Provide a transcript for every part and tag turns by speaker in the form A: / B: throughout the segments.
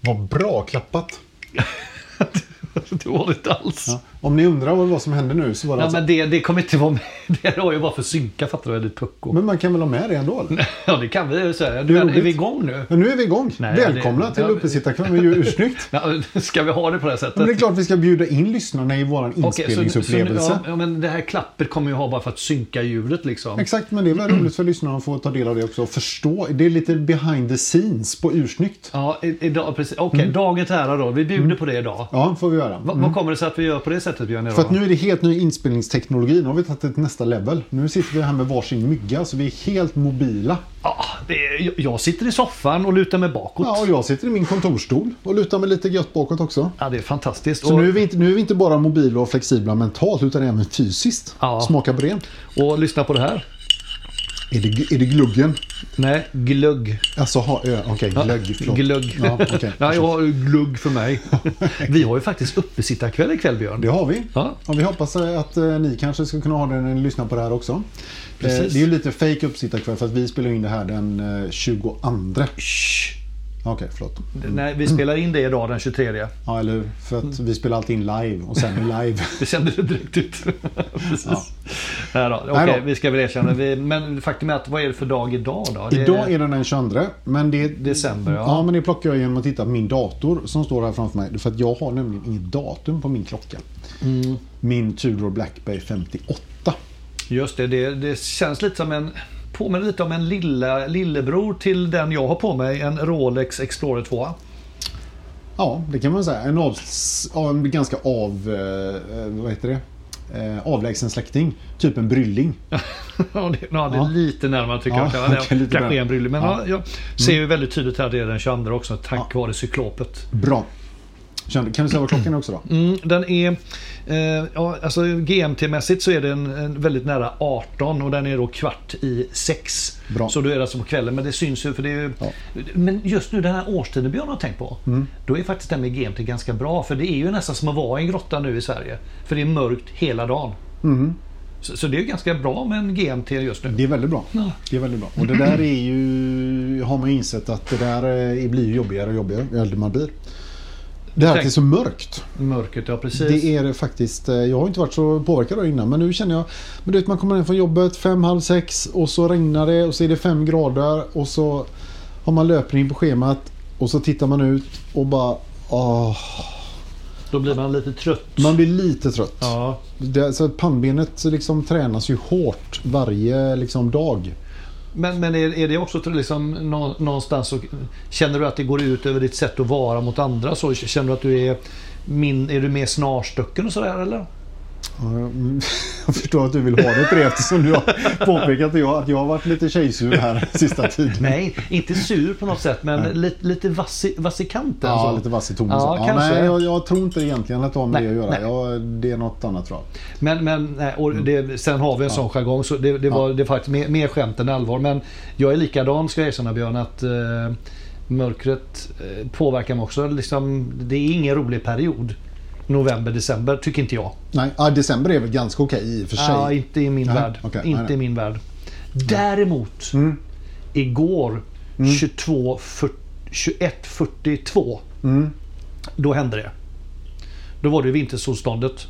A: Vad bra klappat.
B: det var det inte alls.
A: Ja. Om ni undrar vad det var som hände nu så var det
B: Nej,
A: alltså...
B: men det, det kommer inte vara med. Det var ju bara för synka fattar du, eller pucko.
A: Men man kan väl ha med det ändå? Eller?
B: Ja, det kan vi ju säga.
A: Det är
B: Men är
A: roligt.
B: vi igång nu?
A: Men nu är vi igång.
B: Nej,
A: Välkomna
B: det-
A: till
B: ja,
A: uppesittarkvällen. Det är ju ursnyggt.
B: Ja, ska vi ha det på det här sättet?
A: Men det är klart vi ska bjuda in lyssnarna i vår
B: Okej, så- så-
A: inspelningsupplevelse.
B: ja, ja, men det här klappet kommer ju ha bara för att synka ljudet liksom.
A: Exakt, men det är väl roligt för lyssnarna att få ta del av det också och förstå. Det är lite behind the scenes på ursnyggt.
B: Ja, i- idag, precis. Okej,
A: Mm.
B: dagen till ära då. Vi bjuder på det idag.
A: Ja, får vi göra.
B: Va, Vad kommer det sig att vi gör på det sättet Björn? idag
A: Mm. För att
B: då?
A: nu är det helt ny inspelningsteknologi. Nu har vi tagit det till nästa level. Nu sitter vi här med varsin mygga, så vi är helt mobila.
B: Ja, det är, jag- jag sitter i soffan och lutar mig bakåt.
A: Ja,
B: Ja,
A: och jag sitter i min kontorstol och lutar mig lite gött bakåt också.
B: det är fantastiskt.
A: Så
B: och,
A: nu är, vi inte, nu är vi inte bara mobila och flexibla mentalt, utan även fysiskt.
B: Ja.
A: Smaka på det.
B: och lyssna på det här.
A: Är det, är det gluggen?
B: Nej, glögg.
A: Alltså, ha, ö, okej, glögg. Förlåt.
B: Glögg.
A: Ja, okej.
B: Nej, jag har ju glugg för mig. Vi har ju faktiskt uppesittarkväll ikväll Björn.
A: Det har vi.
B: Ja.
A: Och vi hoppas eh, att eh, ni kanske ska kunna ha det när ni lyssnar på det här också. Eh, det är
B: Precis.
A: ju lite fake uppsittarkväll för att vi spelar in det här den eh, 22. Okej,
B: Shh.
A: förlåt.
B: Nej, vi spelar in det idag den 23.
A: Ja, eller hur? För att
B: Mm.
A: vi spelar alltid in live och sen live.
B: Det kändes ju drygt ut. Precis.
A: Ja.
B: Nej då. Okej,
A: Nej då.
B: vi ska väl erkänna. Vi, men faktum är att vad är det för dag idag då? Det är
A: Idag är den den 22. Men det,
B: december. Ja.
A: ja, men det plockar jag genom att titta på min dator som står här framför mig. För att jag har nämligen inget datum på min klocka.
B: Mm.
A: Min Tudor Blackberry 58.
B: Just det, det, det känns lite som en... Påminner lite om en lilla, lillebror till den jag har på mig. En Rolex Explorer 2.
A: Ja, det kan man säga. En, avs- ja, en ganska av... Eh, vad heter det? Eh, avlägsen släkting. Typ en brylling.
B: ja, det, ja, det är
A: Ja.
B: lite närmare tycker
A: Ja,
B: jag. Kan,
A: okej, lite
B: kanske
A: närmare.
B: en brille. Men ja.
A: Ja. Mm.
B: jag ser ju väldigt tydligt här det är den 22 också. Tack vare cyklopet.
A: Bra. Kände- Kan du säga vad klockan är också då?
B: Mm, den är, eh, ja, alltså GMT-mässigt så är den en väldigt nära 18 och den är då kvart i sex.
A: Bra.
B: Så då är det alltså på kvällen. Men det syns ju för det är ju...
A: Ja. Mm.
B: Men just nu den här årstiden Björn har tänkt på. Då är faktiskt den med GMT ganska bra. För det är ju nästan som att vara i en grotta nu i Sverige. För det är mörkt hela dagen. Så, så det är ju ganska bra med en GMT just nu.
A: Mm. Det är väldigt bra.
B: Ja.
A: Det är väldigt bra. Och det där är ju... Har man ju insett att det där eh, blir ju jobbigare och jobbigare ju äldre man blir. Det här att det är så mörkt.
B: Mörkret, ja precis.
A: Det är det faktiskt. eh, Jag har inte varit så påverkad av det innan men nu känner jag. Men du vet man kommer hem från jobbet fem, halv sex och så regnar det och så är det fem grader och så har man löpning på schemat och så tittar man ut och bara åh,
B: Då blir man lite trött.
A: Man blir lite trött.
B: Ja.
A: Det, så att pannbenet liksom tränas ju hårt varje liksom, dag.
B: Men, men är, är det också till liksom nå- någonstans så känner du att det går ut över ditt sätt att vara mot andra? Så känner du att du är, min, är du mer snarstucken och sådär eller?
A: Mm. Ja, jag- Jag förstår att du vill ha det på det eftersom du har påpekat att jag, att jag har varit lite tjejsur här sista tiden.
B: Nej, inte sur på något sätt men lite, lite vass i- vass i kanten.
A: Ja,
B: så.
A: lite vass i tonen.
B: Ja,
A: så. ja,
B: kanske.
A: nej, jag, jag tror inte egentligen att det har med
B: Nej,
A: det att
B: nej.
A: göra. Jag, det är något annat tror jag.
B: Men, men nej, och
A: Mm.
B: det, sen har vi en sån jargong så det, det var det är faktiskt mer, mer skämt än allvar. Men jag är likadan ska jag erkänna Björn att eh, mörkret eh, påverkar mig också. Liksom, det är ingen rolig period. November, december tycker inte jag.
A: Nej, ja, december är väl ganska okej i och för sig.
B: Ja, inte i min
A: Nej,
B: värld.
A: okej, nej,
B: inte
A: nej. Mm.
B: i min värld. Däremot, igår 22, 40, 21.42,
A: Mm.
B: då hände det. Då var det vintersolståndet.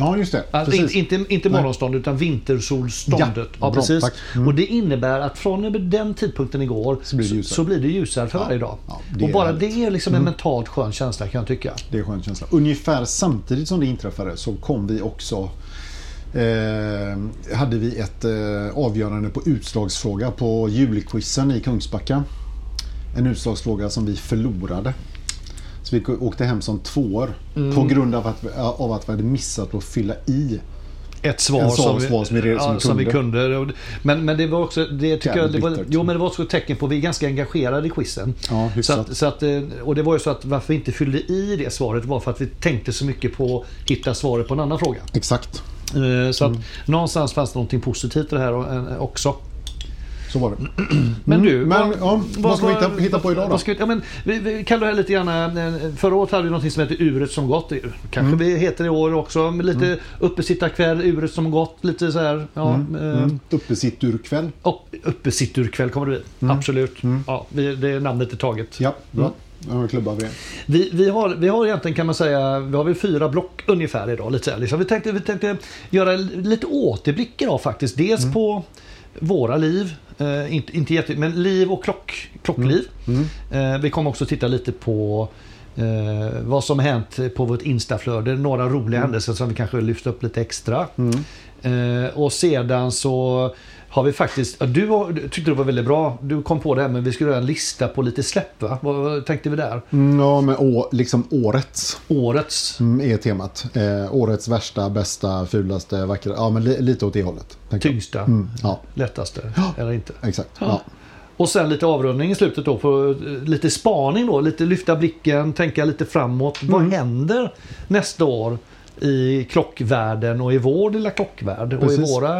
A: Ja, just det.
B: Alltså,
A: precis.
B: inte, inte, inte morgonstånd utan vintersolståndet.
A: Ja,
B: Ja,
A: bra,
B: precis.
A: tack. Mm.
B: Och det innebär att från och med den tidpunkten igår så
A: blir det
B: blir det,
A: ljusare.
B: så, blir det ljusare för varje dag.
A: ja, det
B: och
A: är
B: bara
A: härligt. Mm.
B: det är liksom en mentalt skön känsla kan jag tycka.
A: Det är en skön känsla. Ungefär samtidigt som det inträffade så kom vi också eh, hade vi ett eh, avgörande på utslagsfråga på julquizen i Kungsbacka. En utslagsfråga som vi förlorade. Så vi åkte hem som tvåor på
B: Mm.
A: grund av att, vi- av att vi hade missat att fylla i.
B: ett svar,
A: En svar- svar som vi re- som vi
B: som vi
A: kunde.
B: kunde. Men, men det var också, det tycker jag,
A: Jävligt
B: det var,
A: bittert.
B: jo men det var också ett tecken på att vi är ganska engagerade i quizen.
A: Ja,
B: så
A: hyfsat.
B: att, så att, eh, och det var ju så att varför vi inte fyllde i det svaret var för att vi tänkte så mycket på att hitta svaret på en annan fråga.
A: Exakt,
B: Eh, Så att
A: Mm.
B: någonstans fanns det någonting positivt i det här och- eh, också.
A: så var det.
B: Men du,
A: Mm. men, ja, vad ska vi hitta- hitta på idag då?
B: vad ska vi- ja, men, vi, vi kallar det här lite grann, eh, förra året hade vi något som hette Uret som gått. Det Kanske
A: Mm.
B: vi heter i år också. men Lite uppesittarkväll, Uret som gått. Lite så här, ja, eh,
A: Mm. Uppesitturkväll. Mm.
B: Upp, uppesitturkväll kommer det bli. Absolut. Ja, vi, det namnet är taget.
A: Ja, bra. Ja, klubbar vi.
B: Vi, vi, har, vi har egentligen kan man säga, vi har väl fyra block ungefär idag. Lite så här, liksom. vi, tänkte, vi tänkte göra lite återblick idag faktiskt. Dels
A: Mm.
B: på våra liv, eh, inte, inte jätte, men liv och klock, klockliv.
A: Mm.
B: Eh, vi kommer också titta lite på eh, vad som hänt på vårt Instaflöde. Några roliga händelser som vi kanske lyfter upp lite extra.
A: Mm.
B: Eh, och sedan så har vi faktiskt, ja, du, har- du tyckte det var väldigt bra, du kom på det här men vi skulle göra en lista på lite släpp va? Vad, vad tänkte vi där?
A: Mm, Ja, men å, liksom årets
B: Årets.
A: mm, är temat. Eh, årets värsta, bästa, fulaste, vackra. Ja, men li, lite åt det hållet. tänker jag.
B: Tyngsta,
A: Mm, ja,
B: lättaste
A: Ja.
B: eller inte.
A: exakt. Ja.
B: Ja. Och sen lite avrundning i slutet då, på eh, lite spaning då, lite lyfta blicken, tänka lite framåt.
A: Mm.
B: Vad händer nästa år i klockvärlden och i vår lilla klockvärld och
A: Precis.
B: i våra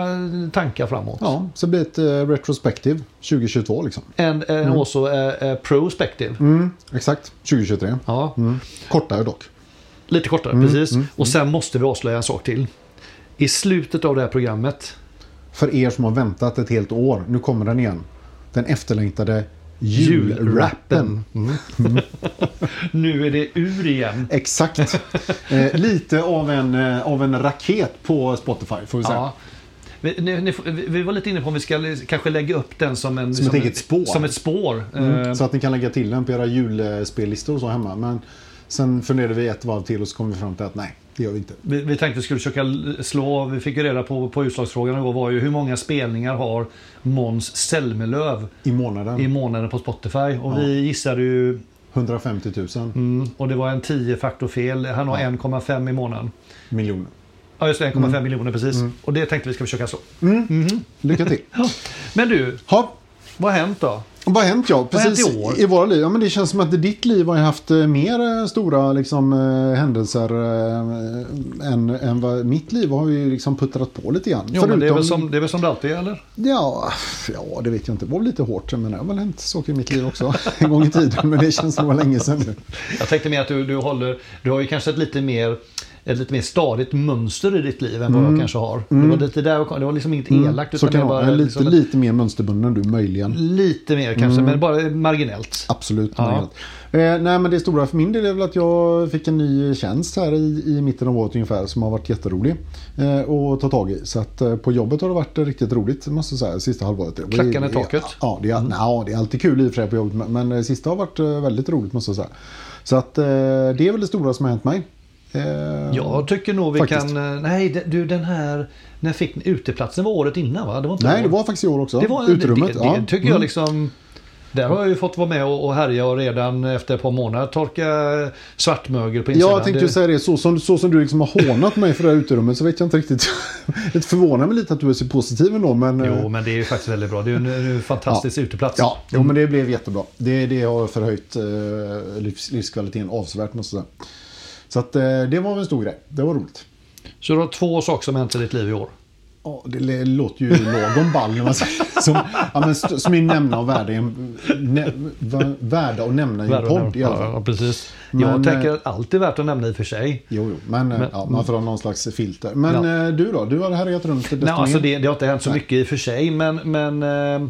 B: tankar framåt?
A: ja, så det blir ett eh, retrospektiv 2022 liksom.
B: And, and also a, a eh, prospective.
A: Mm, exakt, 2023.
B: Ja,
A: Kortare dock.
B: lite kortare
A: Mm.
B: precis. och sen måste vi avslöja en sak till. I slutet av det här programmet
A: För er som har väntat ett helt år, nu kommer den igen. Den efterlängtade julrappen.
B: Julrappen. Nu är det ur igen.
A: Exakt. Eh, lite av en, eh, av en raket på Spotify får vi säga.
B: Ja. Vi, ni, ni, får- vi vi var lite inne på om vi ska li- kanske lägga upp den som en...
A: Som ett eget spår. Mm.
B: Som ett spår. Eh,
A: Så att ni kan lägga till den på era julspellistor och så hemma. Men sen funderade vi ett varv till och så kom vi fram till att nej, det gör vi inte.
B: vi, vi tänkte vi skulle försöka l- slå, vi fick ju reda på, på utslagsfrågan igår, var ju hur många spelningar har Måns Zelmerlöw
A: I månaden,
B: i månaden på Spotify? Och
A: Mm. Ja.
B: vi gissade ju,
A: 150 000
B: mm, och det var en 10-faktor fel, han har 1,5 i månaden.
A: miljoner.
B: Ja just det, 1,5
A: Mm.
B: miljoner precis. Och det tänkte vi ska försöka slå.
A: Lycka till.
B: Ja. Men du,
A: Ha,
B: vad har hänt då?
A: vad har hänt ja?
B: har hänt
A: Precis
B: i år?
A: i våra liv. Ja, men det känns som att i ditt liv har jag haft eh, mer eh, stora liksom, eh, händelser eh, än, än vad mitt liv har ju liksom puttrat på lite grann.
B: Jo, men det, är väl som, det är väl som det alltid är eller?
A: Ja, ja, det vet jag inte. Det var väl lite hårt. Men det har väl hänt saker i mitt liv också. en gång i tiden. Men det känns som det var länge sedan nu.
B: Jag tänkte mer att du, du håller, du har ju kanske ett lite mer ett lite mer stadigt mönster i ditt liv än vad jag kanske har. Det var lite där och, det var liksom inget elakt.
A: Mm. Så
B: utan
A: kan
B: det
A: jag
B: var
A: vara. Jag är lite, Mm.
B: liksom,
A: lite mer mönsterbunden än du möjligen.
B: lite mer kanske, men bara marginellt.
A: Absolut.
B: Ja.
A: Margaret. Eh, nej, men det stora för min del är väl att jag fick en ny tjänst här i, i mitten av året ungefär som har varit jätterolig eh, att ta tag i. Så att eh, på jobbet har det varit riktigt roligt måste jag säga, sista halvåret. Det-
B: Klackarna i
A: det-
B: taket. Mm.
A: Ja, det är, nja, det är alltid kul i och för sig på jobbet men, men eh, sista har varit eh, väldigt roligt måste jag säga. Så att eh, det är väl det stora som har hänt mig. Eh,
B: Jag tycker nog vi
A: Faktiskt.
B: kan... eh, Nej, de- du den här... När fick ni uteplatsen? var året innan va? Det var inte
A: Nej, det
B: år.
A: var faktiskt i år också.
B: det var
A: Utrummet.
B: Det, det,
A: ja. Mm.
B: det tycker jag liksom... Där har jag ju fått vara med och, och härja och redan efter ett par månader torka svartmögel på
A: Ja,
B: insidan.
A: jag tänkte ju
B: Det-
A: säga det. Så som, så som du liksom har hånat mig för det här uterummet så vet jag inte riktigt. Det förvånar mig lite att du är så positiv ändå. Men, eh,
B: Jo, men det är ju faktiskt väldigt bra. Det är ju en, en fantastisk uteplats.
A: Ja, jo, men det blev jättebra. Det, det har förhöjt eh, livs, livskvaliteten avsevärt måste jag säga. Så att, eh, det var väl en stor grej. Det var roligt.
B: Så du har två saker som hänt i ditt liv i år.
A: Ja, det lä- låter ju lagom ball när man säger- som, ja, men st- som är nämna och värda i en, nä, va- värda att nämna i en podd i alla fall.
B: Ja, precis.
A: Men,
B: jag tänker
A: eh,
B: att allt är värt att nämna i och för sig.
A: Jo, jo, men, eh,
B: Men-
A: ja, man får ha någon slags filter. Men
B: Ja.
A: eh, du då? Du har härjat runt desto
B: Nej, alltså
A: mer.
B: det, det har inte hänt så
A: Nej.
B: mycket i och för sig, men, men, eh,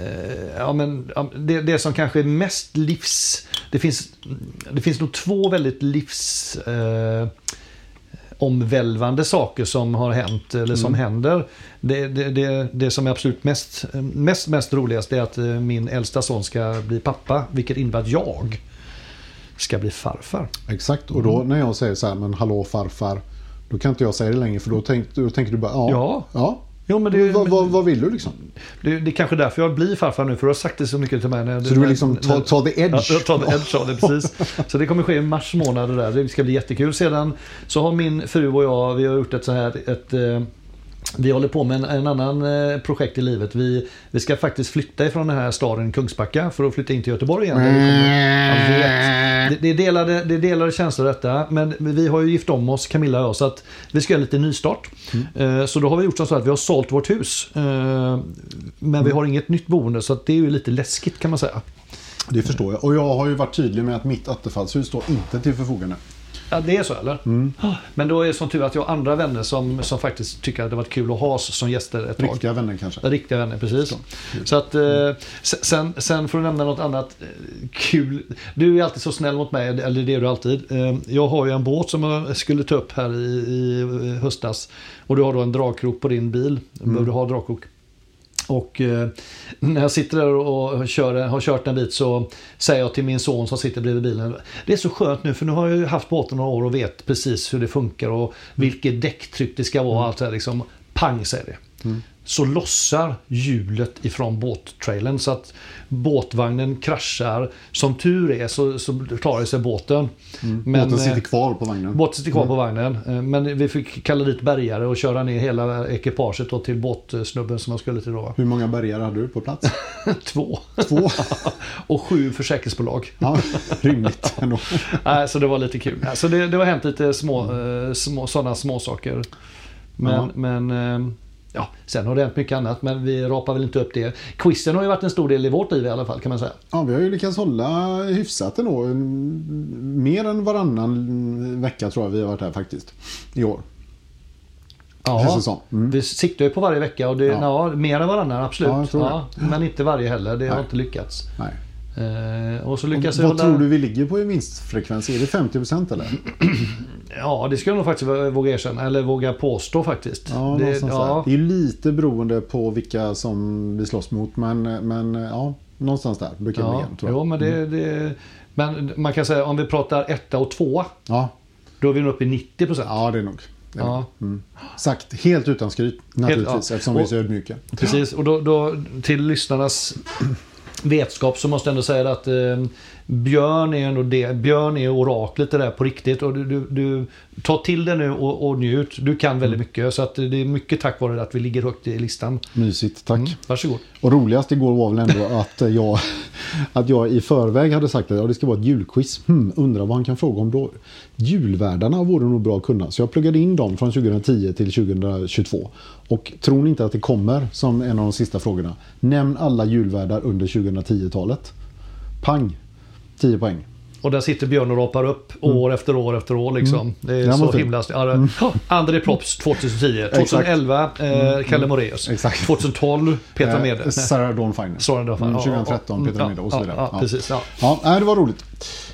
B: eh, ja, men ja, det, det som kanske är mest livs... Det finns, det finns nog två väldigt livs... Eh, omvälvande saker som har hänt eller som
A: Mm.
B: händer. Det, det, det, det som är absolut mest, mest, mest roligast är att eh, min äldsta son ska bli pappa, vilket innebär att jag ska bli farfar.
A: Exakt, och
B: Mm.
A: då när jag säger så här, men hallå farfar. Då kan inte jag säga det längre för då, tänk, då tänker du bara, ja.
B: Ja.
A: ja.
B: Jo, men det,
A: Vad, vad, vad vill du liksom?
B: det, det är kanske därför jag blir farfar nu, för du har sagt det så mycket till mig. När,
A: Så du vill liksom ta, ta the
B: Ja,
A: edge?
B: jag tar det, edge av det, precis. Så det kommer ske i mars månad det där. Det ska bli jättekul. Sedan så har min fru och jag, vi har gjort ett så här, ett, eh, vi håller på med en, en annan eh, projekt i livet. Vi, vi ska faktiskt flytta ifrån den här staden Kungsbacka för att flytta in till Göteborg igen. Där vi kommer, jag vet. Det, det, är delade, det är delade känslor i detta. Men vi har ju gift om oss, Camilla och jag, så att vi ska göra lite nystart. Eh, Så då har vi gjort som så att vi har sålt vårt hus. Eh, Men vi har inget nytt boende så att det är ju lite läskigt kan man säga.
A: Det förstår jag. Och jag har ju varit tydlig med att mitt attefallshus står inte till förfogande.
B: Ja, det är så eller?
A: Mm.
B: Men då är det som tur att jag har andra vänner som, som faktiskt tycker att det varit kul att ha oss som gäster ett tag.
A: Riktiga vänner kanske.
B: Riktiga vänner, precis. Så att, eh, se- sen, sen för att nämna något annat eh, kul. Du är alltid så snäll mot mig, eller det är du alltid. Eh, jag har ju en båt som jag skulle ta upp här i, i eh, höstas. Och du har då en dragkrok på din bil. Behöver du ha dragkrok? Och eh, när jag sitter där och kör, har kört en bit så säger jag till min son som sitter bredvid bilen. Det är så skönt nu för nu har jag ju haft båten några år och vet precis hur det funkar och vilket däcktryck det ska vara och allt det här liksom. Pang säger det.
A: Mm.
B: Så lossar hjulet ifrån båttrailern så att båtvagnen kraschar. Som tur är så, så klarar sig båten. Men,
A: Mm. Båten
B: eh,
A: sitter kvar Mm. på vagnen.
B: Båten sitter kvar på vagnen. eh, Men vi fick kalla dit bärgare och köra ner hela ekipaget då till båtsnubben som jag skulle till då. va?
A: Hur många bärgare hade du på plats?
B: Två.
A: Två?
B: och sju försäkringsbolag.
A: Ja, rimligt ändå.
B: Nej, så det var lite kul. Så det, det har hänt lite små, eh, små, sådana små saker. Men,
A: Ja.
B: men eh, ja, sen har det hänt mycket annat. Men vi rapar väl inte upp det. Quizen har ju varit en stor del i vårt liv i alla fall kan man säga.
A: Ja, vi har ju lyckats hålla hyfsat ändå. Mer än varannan vecka tror jag vi har varit här faktiskt. I år.
B: Ja,
A: Känns det som. Mm.
B: Vi siktar ju på varje vecka och det, ja.
A: Ja.
B: mer än varannan absolut.
A: Ja, jag tror det.
B: men inte varje heller. Det har
A: Nej.
B: inte lyckats.
A: Nej.
B: Eh, och så lyckas vi
A: Vad
B: hålla-
A: tror du vi ligger på i vinstfrekvens? Är det 50% eller?
B: Ja, det ska jag nog faktiskt våga erkänna, eller våga påstå faktiskt.
A: Ja,
B: det,
A: någonstans där. Det är ju lite beroende på vilka som vi slåss mot. Men, men ja, någonstans där brukar det
B: ja,
A: ligga. Tror jag.
B: jo, men,
A: Mm.
B: det, det, men man kan säga om vi pratar etta och tvåa,
A: Ja,
B: då är vi nog uppe i 90 procent.
A: ja, det är nog. Det är nog. Mm.
B: Ja,
A: Sagt helt utan skryt naturligtvis
B: ja.
A: eftersom vi är
B: Och-
A: så ödmjuka.
B: precis. Och då, då, till lyssnarnas vetskap så måste jag ändå säga att eh, Björn är ju ändå det, Björn är oraklet det där på riktigt. Och du, du, du, ta till det nu och, och njut. Du kan
A: Mm.
B: väldigt mycket. Så att det är mycket tack vare att vi ligger högt i listan.
A: Mysigt, tack.
B: Mm. Varsågod.
A: Och roligast igår var väl ändå att eh, jag, att jag i förväg hade sagt att ja, det ska vara ett julquiz. Hmm, undrar vad han kan fråga om då. Julvärdarna vore nog bra att kunna. Så jag pluggade in dem från 2010 till 2022. Och tror ni inte att det kommer som en av de sista frågorna? Nämn alla julvärdar under 2010-talet. Pang! 10 poäng.
B: Och där sitter Björn och rapar upp
A: Mm.
B: år efter år efter år. Liksom. Det är
A: Det här
B: så
A: måste-
B: himla... Ja, det-
A: Mm.
B: Ja, André Props 2010. 2011 eh, Kalle Moraeus.
A: Mm, Exakt.
B: 2012 Petra Mede.
A: Eh, Sarah Dawn Finer.
B: Sara Dawn Finer.
A: Mm,
B: Ja,
A: 2013
B: ja,
A: Petra
B: ja,
A: Mede och så
B: ja,
A: vidare.
B: ja, precis, ja.
A: Ja, nej, det var roligt.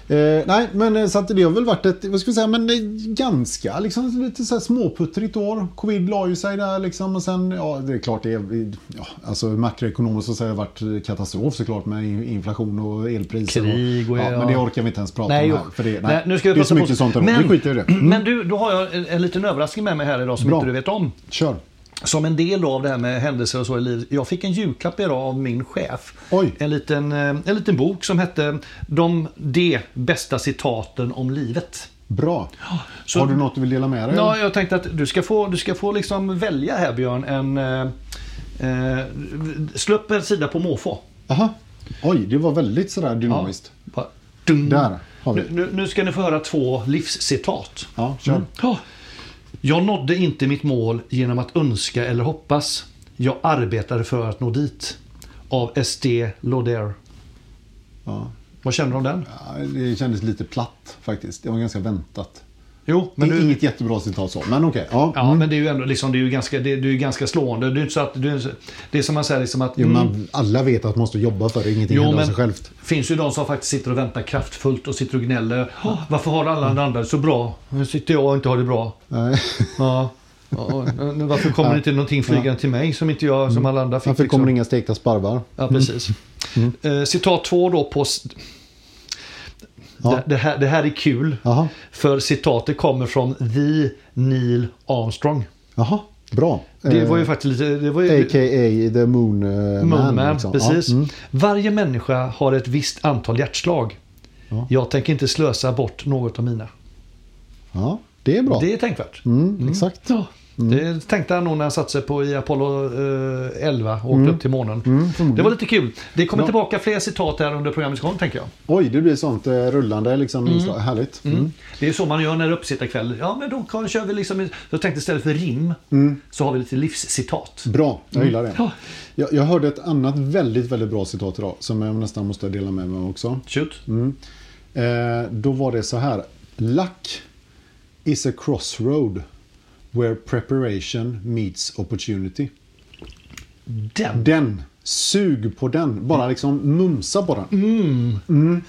A: Eh, nej, men eh, så att det har väl varit ett, vad ska vi säga, men eh, ganska liksom lite så här småputtrigt år. Covid la ju sig där liksom och sen, ja det är klart det är, ja, alltså makroekonomiskt så säger det varit eh, katastrof såklart med in- inflation och elpriser.
B: Krig och-
A: ja,
B: ja.
A: Men det orkar vi inte ens prata
B: Nej,
A: om
B: jo.
A: här. För det, nej,
B: Nej, nu ska jag
A: det är
B: passa
A: så
B: på-
A: mycket sånt ändå.
B: Men-
A: Vi skiter i det. Mm.
B: Men du, då har jag en, en liten överraskning med mig här idag som
A: Bra.
B: inte du vet om.
A: Kör.
B: Som en del av det här med händelser och så i livet. Jag fick en julklapp idag av min chef.
A: Oj.
B: En, liten, eh, en liten bok som hette De, de bästa citaten om livet.
A: Bra.
B: så-
A: Har du något du vill dela med dig?
B: Ja,
A: eller?
B: jag tänkte att du ska få, du ska få liksom välja här Björn. En, eh, eh, slå upp en sida på måfå.
A: Aha. Oj, det var väldigt sådär dynamiskt.
B: Bara, dung.
A: Där har vi.
B: Nu, nu, nu ska ni få höra två livscitat. Mm.
A: Ja, kör.
B: Ja. Jag nådde inte mitt mål genom att önska eller hoppas. Jag arbetade för att nå dit. Av S.D. Lauder.
A: Ja.
B: Vad känner du om den?
A: Ja, Det kändes lite platt faktiskt. Det var ganska väntat.
B: Jo, men
A: det är
B: du...
A: inget jättebra citat så, men okej. Ja.
B: Ja, men det är ju ändå liksom, det är ju ganska, det, det är ju ganska slående. Det är, inte så att, det, är, det är som man säger liksom att...
A: Jo, man, alla vet att man måste jobba för det, ingenting
B: Jo,
A: händer av
B: men-
A: sig självt.
B: finns ju de som faktiskt sitter och väntar kraftfullt och sitter och gnäller. "Åh, Varför har alla andra det så bra? Nu sitter jag och inte har det bra.
A: Nej.
B: Ja. Ja, nu, varför kommer det inte någonting flygande till mig som inte jag, som alla andra fick?
A: Varför
B: liksom?
A: kommer det inga stekta sparvar?
B: Ja, precis. Eh, citat två då på... s- Det, det, här, det här är kul.
A: Jaha,
B: För citatet kommer från The Neil Armstrong.
A: Jaha. bra. Eh,
B: Det var ju faktiskt lite... Det var ju,
A: A.k.a. The Moon, eh,
B: Moonman,
A: Man. liksom.
B: precis.
A: Ja, mm.
B: Varje människa har ett visst antal hjärtslag.
A: Ja.
B: Jag tänker inte slösa bort något av mina.
A: ja, Mm. det är bra.
B: Det är tänkvärt.
A: Mm, Exakt.
B: Ja. Det tänkte han nog när han satte sig på i Apollo eh, 11 och åkte
A: Mm.
B: upp till månen. det var lite kul. Det kommer tillbaka fler citat här under programmets gång tänker jag.
A: Oj, det blir sånt eh, rullande liksom. inslag. Härligt. Mm.
B: Det är ju så man gör när det är uppesittarkväll. Ja men då kan- kör vi liksom, jag tänkte istället för rim
A: Mm.
B: så har vi lite livscitat.
A: Bra, jag gillar det.
B: Ja.
A: Jag, jag hörde ett annat väldigt, väldigt bra citat idag som jag nästan Mm. måste dela med mig av också.
B: Shoot.
A: Eh, då var det så här. Lack is a crossroad where preparation meets opportunity.
B: Den!
A: Den! Sug på den. Bara liksom mumsa på den. Mm.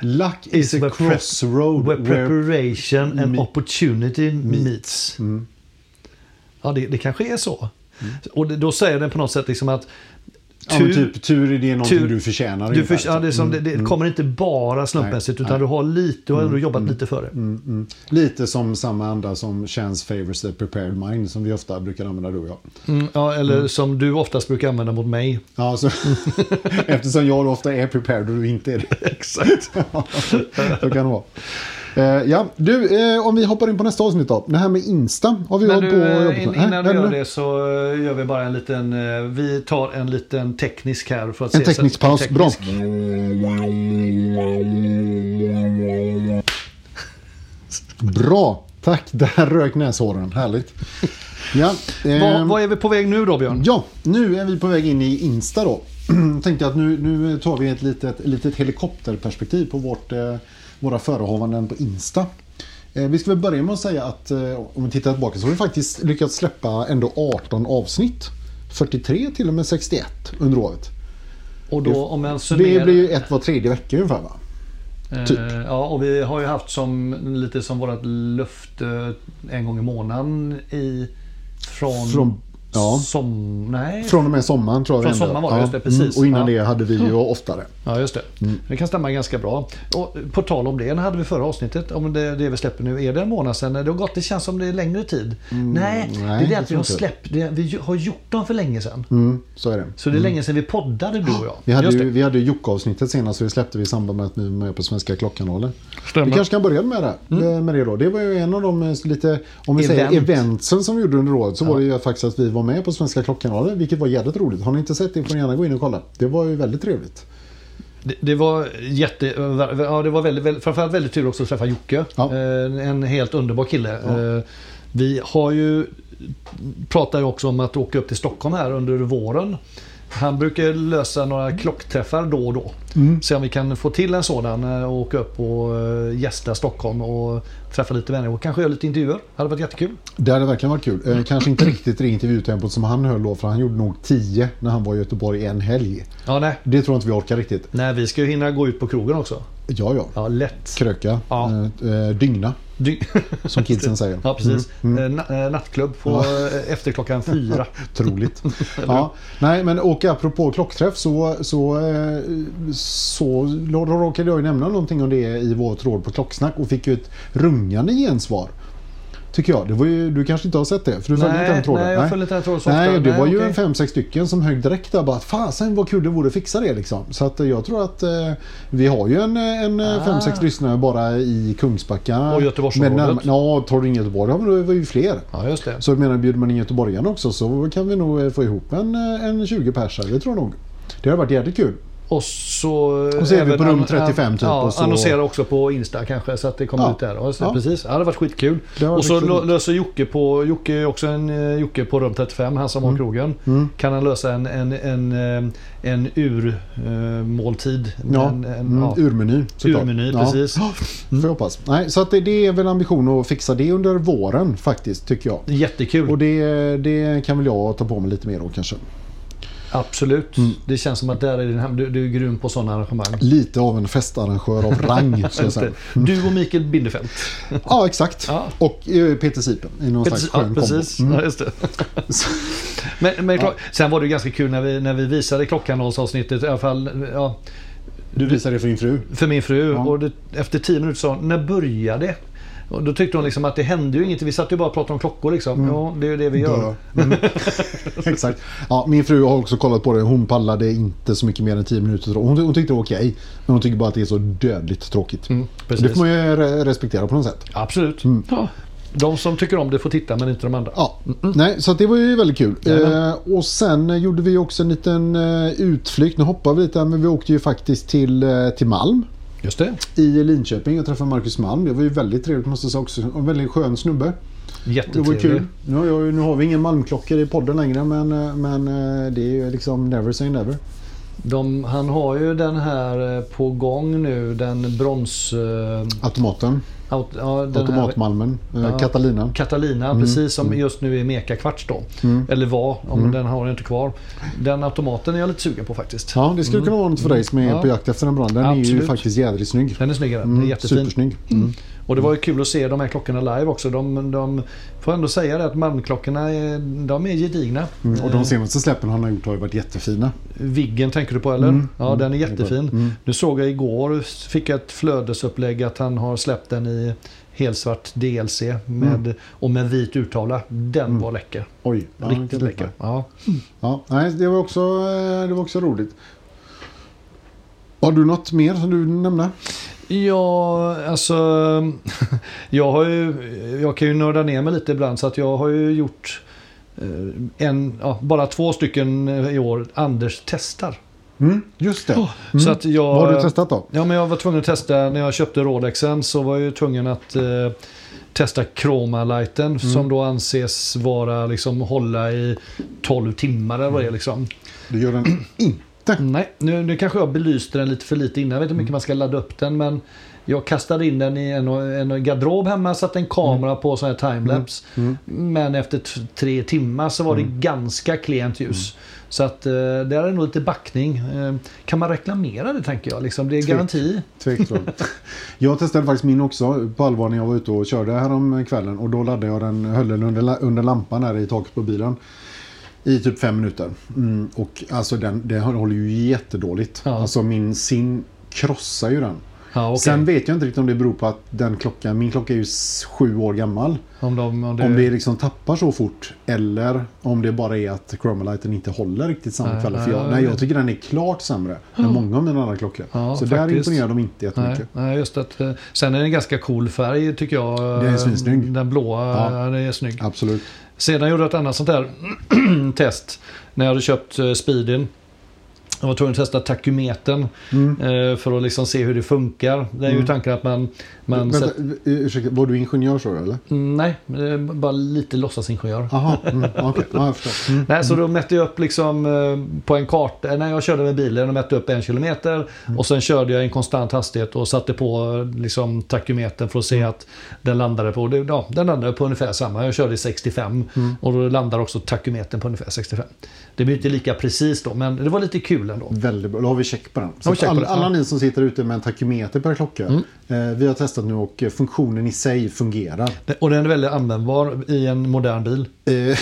A: Luck is,
B: Is
A: a
B: where prep-
A: crossroad
B: Where
A: where...
B: preparation and
A: me-
B: opportunity meets.
A: Mm.
B: Ja, det, det kanske är så. Och det, då säger den på något sätt liksom att
A: Ja, men
B: tur-
A: typ, tur är det någonting
B: tur-
A: du förtjänar.
B: Du
A: ungefär, typ. Mm,
B: för, ja, det, är som, det, det kommer inte bara slumpmässigt
A: Nej,
B: utan
A: nej.
B: du har lite, du har ändå jobbat lite för det.
A: Mm, mm. Lite som samma anda som chance favors the prepared mind som vi ofta brukar använda du och jag.
B: Mm, ja, eller som du oftast brukar använda mot mig.
A: Ja, så, eftersom jag ofta är prepared och du inte är det.
B: Exakt.
A: så kan det vara. Eh, ja, du, eh, om vi hoppar in på nästa avsnitt då. Det här med Insta har vi
B: Men
A: hållit på och
B: du,
A: jobbat
B: eh, in,
A: med. Nej,
B: innan du
A: nej,
B: gör
A: nej.
B: det så eh, gör vi bara en liten, eh, vi tar en liten teknisk här för att
A: En
B: se.
A: teknisk paus, bra. Bra, tack. Där rök näshåren, härligt. Ja,
B: Vad
A: ehm,
B: vad är vi på väg nu då Björn?
A: Ja, nu är vi på väg in i Insta då. Tänkte att nu, nu tar vi ett litet, ett litet helikopterperspektiv på vårt, eh, våra förehavanden på Insta. Eh, vi ska väl börja med att säga att eh, om vi tittar tillbaka så har vi faktiskt lyckats släppa ändå 18 avsnitt. 43 till och med 61 under året.
B: Och då om en
A: Det
B: summerar.
A: blir ju ett var tredje vecka ungefär va? typ.
B: Eh, Ja, och vi har ju haft som lite som vårat löfte en gång i månaden i från,
A: Från- ja.
B: som, nej.
A: Från och med sommaren tror jag
B: Från
A: vi ändå-
B: sommaren var det, just det, precis.
A: Mm, Och innan
B: Ja.
A: det hade vi ju oftare.
B: Ja, just det.
A: Mm.
B: Det kan stämma ganska bra. Och på tal om det, när hade vi förra avsnittet, om det, det vi släpper nu, är det en månad sedan? Det har gått, det känns som det är längre tid. nej,
A: Mm, nej,
B: det är det
A: jag
B: att vi
A: tror
B: har
A: inte.
B: släppt, det, vi ju- har gjort dem för länge sedan.
A: Mm, så är det.
B: Så det är länge sedan vi poddade du och jag.
A: Vi hade,
B: Just
A: ju,
B: det.
A: vi hade ju Jocke-avsnittet senast och det släppte vi i samband med att vi var med på Svenska Klockkanalen.
B: Stämmer.
A: Vi kanske kan börja med det, eh, med det då. Det var ju en av de eh, lite, om vi säger
B: Event.
A: eventsen som vi gjorde under året så var det ju faktiskt att vi var med på Svenska Klockkanalen vilket var jävligt roligt. Har ni inte sett det får ni gärna gå in och kolla. Det var ju väldigt trevligt.
B: Det, det var jätte... Ja, det var väldigt, väldigt, framförallt väldigt tur också att träffa Jocke.
A: Ja.
B: Eh, En helt underbar kille. Eh, Vi har ju... Pratar ju också om att åka upp till Stockholm här under våren. Han brukar lösa några klockträffar då och då.
A: Mm.
B: Se om vi kan få till en sådan eh, och åka upp och eh, gästa Stockholm och träffa lite vänner och kanske göra lite intervjuer. Det hade varit jättekul.
A: Det hade verkligen varit kul. Eh, Kanske inte riktigt det intervjutempot som han höll då för han gjorde nog 10 när han var i Göteborg en helg.
B: Ja, nej.
A: Det tror jag inte vi orkar riktigt.
B: Nej, vi ska ju hinna gå ut på krogen också.
A: Ja, ja.
B: Ja, lätt.
A: Kröka.
B: Ja.
A: Eh, eh, Dygna,
B: Dy-
A: som kidsen säger.
B: Ja, precis.
A: Mm.
B: Eh, na- eh, nattklubb på, eh, efter klockan fyra.
A: Otroligt. ja. Nej, men och apropå klockträff så, så, eh, så då råkade jag ju nämna någonting om det i vår tråd på Klocksnack och fick ju ett rungande gensvar. Tycker jag. Det var ju, du kanske inte har sett det? För du följer
B: Nej,
A: inte den tråden?
B: nej, jag följer inte den tråden så ofta.
A: Nej, det
B: Nej,
A: var ju
B: okej.
A: en fem, sex stycken som högg direkt där bara fasen vad kul det vore att fixa det liksom. Så att eh, jag tror att eh, vi har ju en, en eh, fem, sex lyssnare bara i Kungsbacka.
B: Ah. Och Göteborgsområdet.
A: Men närm- Ja, tar du in Göteborg, ja, men då var ju fler.
B: Ja, just det.
A: Så jag menar, bjuder man in göteborgarna också så kan vi nog eh, få ihop en, eh, en 20 pers här, det tror jag nog. Det har varit jävligt kul.
B: Och så...
A: Och så är vi
B: även
A: på rum
B: an-
A: 35 typ,
B: Ja,
A: och så-
B: Annonsera också på Insta kanske så att det kommer
A: Ja.
B: ut där. Ja, så,
A: Ja.
B: Precis, ja, det hade varit skitkul.
A: Det hade
B: och så
A: varit
B: lo-
A: roligt.
B: löser Jocke på... Jocke är också en eh, Jocke på rum 35, han som
A: Mm.
B: har krogen. Kan han lösa en, en, en, eh, en urmåltid?
A: Ja,
B: en, en,
A: mm,
B: ja.
A: urmeny såklart.
B: Urmeny,
A: ja.
B: precis.
A: Får jag hoppas. Nej, så att det, det är väl ambition att fixa det under våren faktiskt, tycker jag.
B: Jättekul.
A: Och det, det kan väl jag ta på mig lite mer då kanske.
B: Absolut.
A: Mm.
B: Det känns som att där är din hem. Du, du är grym på sådana arrangemang.
A: Lite av en festarrangör av rang, ska jag säga.
B: Du och Mikael Bindefeld.
A: Ja, exakt.
B: Ja.
A: Och eh, Peter Sipen i någon slags
B: Ja,
A: skön kombo. Mm.
B: precis. Ja, just det. Men, men klart, Sen var det ju ganska kul när vi, när vi visade klockanalsavsnittet, i alla fall ja,
A: Du visar det för din fru.
B: för min fru.
A: Ja.
B: Och det, efter tio minuter sa hon, när börjar det? Och då tyckte hon liksom att det hände ju inget. Vi satt ju bara och pratade om klockor liksom. Ja, det är ju det vi gör.
A: Mm. Exakt. Ja, min fru har också kollat på det. Hon pallade inte så mycket mer än 10 minuter. tror jag. Hon, hon tyckte det var okej. men hon tycker bara att det är så dödligt tråkigt.
B: Mm, precis.
A: det får man ju re- respektera på något sätt.
B: Absolut.
A: Mm.
B: Ja. De som tycker om det får titta men inte de andra.
A: Ja, nej, så att det var ju väldigt kul. Eh, och sen eh, gjorde vi också en liten eh, utflykt. Nu hoppar vi lite här, men vi åkte ju faktiskt till, eh, till Malm
B: Just det.
A: i Linköping. Jag träffade Marcus Malm. Det var ju väldigt trevligt måste jag säga också. En väldigt skön snubbe. Det var
B: Jättetrevligt.
A: kul. Nu har, jag, nu har vi ingen Malmklockor i podden längre men, eh, men eh, det är ju liksom never say never.
B: De, han har ju den här eh, på gång nu, den bronsautomaten.
A: Automaten.
B: Aut- ja, den här-
A: Automatmalmen, eh,
B: Ja.
A: Catalina.
B: Catalina,
A: Mm,
B: precis som
A: mm.
B: just nu är Mekakvarts då.
A: Mm.
B: Eller var, om
A: Mm.
B: den har jag inte kvar. Den automaten är jag lite sugen på faktiskt.
A: Ja, det skulle kunna vara något för dig som är
B: Ja.
A: på jakt efter en brand. Den är ju
B: Mm. Absolut.
A: faktiskt jädrigt snygg.
B: Den är snyggare, den är jättefin.
A: Mm. supersnygg. Mm.
B: Och det var ju kul att se de här klockorna live också. De, de får ändå säga det att Malmklockorna är, de är gedigna.
A: Mm. Och
B: Eh,
A: de senaste släppen han har gjort har ju varit jättefina.
B: Viggen tänker du på eller?
A: Mm,
B: Ja,
A: mm,
B: den är
A: det är bra.
B: jättefin.
A: Mm.
B: Nu såg jag igår, fick jag ett flödesupplägg att han har släppt den i helsvart DLC med, och med vit urtavla. Den var läcker.
A: Oj, Mm. ja,
B: Riktigt
A: vilken
B: läcker. Ja.
A: Ja, nej, det var också, eh, det var också roligt. Har du något mer som du nämnde?
B: Ja, alltså... Jag, har ju, jag kan ju nörda ner mig lite ibland så att jag har ju gjort eh, en, ja, bara två stycken eh, i år. Anders testar.
A: Mm, just det. Mm.
B: Så att jag,
A: Vad har du testat då?
B: Ja, men jag var tvungen att testa, när jag köpte Rodexen så var jag ju tvungen att eh, testa Chromalighten
A: Mm.
B: som då anses vara liksom hålla i 12 timmar eller vad det är liksom.
A: Du gör den inte.
B: Nej, nu, nu kanske jag belyste den lite för lite innan. Jag vet inte hur mycket man ska ladda upp den men jag kastade in den i en, en garderob hemma, satte en kamera på sån här timelapse.
A: Mm.
B: Men efter t- tre timmar så var det ganska klent ljus. Så att eh, där är nog lite backning. Eh, kan man reklamera det tänker jag? Liksom, det är
A: Tvek.
B: garanti.
A: Tveksamt. Jag testade faktiskt min också på allvar när jag var ute och körde härom kvällen och då laddade jag den, höll den under, la- under lampan här i taket på bilen i typ fem minuter. Mm, och alltså den, den håller ju jättedåligt.
B: Ja.
A: Alltså min sim krossar ju den.
B: Ja, okej.
A: Sen vet jag inte riktigt om det beror på att den klockan, min klocka är ju s- sju år gammal.
B: Om, de, om, det,
A: Om det liksom tappar så fort eller om det bara är att Chromalighten inte håller riktigt samma
B: Nej,
A: kvalitet. För jag,
B: nej,
A: nej, jag
B: nej.
A: tycker den är klart sämre än många av mina andra klockor.
B: Ja,
A: så där
B: faktiskt.
A: imponerar de inte jättemycket.
B: nej, nej, just att, eh, sen är det en ganska cool färg tycker jag.
A: Den är svinsnygg.
B: Den blåa
A: Ja.
B: ja. den är snygg.
A: Absolut.
B: Sedan gjorde jag ett annat sånt här test. När jag hade köpt eh, Speedin. Jag var tvungen att testa takymetern
A: Mm.
B: eh, för att liksom se hur det funkar. Det är ju
A: Mm.
B: tanken att man... man
A: Vänta,
B: sätter-
A: eh, ursäkta, var du ingenjör så eller?
B: Mm, nej, eh, bara lite låtsasingenjör.
A: Jaha, mm, okej. Ja, jag förstår. Mm.
B: Nej, så då mätte jag upp liksom eh, på en karta. När jag körde med bilen och mätte upp en kilometer.
A: Mm.
B: Och sen körde jag i en konstant hastighet och satte på eh, liksom, takymetern för att
A: Mm.
B: se att den landade på, det- ja, den landade på ungefär samma. Jag körde i 65
A: Mm.
B: och då landar också takymetern på ungefär 65. Det blir inte lika precis då, men det var lite kul ändå.
A: Väldigt bra, då har vi check på den. Så
B: Har
A: att
B: vi check på
A: alla,
B: den,
A: alla
B: ja. Mm.
A: ni som sitter ute med en takymeter per klocka. Eh, vi har testat nu och eh, funktionen i sig fungerar.
B: Och den är väldigt användbar i en modern bil.
A: Eh,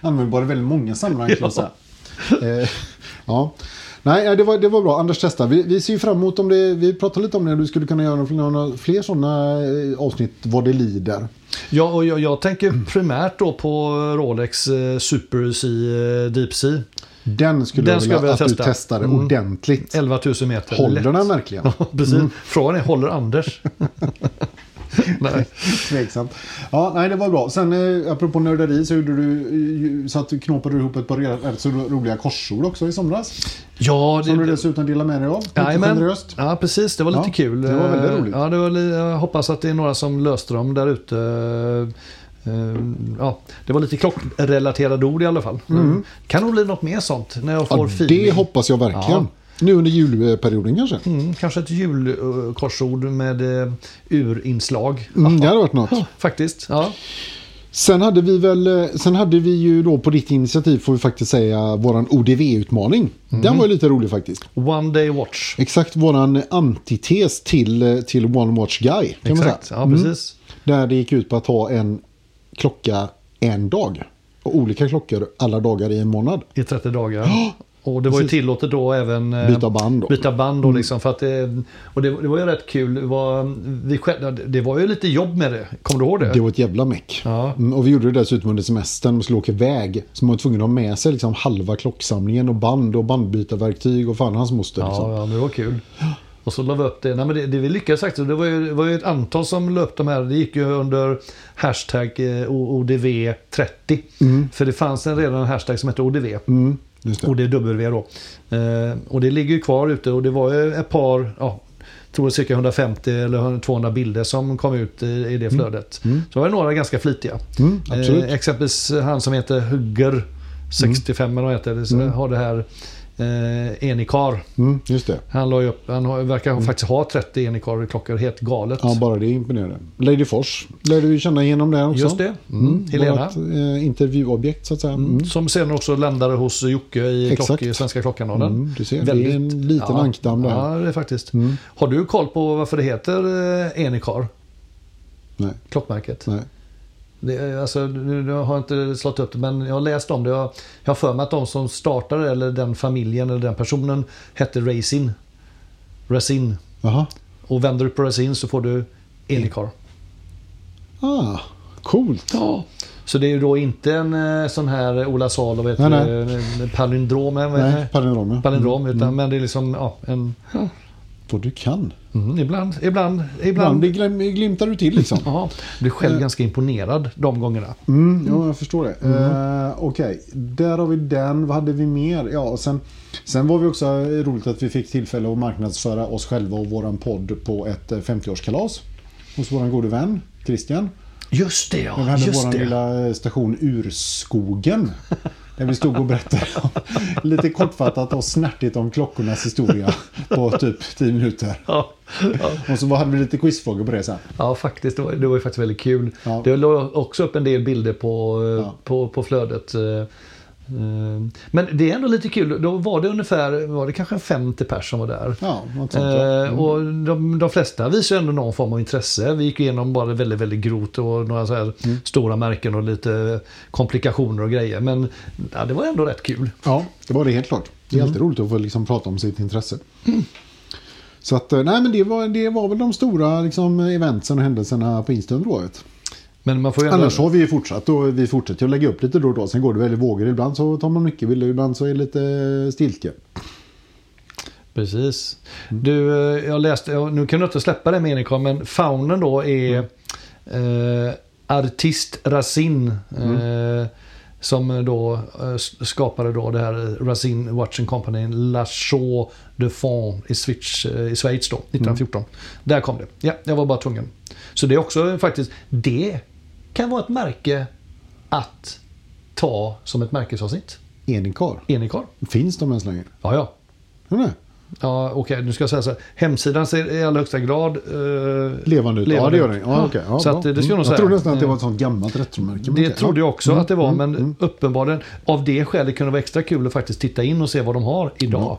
A: Användbar i väldigt många sammanhang kan jag säga. Eh, ja. Nej, eh, det var, det var bra. Anders testa. Vi, vi ser ju fram emot om det. Vi pratade lite om det. Du skulle kunna göra några, några fler sådana eh, avsnitt vad det lider.
B: Ja, och jag, jag tänker primärt då på Rolex eh, Super C eh, Deep Sea.
A: Den skulle
B: Den
A: jag
B: skulle
A: vilja
B: jag vilja
A: att du
B: testa.
A: testade
B: Mm.
A: ordentligt.
B: 11 000 meter. lätt.
A: Håller den verkligen?
B: Ja, precis. Mm. Frågan är, håller Anders? Nej.
A: Tveksamt. Ja, nej, det var bra. Sen eh, apropå nörderi så gjorde du, eh, så att du knåpade ihop ett par rätt så roliga korsord också i somras.
B: Ja, det...
A: Som du dessutom delar med dig av. Lite
B: Jajamän.
A: generöst.
B: Ja, precis. Det var lite
A: Ja,
B: kul.
A: det var väldigt roligt.
B: Ja, det var, li- jag hoppas att det är några som löste dem där ute. Eh, Ja, det var lite klockrelaterade ord i alla fall. Mm. Kan nog bli något mer sånt när jag får
A: Mm. Ja,
B: feeling.
A: det hoppas jag verkligen.
B: Ja.
A: Nu under julperioden kanske.
B: Mm, kanske ett julkorsord med eh, urinslag.
A: Mm, det hade varit något.
B: Faktiskt. Ja.
A: Sen hade vi väl, eh, sen hade vi ju då på ditt initiativ får vi faktiskt säga våran ODV-utmaning.
B: Mm.
A: Den var ju lite rolig faktiskt.
B: One day watch.
A: Exakt våran antites till, eh, till One Watch Guy. Kan Man
B: Exakt.
A: säga. Mm.
B: Ja, precis.
A: Där det gick ut på att ha en klocka en dag. Och olika klockor alla dagar i en månad.
B: i 30 dagar. Och det var ju
A: Precis.
B: tillåtet då även eh,
A: Byta band då. Mm.
B: byta band då liksom för att det, och det, det var ju rätt kul. Det var, vi själv, det var ju lite jobb med det. Kommer du ihåg det?
A: Det var ett jävla meck.
B: Ja.
A: Mm, Och vi gjorde det dessutom under semestern och skulle åka iväg. Så man var tvungen att ha med sig liksom halva klocksamlingen och band och bandbytarverktyg och fan hans moster. Liksom.
B: ja, ja, det var kul. Och så la vi upp det. Nej, men det, det vi lyckades faktiskt. Det var, ju, det var ju ett antal som löpte de här. Det gick ju under hashtag eh, O- ODV30. För det fanns en redan en hashtag som hette ODV.
A: Mm, just det.
B: Och det är W då. Eh, och det ligger ju kvar ute och det var ju ett par, ja, jag tror cirka 150 eller 200 bilder som kom ut i, i det flödet. Så var det några ganska flitiga.
A: Mm, absolut. Mm.
B: Eh, exempelvis han som heter Hugger, 65 eller vad han heter, så har det här eh, Enikar.
A: Mm, just det.
B: Han, la ju upp, han har, verkar faktiskt ha 30 Enikar-klockor, helt galet.
A: Mm. Ja, bara det är imponerande. Lady Fors lärde vi känna genom det också.
B: Just det. Mm. Helena.
A: Vårt eh, intervjuobjekt så att säga. Mm.
B: Som sen också landade hos Jocke i,
A: Exakt.
B: klock, i Svenska Klockanalen.
A: Mm, du ser, det är
B: Väldigt-
A: en liten
B: ja.
A: ankdamm där. Mm.
B: Ja, det är faktiskt. Har du koll på varför det heter eh, Enikar?
A: Nej,
B: Klockmärket.
A: nej.
B: Det, är- alltså, nu nu har jag inte slått upp det men jag har läst om det. Jag jag har för mig att de som startade eller den familjen eller den personen hette Racin. Racin.
A: Jaha.
B: Och vänder du på Racin så får du Enikar.
A: Ah, coolt.
B: Ja. Så det är ju då inte en eh, sån här Ola Salo, vet
A: Nej,
B: du,
A: nej.
B: en- en eh, palindrom, en-
A: Nej, Mm. palindrom ja.
B: palindrom utan men det är liksom ja, en...
A: Vad du kan.
B: Mm, ibland, ibland,
A: Ibland
B: ibland.
A: glim, glimtar du till liksom.
B: Ja, blir själv
A: Eh.
B: ganska imponerad de gångerna.
A: Mm, ja, jag förstår det.
B: Mm.
A: Eh, Okej, där har vi den. Vad hade vi mer? Ja, och sen, sen var vi också eh, roligt att vi fick tillfälle att marknadsföra oss själva och våran podd på ett eh, 50-årskalas hos våran gode vän Christian.
B: Just det
A: Vi
B: ja,
A: hade
B: just
A: våran
B: det.
A: lilla eh, station Urskogen. Där vi stod och berättade om, lite kortfattat och snärtigt om klockornas historia på typ 10 minuter.
B: Ja, ja.
A: Och så hade vi lite quizfrågor på det sen.
B: ja, faktiskt. Det var, det var ju faktiskt väldigt kul.
A: Ja.
B: Det låg också upp en del bilder på, eh,
A: Ja.
B: på, på flödet. eh, eh. Men det är ändå lite kul. Då var det ungefär, var det kanske 50 pers som var där.
A: Ja, något sånt. ja. Mm.
B: Eh, och de, de flesta visar ju ändå någon form av intresse. Vi gick igenom bara väldigt, väldigt grovt och några så här
A: Mm.
B: stora märken och lite komplikationer och grejer. Men ja, det var ändå rätt kul.
A: Ja, det var det helt klart. Det är alltid
B: Mm.
A: roligt att få liksom prata om sitt intresse. Så att, eh, nej men det var, det var väl de stora liksom, eventsen och händelserna på instöområdet.
B: Men man får ju ändå...
A: Annars har vi ju fortsatt och vi fortsätter ju att lägga upp lite då och då. Sen går det väl i vågor. Ibland så tar man mycket bilder, ibland så är det lite stiltje.
B: Precis. Du, eh, jag läste, ja, nu kan du inte släppa det med Enikon, men faunen då är eh, artist Racine. Eh, som då eh, s- skapade då det här Racine Watch and Company, La Chaux de Fond i, Schweiz- eh, i Schweiz då, 1914. Där kom det. Ja, jag var bara tvungen. Så det är också faktiskt, det kan vara ett märke att ta som ett märkesavsnitt.
A: Enikar.
B: Enikon.
A: Finns de ens längre?
B: Ja, ja.
A: Tror ni?
B: Ja, okej, nu ska jag säga så här. Hemsidan ser i allra högsta grad... eh,
A: Levande ut? ja,
B: Levande
A: det gör
B: ut.
A: den. Ja, okej. ja,
B: Så
A: bra.
B: att, det ska jag nog
A: jag
B: säga.
A: trodde nästan att det
B: Eh,
A: var ett sånt gammalt retromärke. men
B: det
A: okej.
B: trodde jag också
A: Mm,
B: att det var,
A: mm,
B: men uppenbarligen av det skälet kunde det vara extra kul att faktiskt titta in och se vad de har
A: Mm.
B: idag.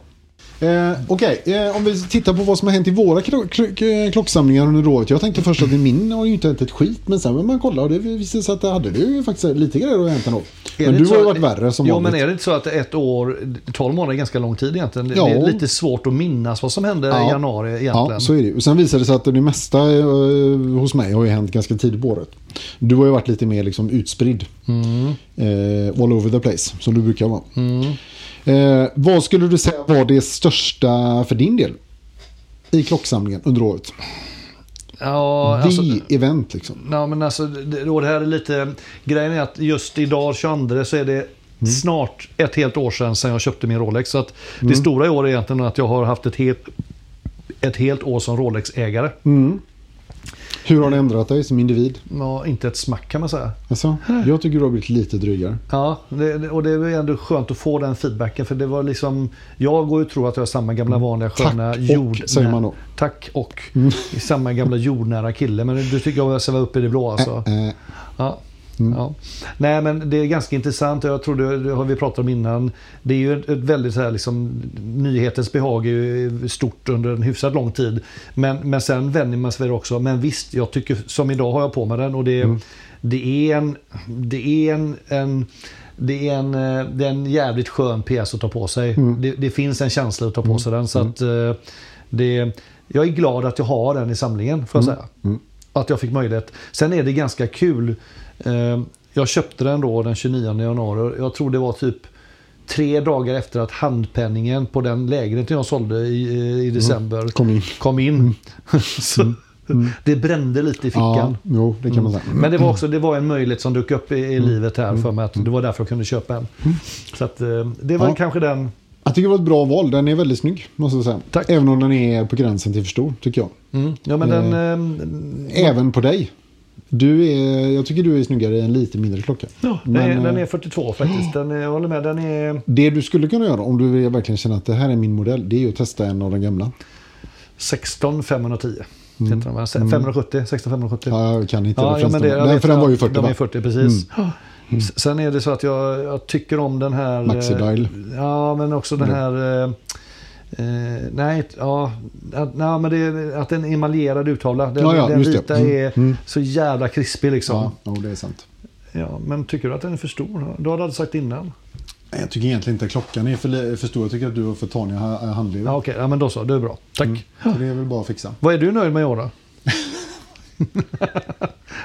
A: Eh, Okej, eh, om vi tittar på vad som har hänt i våra klo- klo- eh, klocksamlingar under året. Jag tänkte först att i min har ju inte hänt ett skit, men sen när man kollar och det visade sig att det hade du faktiskt lite grejer att hänt ändå.
B: Är
A: Men
B: det
A: du
B: inte
A: har ju
B: så
A: varit
B: att-
A: värre som
B: Jo,
A: vanligt.
B: men är det inte så att ett år, 12 månader är ganska lång tid egentligen. Det- Det
A: Ja.
B: är lite svårt att minnas vad som hände
A: Ja.
B: i januari egentligen.
A: Ja, så är det ju. Och Sen visade det sig att det mesta eh, hos mig har ju hänt ganska tidigt på året. Du har ju varit lite mer liksom utspridd.
B: Mm.
A: Eh, all over the place, som du brukar vara. Eh, vad skulle du säga var det största för din del? I klocksamlingen under året.
B: Ja, alltså-
A: The event liksom.
B: Ja, men alltså, det, då det här är lite... Grejen är att just idag, 22, så är det
A: Mm.
B: snart ett helt år sedan, sedan jag köpte min Rolex. Så att
A: Mm.
B: det stora i år är egentligen att jag har haft ett helt, ett helt år som Rolex-ägare.
A: Mm. Hur har det ändrat dig som individ?
B: Ja, inte ett smack kan man säga.
A: Alltså, jag tycker du har blivit lite drygare.
B: Ja, det, det- och det är ändå skönt att få den feedbacken. För det var liksom... Jag går ju och tror att jag är samma gamla vanliga sköna
A: Mm. Tack och, säger man då. Mm.
B: Tack och. Samma gamla jordnära kille. Men du tycker jag svävar upp i det blå alltså.
A: Eh,
B: Ja. Ja. Nej men det är ganska intressant och jag tror det, det har vi pratat om innan. Det är ju ett, ett väldigt så här liksom, nyhetens behag är ju stort under en hyfsat lång tid. Men, men sen vänjer man sig vid det också. Men visst, jag tycker som idag har jag på mig den och det, det är en, det är en, en det är, en, eh, det är en jävligt skön pjäs att ta på sig. Det, det finns en känsla att ta på sig den. Så att, eh, det, jag är glad att jag har den i samlingen, får jag säga. Att jag fick möjlighet. Sen är det ganska kul. Eh, Jag köpte den då den 29 januari. Jag tror det var typ tre dagar efter att handpenningen på den lägenheten jag sålde i, i december
A: Mm. kom in. Mm.
B: kom in. Så Det brände lite i
A: Ja, Mm.
B: fickan. Mm.
A: jo, det kan man säga.
B: Men det var också det var en möjlighet som dök upp i, i livet här för mig. Att det var därför jag kunde köpa en. Så att, eh, det var
A: Mm. Ja.
B: kanske den...
A: Jag tycker det var ett bra val. Den är väldigt snygg, måste jag säga.
B: Tack.
A: Även om den är på gränsen till för stor, tycker jag.
B: Mm, ja, men den, eh,
A: Även på dig. Du är, jag tycker du är snyggare i en lite mindre klocka.
B: Ja, den,
A: Men,
B: är, den
A: eh,
B: är 42 faktiskt. Den är, jag håller med. Den är
A: Det du skulle kunna göra om du vill verkligen känner att det här är min modell, det är ju att testa en av de gamla.
B: 16 510. Heter de, va? Se- 570, 16 570.
A: Mm. Ja, jag kan inte
B: Ja, ja,
A: referensen.
B: men det, jag
A: Nej,
B: vet
A: för den
B: att
A: var ju 40
B: De
A: va? Mm.
B: är 40, precis. S- Sen är det så att jag, jag tycker om den här... eh,
A: Maxi-dial.
B: Ja, men också den
A: Mm.
B: här... eh, Eh, nej, ja, att, nej, men det, är- att en emaljerad urtavla. Den,
A: Ja, ja,
B: den
A: just det.
B: vita
A: Mm,
B: är
A: mm.
B: så jävla krispig liksom.
A: Ja,
B: Ja.
A: jo, det är sant.
B: men tycker du att den är för stor? Du hade aldrig sagt innan.
A: Nej, Jag tycker egentligen inte att klockan är för, li- för stor. Jag tycker att du har för taniga ha- handleder.
B: Ja, Okej, ja, men då så. Det är bra. Tack.
A: Så det är väl bara att fixa.
B: Vad är du nöjd med i år då?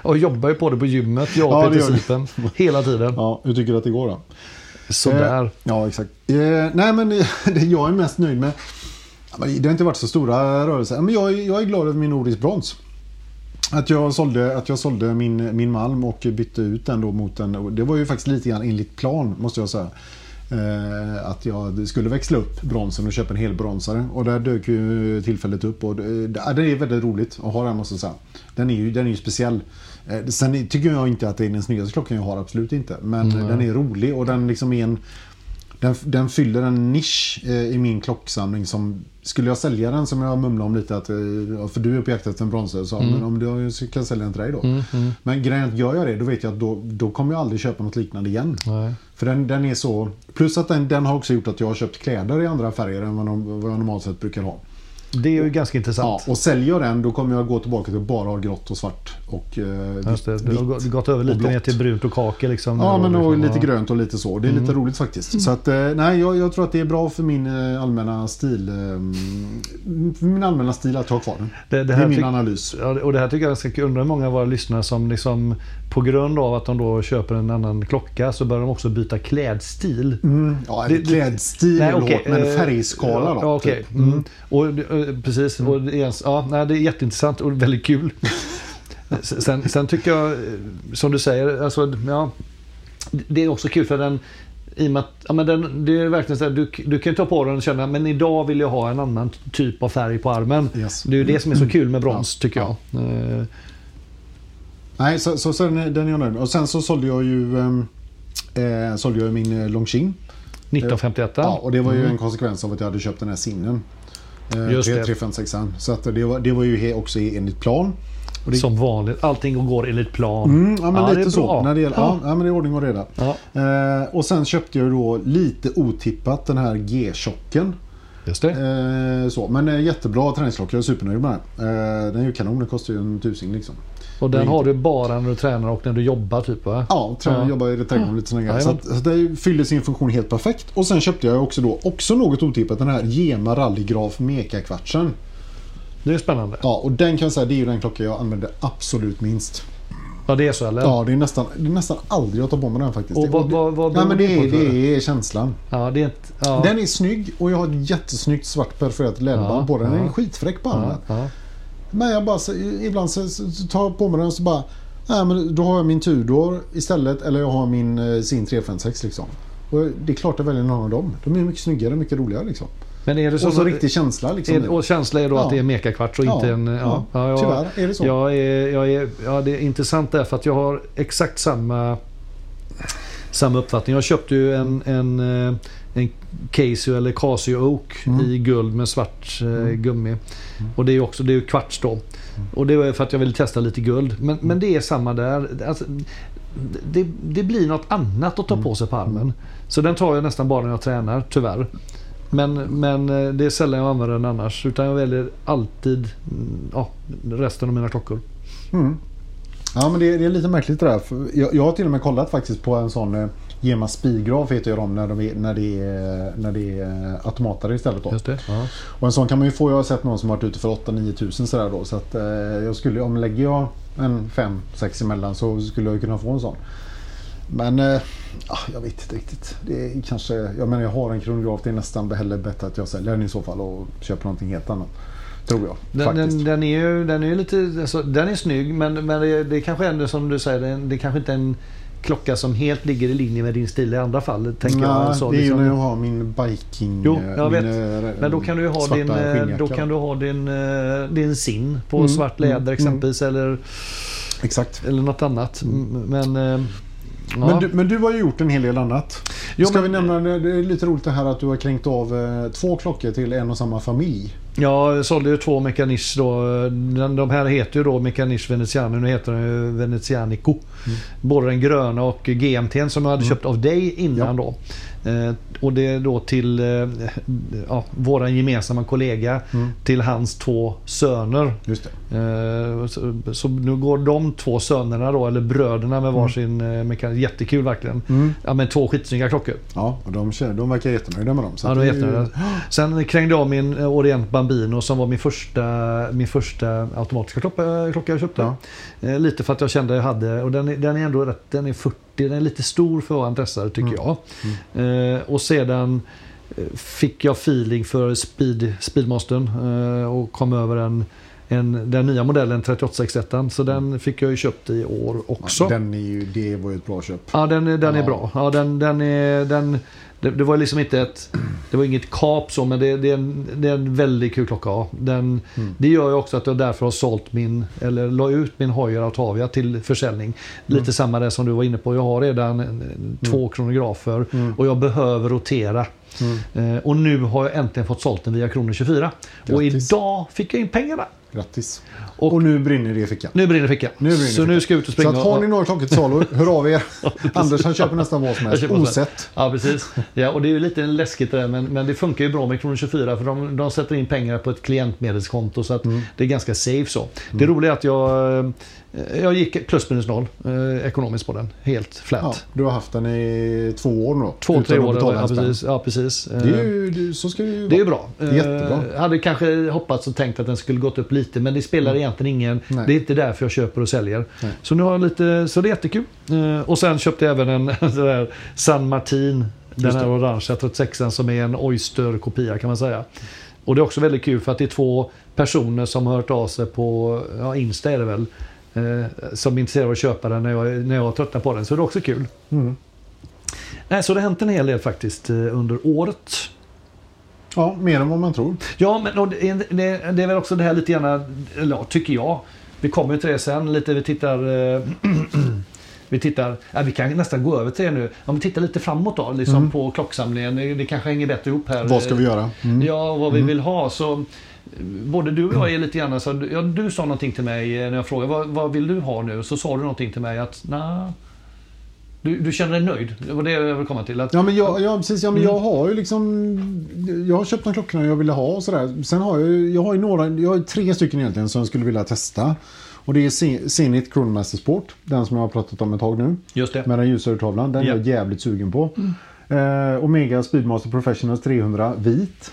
B: jag jobbar ju på det på gymmet, jag och
A: Ja, det
B: Peter
A: gör du.
B: Sipen. Hela tiden.
A: Ja, hur tycker du att det går då?
B: Sådär.
A: Eh, Ja, exakt. Eh, nej, men det jag är mest nöjd med... Ja, men Det har inte varit så stora rörelser. Men jag, är- jag är glad över min Nordisk brons. Att jag sålde, att jag sålde min, min malm och bytte ut den då mot en... och Det var ju faktiskt lite grann enligt plan, måste jag säga. Eh, att jag skulle växla upp bronsen och köpa en hel bronsare. Och där dök ju tillfället upp. Och det, ja, det är väldigt roligt att ha den, måste jag säga. Den är ju, den är ju speciell. Eh, sen tycker jag inte att det är den snyggaste klockan jag har, absolut inte. Men den är rolig och den liksom är en... Den, den fyller en nisch eh, i min klocksamling som... Skulle jag sälja den som jag mumlade om lite att... Eh, ja, för du är på jakt efter en bronsare så,
B: Mm.
A: men om du så kan jag sälja den till dig då. Men grejen är att gör jag det, då vet jag att då, då kommer jag aldrig köpa något liknande igen.
B: Nej.
A: För den, den är så... Plus att den, den har också gjort att jag har köpt kläder i andra färger än vad, de, vad jag normalt sett brukar ha.
B: Det är ju ganska intressant.
A: Ja, och säljer jag den, då kommer jag gå tillbaka till att bara ha grått och svart och eh,
B: Just det,
A: vitt-
B: du har
A: vitt.
B: gå- gått över lite
A: blått.
B: mer till brunt och kake. Liksom,
A: Ja,
B: Nu
A: men
B: var det
A: och
B: liksom,
A: lite grönt och lite så. Det är
B: Mm.
A: lite roligt faktiskt. Så att, eh, nej, jag, jag tror att det är bra för min eh, allmänna stil. eh, För min allmänna stil att ha kvar den.
B: Det,
A: Det
B: det
A: är
B: här
A: min
B: tyck,
A: analys.
B: ja, och det här tycker jag är ganska kul. Undrar hur många av våra lyssnare som liksom, på grund av att de då köper en annan klocka så börjar de också byta klädstil.
A: Ja,
B: Mm. det- det-
A: klädstil är väl
B: okej,
A: hårt, men
B: eh,
A: färgskala då.
B: Ja, okej.
A: typ.
B: mm. Och, det- eh, precis. Och det, är ens- ja, nej, det är jätteintressant och väldigt kul. S- sen, sen tycker jag, eh, som du säger, alltså, ja, det är också kul för den i och med att, ja, men den, det är verkligen så här, du, du kan ju ta på den och känna men idag vill jag ha en annan typ av färg på armen.
A: Yes. Mm.
B: Det är ju det som är så kul med brons tycker jag. Eh,
A: Nej, så, så, så den, är- den är jag nöjd med. Och sen så sålde jag ju, ehm, eh, sålde jag ju min eh, Longines.
B: 1951.
A: Ja, och det var ju en konsekvens av att jag hade köpt den här sinnen.
B: Mm.
A: Eh,
B: Just det.
A: 356 Så att det, var, det var ju he- också enligt plan. och det-
B: Som vanligt. Allting går enligt plan.
A: Mm, ja, men
B: Ja, det är
A: lite så.
B: bra.
A: När det gäller, ja.
B: Ja.
A: Ja, men det är ordning och reda.
B: Ja,
A: Eh, och sen köpte jag ju då lite otippat den här G-chocken.
B: just det.
A: Eh, så. Men eh, jättebra träningsklocka, jag är supernöjd med den. här. Eh, den är ju kanon, den kostar ju en tusing liksom.
B: Och den
A: det är
B: har du bara när du tränar och när du jobbar typ va?
A: Ja, tränar,
B: Ja.
A: jobbar i det trädgården och lite sådana grejer. Så,
B: Jajamän.
A: att, så att det fyller sin funktion helt perfekt. Och sen köpte jag också då, också något otippat, den här Gema Rallygraf Mekakvartsen.
B: Det är spännande.
A: Ja, och den kan jag säga, det är ju den klocka jag använder absolut minst.
B: Ja, det är så eller?
A: Ja, det är nästan, det är nästan aldrig jag tar på mig den faktiskt.
B: Och vad-
A: det,
B: vad- vad
A: nej,
B: beror
A: men
B: det
A: det,
B: på,
A: är,
B: tror du?
A: det är känslan.
B: Ja, det är inte... Ja.
A: Den är snygg och jag har ett jättesnyggt svart perforerat läderband
B: Ja,
A: på den. Den är
B: ja.
A: skitfräck på armen.
B: ja, ja.
A: Men jag bara, så, ibland så, så, så tar jag på mig den och så bara... Nej, men då har jag min Tudor istället eller jag har min eh, sin 356 liksom. Och det är klart jag väljer någon av dem. De är mycket snyggare och mycket roligare liksom.
B: Men är det så...
A: Och så riktig känsla liksom.
B: är, det- och känsla är då
A: Ja.
B: att det är mekakvarts och inte
A: Ja,
B: en... Ja,
A: ja.
B: jag,
A: Tyvärr är det så.
B: Jag är, jag är, ja, det är intressant därför att jag har exakt samma, samma uppfattning. Jag köpte ju en, en, eh, en Casio eller Casio Oak
A: Mm.
B: i guld med svart eh, gummi. Och det är ju också det är ju kvarts då.
A: Mm.
B: Och det var för att jag ville testa lite guld. Men, men det är samma där. Alltså, det, det blir något annat att ta
A: Mm.
B: på sig på armen. Så den tar jag nästan bara när jag tränar, tyvärr. Men, men eh, det är sällan jag använder den annars. Utan jag väljer alltid mm, ja, resten av mina klockor.
A: Mm. Ja men det, det är lite märkligt det där. För Jag, jag har till och med kollat faktiskt på en sån eh, Gema Spigraf heter ju de när, de är, när det är, när det är eh, automatare istället då.
B: Just det. Ja.
A: Och en sån kan man ju få. Jag har sett någon som har varit ute för 8-9 tusen sådär då. Så att eh, jag skulle, om lägger jag en 5-6 emellan så skulle jag ju kunna få en sån. Men eh, ah, jag vet inte riktigt. Det är kanske, jag menar jag har en kronograf. Det är nästan hellre bättre att jag säljer den i så fall och köper någonting helt annat. Tror jag
B: Den,
A: faktiskt.
B: den, den är ju den är ju lite, alltså, den är snygg men, men det, det är kanske ändå som du säger, det, det är kanske inte är en klocka som helt ligger i linje med din stil i andra fall. Tänker
A: Nej,
B: jag. Alltså,
A: det är
B: liksom-
A: ju när jag har min biking...
B: Jo, jag
A: min,
B: vet.
A: eh,
B: Men då kan du ju ha
A: svarta
B: din, eh, då
A: skinnjacka.
B: kan du ha din, eh, din sin på
A: Mm,
B: svart läder
A: mm,
B: exempelvis. Eller,
A: Exakt.
B: Eller något annat. M- Men... eh, ja.
A: Mm. Men, du, men du har ju gjort en hel del annat.
B: Jo,
A: Ska
B: men-
A: vi nämna, det är lite roligt det här att du har kränkt av eh, två klockor till en och samma familj.
B: Jag sålde ju två Mechanisch då. Den- De här heter ju då Mechanisch Veneziano. Nu heter den ju Venezianico. Både den gröna och GMT som jag hade köpt av dig innan då. Eh, och det är då till eh, ja, våran gemensamma kollega. Till hans två söner.
A: Just det.
B: Eh, Så, så nu går de två sönerna då, eller bröderna med varsin mm. mekanik. Jättekul verkligen.
A: Mm.
B: Ja, men två skitsnygga klockor.
A: Ja, och de, känner- de verkar jättenöjda med dem. så
B: Ja,
A: att
B: de är
A: det ju-
B: jättenöjda. Sen krängde jag av min eh, Orient Bambino som var min första, min första automatiska klocka, klocka jag köpte.
A: Ja.
B: Eh, Lite för att jag kände jag hade, och den är, den är ändå rätt, den är 40, den är lite stor för att vara en dressare tycker
A: Mm.
B: jag. Eh, och sedan eh, fick jag feeling för speed, Speedmastern eh, och kom över en, en, den nya modellen 3861 så den fick jag ju köpt i år också.
A: Ja, den är ju, det var ju ett bra köp.
B: Ja, den, är- den är
A: Ja.
B: bra. Ja, den, den är, den, det, det var liksom inte ett... Det var inget kap så, men det, det, är, en, det är en väldigt kul klocka. Ja, den,
A: Mm.
B: Det gör ju också att jag därför har sålt min, eller la ut min Hoyer Autavia till försäljning. Lite
A: Mm.
B: samma det som du var inne på. Jag har redan eh, två kronografer
A: Mm.
B: och jag behöver rotera. Eh, och nu har jag äntligen fått sålt den via Kronor 24. Och
A: Grattis.
B: idag fick jag in pengarna.
A: Grattis.
B: Och-
A: Och, nu brinner det i fickan.
B: Nu brinner fickan.
A: Nu brinner
B: så
A: fickan.
B: nu ska jag ut och
A: Så
B: springa.
A: att
B: och-
A: har ni några klockor till salu, hör av er. Anders han köper nästan vad som helst,
B: Jag köper också.
A: osett.
B: Ja, precis. Ja, och det är ju lite läskigt det där, men, men det funkar ju bra med Kronor 24 för de, de sätter in pengar på ett klientmedelskonto så att
A: Mm.
B: det är ganska safe så. Det roliga är att jag, eh, jag gick plus minus noll eh, ekonomiskt på den. Helt flat.
A: Ja, du har haft den i två år nu då.
B: Två, tre
A: utan att
B: år.
A: betala
B: eller- Ja,
A: en spänn.
B: precis. Ja, precis. Eh,
A: Det är ju, det, så ska det ju
B: Det är ju
A: vara.
B: bra.
A: är jättebra.
B: Eh, hade kanske hoppats och tänkt att den skulle gått upp lite men det spelar egentligen ingen.
A: Mm. Nej.
B: Det är inte därför jag köper och säljer.
A: Nej.
B: Så nu har jag lite, så det är jättekul. Eh, Och sen köpte jag även en sån här San Martin. Den
A: Just
B: här
A: det.
B: orangea 36 som är en Oyster-kopia kan man säga. Och det är också väldigt kul för att det är två personer som har hört av sig på ja, Insta är det väl. Eh, som är intresserade av att köpa den när jag, när jag tröttnar på den. Så det är också kul.
A: Mm.
B: Nej, så det har hänt en hel del faktiskt eh, under året.
A: Ja, mer än vad man tror.
B: Ja, men och det, är- det, är- det är väl också det här lite gärna, eller ja, tycker jag. Vi kommer ju till det sen lite. Vi tittar... Eh, vi tittar... Ja, vi kan nästan gå över till det nu. Om vi tittar lite framåt då, liksom på klocksamlingen. Det, det kanske hänger bättre ihop här.
A: Mm. Vad ska vi göra? Mm.
B: Ja, och vad vi vill ha. Så, eh, både du och jag är lite gärna så... Ja, du sa någonting till mig eh, när jag frågade vad, vad vill du ha nu? Så sa du någonting till mig att nej... Du, du känner dig nöjd. Det var det jag ville komma till. Att,
A: Ja men jag, ja, precis, ja, men
B: Mm.
A: jag har ju liksom Jag har köpt de klockorna jag ville ha och sådär. Sen har jag ju, jag har ju några, jag har ju tre stycken egentligen som jag skulle vilja testa. Och det är Zen- Zenith Chronomaster Sport, den som jag har pratat om ett tag nu.
B: just det.
A: Med den ljusare tavlan, den
B: Ja. Mm.
A: är jag jävligt sugen på. Eh, Omega Speedmaster Professionals 300 vit.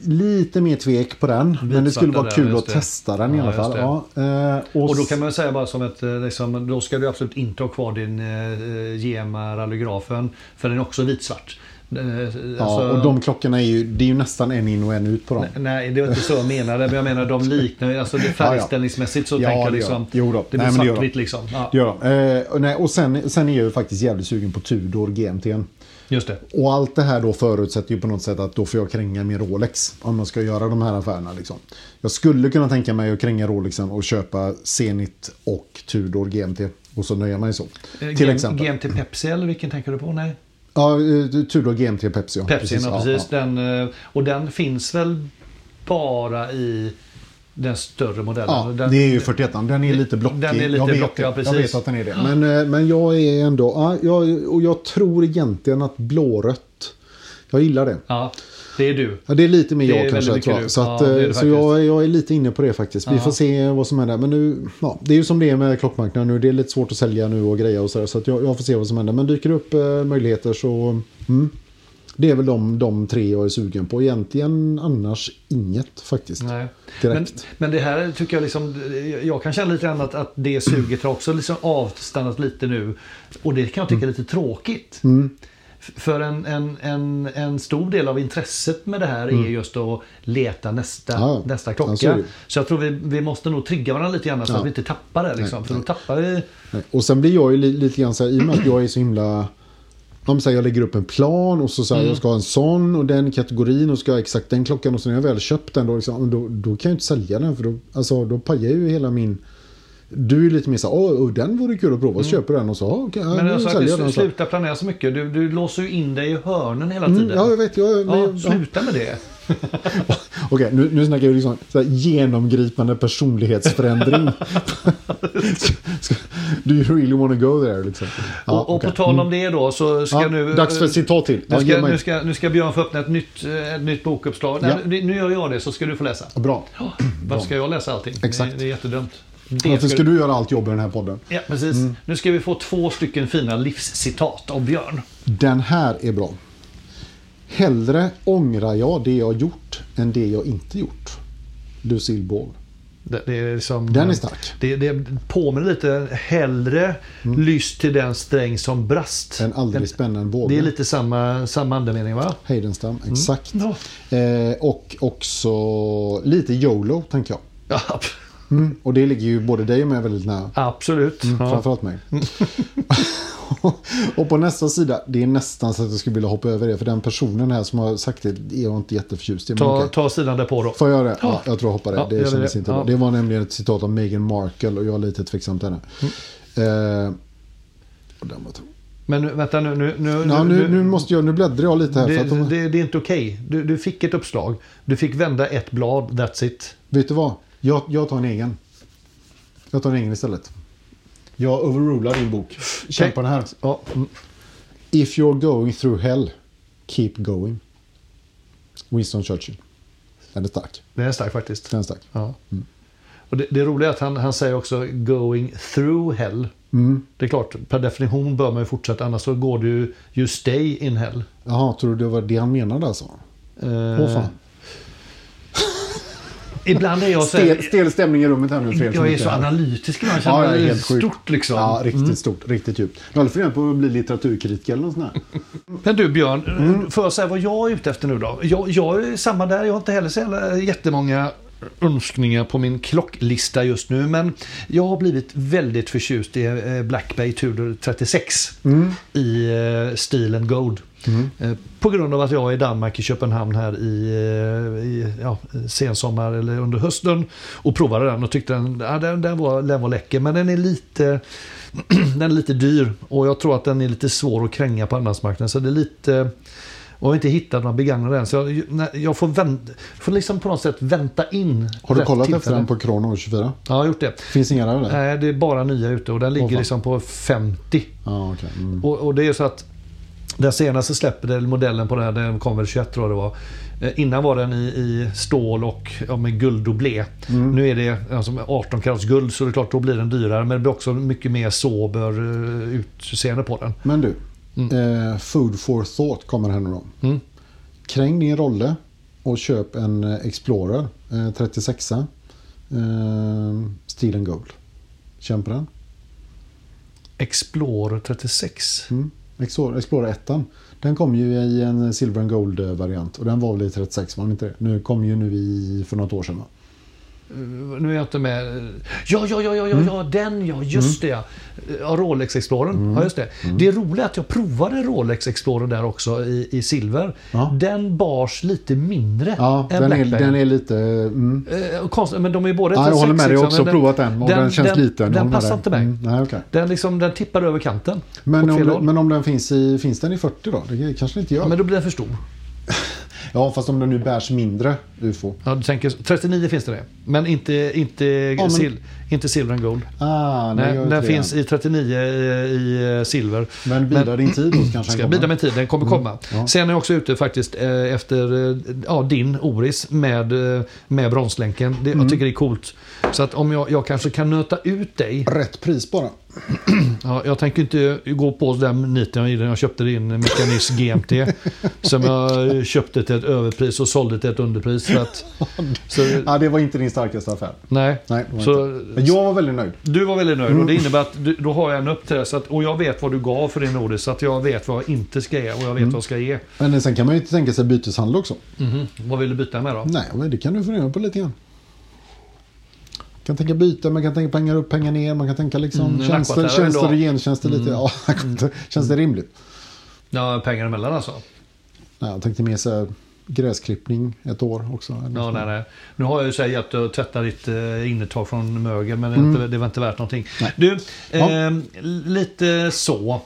A: Lite mer tvek på den, men det skulle
B: Vitsvarta
A: vara
B: där,
A: kul
B: just
A: att
B: det.
A: testa den i
B: Ja,
A: alla
B: just
A: fall. Ja, eh, och
B: Och då kan man ju säga bara som ett, eh, liksom, då ska du absolut inte ha kvar din eh, GMA rallygrafen för den är också vitsvart. Eh,
A: ja,
B: alltså-
A: och de klockorna är ju, det är ju nästan en in och en ut på dem.
B: Nej, det var inte så jag menade. Men jag menar de liknar ju, alltså det färgställningsmässigt så
A: Ja,
B: tänker jag
A: det gör
B: liksom.
A: de. Jo då.
B: Det
A: Nej,
B: blir
A: men det gör
B: svartvitt liksom. Ja,
A: Det gör de. Eh, och nej, och sen, sen är jag ju faktiskt jävligt sugen på Tudor GMT'n.
B: just det.
A: Och allt det här då förutsätter ju på något sätt att då får jag kränga min Rolex om man ska göra de här affärerna. Liksom. Jag skulle kunna tänka mig att kränga Rolexen och köpa Zenit och Tudor GMT och så nöja mig så.
B: Eh,
A: Till
B: G-
A: exempel.
B: GMT Pepsi eller vilken tänker du på? Nej.
A: ja, eh, Tudor GMT Pepsi. Ja.
B: Pepsi, precis. Ja,
A: ja,
B: precis.
A: ja.
B: Den, eh, och den finns väl bara i den större modellen?
A: Ja,
B: den,
A: det är ju 41 Den är lite blockig.
B: Den är lite
A: jag, vet
B: blockig,
A: det.
B: ja, precis.
A: jag vet att den är det. Men, eh, men jag är ändå... Ja, jag, och jag tror egentligen att blårött... Jag gillar det.
B: Ja, det är du.
A: Ja, det är lite mer
B: Det är
A: jag kanske.
B: väldigt
A: Tror
B: mycket
A: jag. Så,
B: du.
A: att,
B: Ja, det är det
A: eh, så
B: faktiskt.
A: jag, jag är lite inne på det faktiskt. Vi
B: Ja.
A: får se vad som händer. Men nu, ja, det är ju som det är med klockmarknaden nu. Det är lite svårt att sälja nu och grejer och sådär. Så att jag, jag får se vad som händer. Men dyker det upp eh, möjligheter så... Mm. Det är väl de, de tre jag är sugen på. Egentligen annars inget faktiskt.
B: Nej. Men,
A: Direkt.
B: men det här tycker jag liksom, jag kan känna lite grann att, att det suget har också liksom avstannat lite nu. Och det kan jag tycka är
A: Mm.
B: lite tråkigt. F- För en, en, en, en stor del av intresset med det här är just att leta nästa,
A: Mm. Ja,
B: nästa
A: ja, så är
B: klocka.
A: det.
B: Så jag tror vi, vi måste nog trigga varandra lite grann så
A: Ja.
B: att vi inte tappar det. Liksom.
A: Nej,
B: för då
A: nej.
B: tappar vi...
A: Nej. Och sen blir jag ju li, lite grann så här, i och med att jag är så himla... Om så här, jag lägger upp en plan och så, så här,
B: Mm.
A: jag ska ha en sån och den kategorin och ska ha exakt den klockan och så när jag väl köpt den då, liksom, då, då kan jag ju inte sälja den för då, alltså, då pajar ju hela min Du är lite mer såhär, åh oh, den vore kul att prova, så köper du den och så, ah, okej, ja,
B: Mm. Men
A: nu
B: alltså, att
A: säljer
B: du
A: jag den.
B: sl-
A: och så.
B: sluta planera så mycket. Du, du låser ju in dig i hörnen hela tiden.
A: Mm, ja, jag vet. Jag, men,
B: Ja,
A: jag, ja.
B: sluta med det.
A: Okej, nu, nu snackar vi liksom så här, genomgripande personlighetsförändring. Ska- Do you really wanna go there? Liksom? Ja,
B: och, och
A: okej. Mm.
B: på tal om det då så ska
A: ja,
B: nu... eh,
A: Dags för ett citat till. Ja,
B: Nu
A: ge
B: ska,
A: mig.
B: nu, ska, nu ska Björn få öppna ett nytt, eh, ett nytt bokuppslag.
A: Ja.
B: Nej, nu- nu gör jag det så ska du få läsa.
A: Bra.
B: Varför ska jag läsa allting?
A: Exakt.
B: Det, det är jättedumt. Det
A: Varför
B: ska Mm.
A: ska
B: du...
A: du göra allt jobb i den här podden?
B: Ja, precis. Nu ska vi få två stycken fina livscitat av Björn.
A: Den här är bra. Hellre ångrar jag det jag gjort än det jag inte gjort. Lucille Ball.
B: Det, det är liksom,
A: Den är stark.
B: Det, det påminner lite hellre lyss till den sträng som brast.
A: En aldrig spännande våg.
B: Det är lite samma, samma andemening va?
A: Heidenstam, exakt.
B: Ja.
A: Eh, och också lite YOLO, tänker jag.
B: Ja,
A: Mm. Och det ligger ju både dig och mig väldigt nära.
B: absolut. Ja.
A: Framförallt mig. och på nästa sida, det är nästan så att jag skulle vilja hoppa över det. För den personen här som har sagt det är jag inte jätteförtjust i. men
B: Ta,
A: okej.
B: ta sidan därpå då.
A: Får jag göra det? Ja, jag tror jag hoppar det.
B: Ja, gör
A: det
B: vi
A: kändes
B: det.
A: inte
B: Ja.
A: bra. Det var nämligen ett citat av Meghan Markle och jag är lite tveksam till henne.
B: Mm.
A: Eh, och den var tung.
B: Men nu, vänta nu. Nu, nu,
A: Ja, nu, nu, måste jag, nu bläddrar jag lite här. för
B: det,
A: att de,
B: det, det är inte okej. Du, du fick ett uppslag. Du fick vända ett blad, that's it.
A: Vet du vad? Jag, jag tar en egen. Jag tar en egen istället. Jag overrular din bok. Känn på den här.
B: Ja, mm.
A: If you're going through hell, keep going. Winston Churchill. Den är stark.
B: det är starkt faktiskt.
A: Den är stark.
B: Ja. Och det, det roliga är att han, han säger också going through hell.
A: Mm.
B: Det är klart, per definition bör man ju fortsätta annars så går du ju you stay in hell.
A: Jaha, tror du det var det han menade alltså?
B: Eh,
A: Åh fan.
B: Ibland är jag så,
A: Stel, stel stämning i rummet här nu för er som
B: jag är
A: inte
B: så
A: här.
B: analytisk ibland. Jag känner
A: ja,
B: mig
A: helt sjukt.
B: stort liksom.
A: Ja, riktigt stort. Riktigt djupt. Du har aldrig funderat på att bli litteraturkritiker eller något sånt där?
B: Men du Björn, får jag säga vad jag är ute efter nu då? Jag, jag är samma där, jag har inte heller så jävla jättemånga önskningar på min klocklista just nu. Men jag har blivit väldigt förtjust i eh, Black Bay Tudor 36 i eh, Steel and Gold. Eh, På grund av att jag är i Danmark, i Köpenhamn här i, eh, i ja, sensommar eller under hösten och provade den och tyckte den, ja, den, den, var, den var läcker. Men den är lite den är lite dyr och jag tror att den är lite svår att kränga på andrahandsmarknaden. Så det är lite... Och jag har inte hittat några begagnade än. Så jag, nej, jag får, vänt, får liksom på något sätt vänta in
A: Har du
B: rätt
A: kollat efter
B: tillfälle. Eh.
A: den på Krono 24?
B: Ja, jag har gjort det.
A: Finns inga där eller?
B: Nej, det är bara nya ute och den ligger
A: Åh, fan.
B: liksom på 50.
A: Ja, okej. Mm.
B: Och, och det är så att den senaste släppet, eller modellen på den här, den kom väl 21 tror jag det var. Eh, Innan var den i, i stål och ja, med gulddoublé.
A: Mm.
B: Nu är det alltså, 18 karats guld så det är klart då blir den dyrare. Men det blir också mycket mer sober eh, utseende på den.
A: Men du,
B: Mm.
A: eh, Food for Thought kommer här nu då. Kräng din rolle och köp en eh, Explorer eh, 36 eh, Steel and Gold. Känn på den.
B: Explorer 36.
A: Mm. Explorer, Explorer 1. Den kom ju i en Silver and Gold-variant och den var väl i 36, var den inte det? Nu kom ju nu i, för något år sedan va?
B: Nu är jag inte med. Ja, ja, ja, ja,
A: Mm.
B: ja, ja den ja, just det ja. ja. Rolex Explorern,
A: Mm.
B: ja just det. Det är roligt att jag provade Rolex Explorer där också i, i silver.
A: Ja.
B: Den bars lite mindre
A: Ja,
B: än
A: den är,
B: Black Bay.
A: den är lite... Mm.
B: Eh, konstigt, men de är ju båda
A: Ja, jag
B: 36,
A: håller med dig, jag har
B: liksom,
A: också
B: men
A: provat den och den, känns liten. Jag håller
B: Den
A: med
B: passar
A: dig.
B: inte mig.
A: Mm, nej, okej.
B: Den, liksom, den tippar över kanten.
A: Men,
B: åt
A: om,
B: fel
A: du-
B: håll.
A: men om den finns i, finns den i 40 då? Det kanske den inte gör?
B: Ja, men då blir den för stor.
A: Ja, fast om den nu bärs mindre UFO.
B: Ja, du tänker, 39 finns det det. Men inte, inte,
A: men-
B: sil, inte silver and gold.
A: Ah,
B: Nej,
A: jag
B: den
A: vet
B: finns
A: redan.
B: i 39 i, i eh, silver.
A: Men bidrar din tid då så kanske
B: Ska
A: den
B: jag bida
A: kommer. Mm.
B: med tid, den kommer komma.
A: ja.
B: Sen är jag också ute faktiskt eh, efter eh, ja, din Oris med, eh, med bronslänken. Det,
A: Mm.
B: Jag tycker det är coolt. Så att om jag, jag kanske kan nöta ut dig.
A: Rätt pris bara.
B: Ja, jag tänker inte gå på den niten jag, jag köpte din mekanism GMT. som jag eh, köpte till ett överpris och sålde till ett underpris. Så att, så,
A: Ja, det var inte din starkaste affär.
B: nej.
A: Nej, det var
B: så,
A: inte. Men jag var väldigt nöjd.
B: du var väldigt nöjd och
A: Mm.
B: det innebär att du, då har jag en upp till det. Så att, och jag vet vad du gav för din Oris. Så att jag vet vad jag inte ska ge och jag vet
A: Mm.
B: vad jag ska ge.
A: Men sen kan man ju inte tänka sig byteshandel också.
B: Mhm. Vad vill du byta med då?
A: Nej, men det kan du fundera på lite grann. Man kan tänka byta, man kan tänka pengar upp, pengar ner, man kan tänka liksom
B: Mm,
A: tjänster,
B: nackbattar
A: tjänster och
B: ändå.
A: gentjänster
B: Mm.
A: lite. Ja, känns det rimligt?
B: Ja, pengar emellan alltså.
A: Nej, jag tänkte mer så här, gräsklippning ett år också. eller
B: Ja,
A: så.
B: nej, nej. Nu har jag ju så här hjälpt dig att tvätta ditt eh, innertak från mögel men det, är
A: Mm.
B: inte, det var inte värt någonting.
A: Nej.
B: Du, eh,
A: Ja.
B: lite så.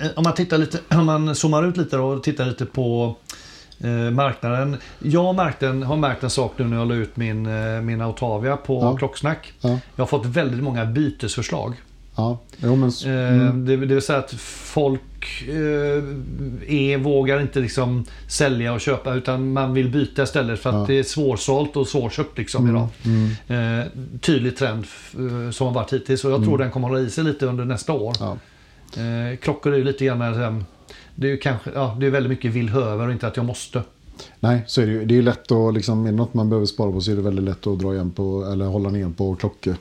B: Eh, Om man, tittar lite, om man zoomar ut lite då och tittar lite på eh, marknaden. Jag märkte en, har märkt en sak nu när jag la ut min, eh, min Autavia på
A: Ja.
B: Klocksnack.
A: Ja,
B: Jag har fått väldigt många bytesförslag.
A: ja. Jo, men, s-
B: Eh,
A: mm,
B: Det, det vill säga att folk eh, är, vågar inte liksom sälja och köpa utan man vill byta istället för att
A: Ja.
B: det är svårsålt och svårköpt liksom idag.
A: mm, Mm.
B: Eh, tydlig trend f- eh, som har varit hittills och jag tror den kommer hålla i sig lite under nästa år.
A: ja.
B: Eh, klockor är ju lite grann... eh, Det är, ju kanske, ja, det är väldigt mycket vill höver och inte att jag måste.
A: Nej, så är det ju. Det är ju lätt att, liksom, är det något man behöver spara på så är det väldigt lätt att dra igen på, eller hålla ner på klockor.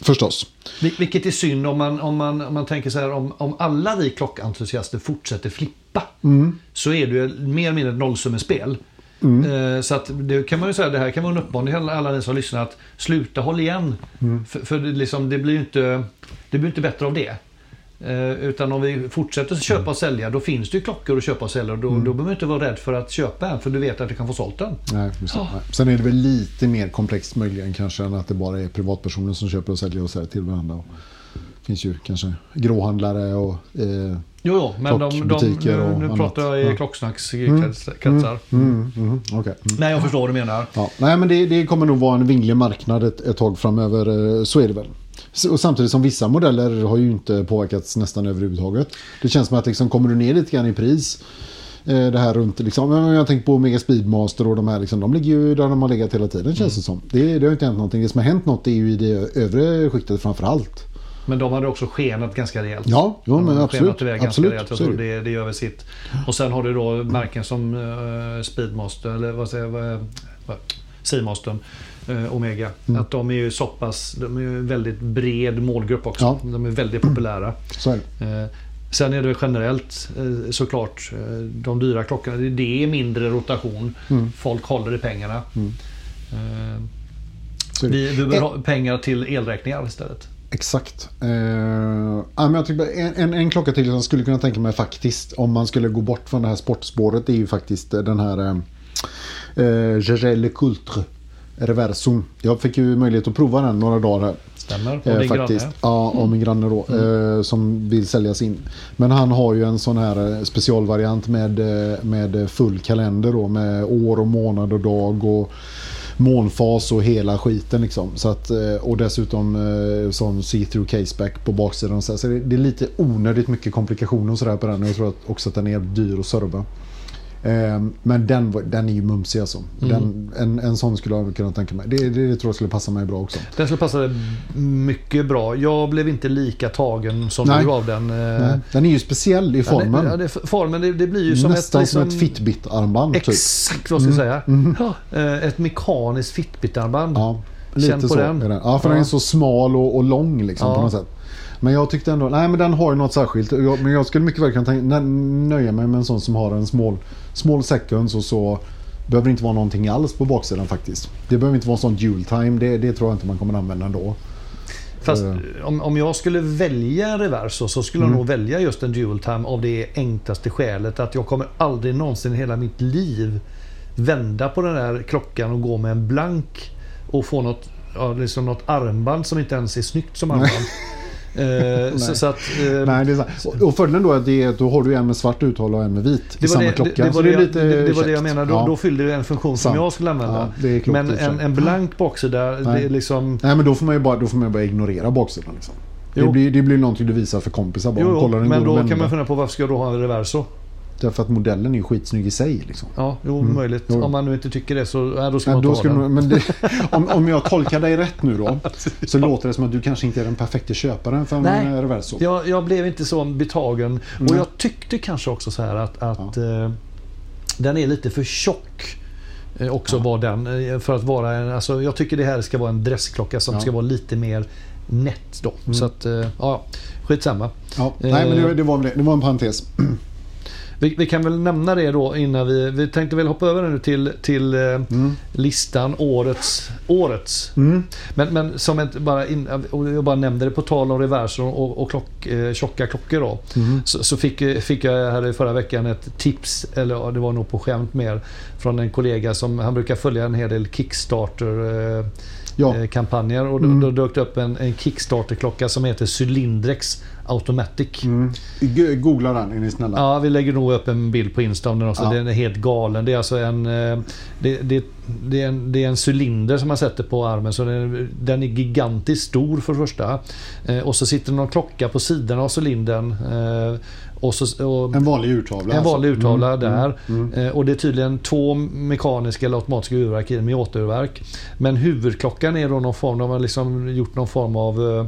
A: Förstås.
B: Vil- Vilket är synd om man, om man, om man tänker så här om, om alla vi klockentusiaster fortsätter flippa så är det ju mer eller mindre ett nollsummespel. Eh, Så att det kan man ju säga, det här kan vara en uppmaning till alla- alla ni som lyssnar att sluta håll igen. För, för det, liksom, det blir ju inte, det blir inte bättre av det. Eh, Utan om vi fortsätter att köpa och sälja då finns det ju klockor att köpa och sälja och då, då behöver man inte vara rädd för att köpa en för du vet att du kan få sålt den.
A: Nej, precis.
B: Ja.
A: Nej. Sen är det väl lite mer komplext möjligen kanske än att det bara är privatpersoner som köper och säljer och säljer till varandra. Och det finns ju kanske gråhandlare och... Eh,
B: Jo, jo men de, de,
A: Klockbutiker
B: nu,
A: och
B: nu
A: annat.
B: pratar jag i
A: Ja.
B: klocksnackskretsar.
A: mm, mm, okej. Mm.
B: Nej, jag förstår vad du menar.
A: Ja, nej, men det, det kommer nog vara en vinglig marknad ett, ett tag framöver. eh, Så är det väl. S- Och samtidigt som vissa modeller har ju inte påverkats nästan överhuvudtaget. Det känns som att liksom, kommer du ner lite grann i pris. eh, Det här runt, liksom, men jag tänker på Mega Speedmaster och de här, liksom, de ligger ju där de har legat hela tiden känns det som. Det, det har ju inte hänt någonting. Det som har hänt något är ju i det övre skiktet framför allt.
B: Men de hade också skenat ganska rejält.
A: Ja, jo,
B: De
A: men
B: hade
A: absolut.
B: Skenat iväg ganska
A: absolut
B: rejält. Jag
A: så är
B: tror
A: det. ju.
B: det, det gör väl sitt. Och sen har du då märken som eh, Speedmaster, eller vad säger jag, vad- vad- Seamastern, eh, Omega.
A: Mm.
B: Att de är ju så pass, de är ju en väldigt bred målgrupp också.
A: Ja.
B: De är väldigt populära.
A: Så är det.
B: Eh, Sen är det väl generellt eh, såklart eh, de dyra klockorna. det- Det är mindre rotation.
A: Mm.
B: Folk håller i pengarna. Eh,
A: Så är Mm. det. Eh.
B: Vi, vi bör ha pengar till elräkningar istället.
A: Exakt. Eh, ja, men jag tycker bara en, en, en klocka till som jag skulle kunna tänka mig faktiskt om man skulle gå bort från det här sportspåret är ju faktiskt eh, den här eh, eh, Gergel Le Coultre Reversum. Jag fick ju möjlighet att prova den några dagar här.
B: Stämmer. Och
A: Eh,
B: din
A: faktiskt.
B: granne.
A: Ja, och min granne då. Eh, som vill säljas in. Men han har ju en sån här eh, specialvariant med, eh, med full kalender då. Med år och månad och dag och månfas och hela skiten liksom. Så att, eh, och dessutom eh, sån see-through caseback på baksidan. och Så, här. så det, det är lite onödigt mycket komplikationer och sådär på den. Och jag tror att också att den är jävligt dyr att serva. Eh, Men den, var- den är ju mumsig alltså. Den, en, en sån skulle jag kunna tänka mig. Det, det, det tror jag skulle passa mig bra också.
B: Den skulle passa dig mycket bra. Jag blev inte lika tagen som
A: Nej.
B: du av den. eh,
A: Nej, Mm. Den är ju speciell i
B: ja,
A: formen.
B: det- Ja, det, formen, det, det blir ju som
A: Nästan
B: ett...
A: som ett
B: liksom-
A: Fitbit-armband. Typ. Mm.
B: Exakt vad jag ska säga. Ja, eh, ett mekaniskt Fitbit-armband.
A: Ja, lite
B: Känn på
A: så.
B: den.
A: är den. Ja, för
B: Ja.
A: den är så smal och, och lång liksom,
B: Ja.
A: på något sätt. Men jag tyckte ändå, nej men den har ju något särskilt. Jag, men jag skulle mycket väl kunna tänka, nö- nöja mig med en sån som har en small, small seconds och så behöver det inte vara någonting alls på baksidan faktiskt. Det behöver inte vara en sån dual time, det, det tror jag inte man kommer använda ändå.
B: Fast om, om jag skulle välja reverso så skulle
A: Mm.
B: jag nog välja just en dual time av det enklaste skälet att jag kommer aldrig någonsin i hela mitt liv vända på den där klockan och gå med en blank och få något, ja, liksom något armband som inte ens är snyggt som armband. Eh, så, så att, eh,
A: Nej, det är sant. Och- Och fördelen då är att det är, att då har du en med svart uthåll och en med vit i
B: Det var
A: samma
B: det,
A: klocka.
B: det, det,
A: Så
B: var det,
A: är
B: jag- det, det var det jag
A: käckt.
B: menade. Då,
A: Ja.
B: då fyllde det en funktion som
A: Sant.
B: jag skulle
A: Ja,
B: använda.
A: det är klokt i
B: Men
A: och för
B: en,
A: sig.
B: en blank baksida, det
A: Nej.
B: är liksom...
A: Nej men då får man ju bara, då får man ju bara ignorera baksidan. Liksom. Det,
B: Jo.
A: blir, det blir någonting du visar för kompisar bara.
B: Jo,
A: Kolla,
B: jo,
A: den
B: men
A: går att
B: då kan man
A: vända.
B: fundera på varför ska jag då ha en reverso?
A: Därför att modellen är ju skitsnygg i sig. Liksom.
B: Ja, jo, möjligt.
A: Jo.
B: Om man nu inte tycker det så ja, då ska
A: Nej,
B: man
A: då
B: ta
A: ska
B: den.
A: du, men det, om, om jag tolkar dig rätt nu då. så låter det som att du kanske inte är den perfekta köparen för
B: Nej.
A: en eh, Reverso.
B: Jag, jag blev inte så betagen.
A: Mm.
B: Och jag tyckte kanske också så här att, att eh, den är lite för tjock. eh, Också var den. eh, För att vara en, alltså, jag tycker det här ska vara en dressklocka som
A: Ja. Mm.
B: ska vara lite mer nätt då. Så att, eh, ja, skitsamma. Eh.
A: Ja. Nej men det, det, var, väl det, det var en parentes.
B: Vi, vi kan väl nämna det då innan vi... Vi tänkte väl hoppa över nu till, till eh,
A: Mm.
B: listan årets. årets.
A: Mm.
B: Men, men som ett, bara in, och jag bara nämnde det på tal om reverser och, och klock, eh, tjocka klockor då.
A: Mm.
B: Så, så fick, fick jag här i förra veckan ett tips, eller ja, det var nog på skämt mer, från en kollega som han brukar följa en hel del
A: Ja.
B: Kickstarter-kampanjer. och då,
A: Mm.
B: då dök det upp en, en Kickstarter-klocka som heter Cylindrex Automatic.
A: Mm. G- Googla den är ni snälla.
B: Ja, vi lägger nog upp en bild på Insta om den också.
A: Ja.
B: Den är helt galen. Det är alltså en, eh, det, det, det är en, det är en cylinder som man sätter på armen. Så den, den är gigantiskt stor för det första. Eh, Och så sitter det någon klocka på sidan av cylindern. eh, Och så, och,
A: En vanlig urtavla.
B: en vanlig
A: alltså.
B: urtavla där.
A: mm.
B: Eh, Och det är tydligen två mekaniska eller automatiska urverk i den med återverk. Men huvudklockan är då någon form, de har liksom gjort någon form av eh,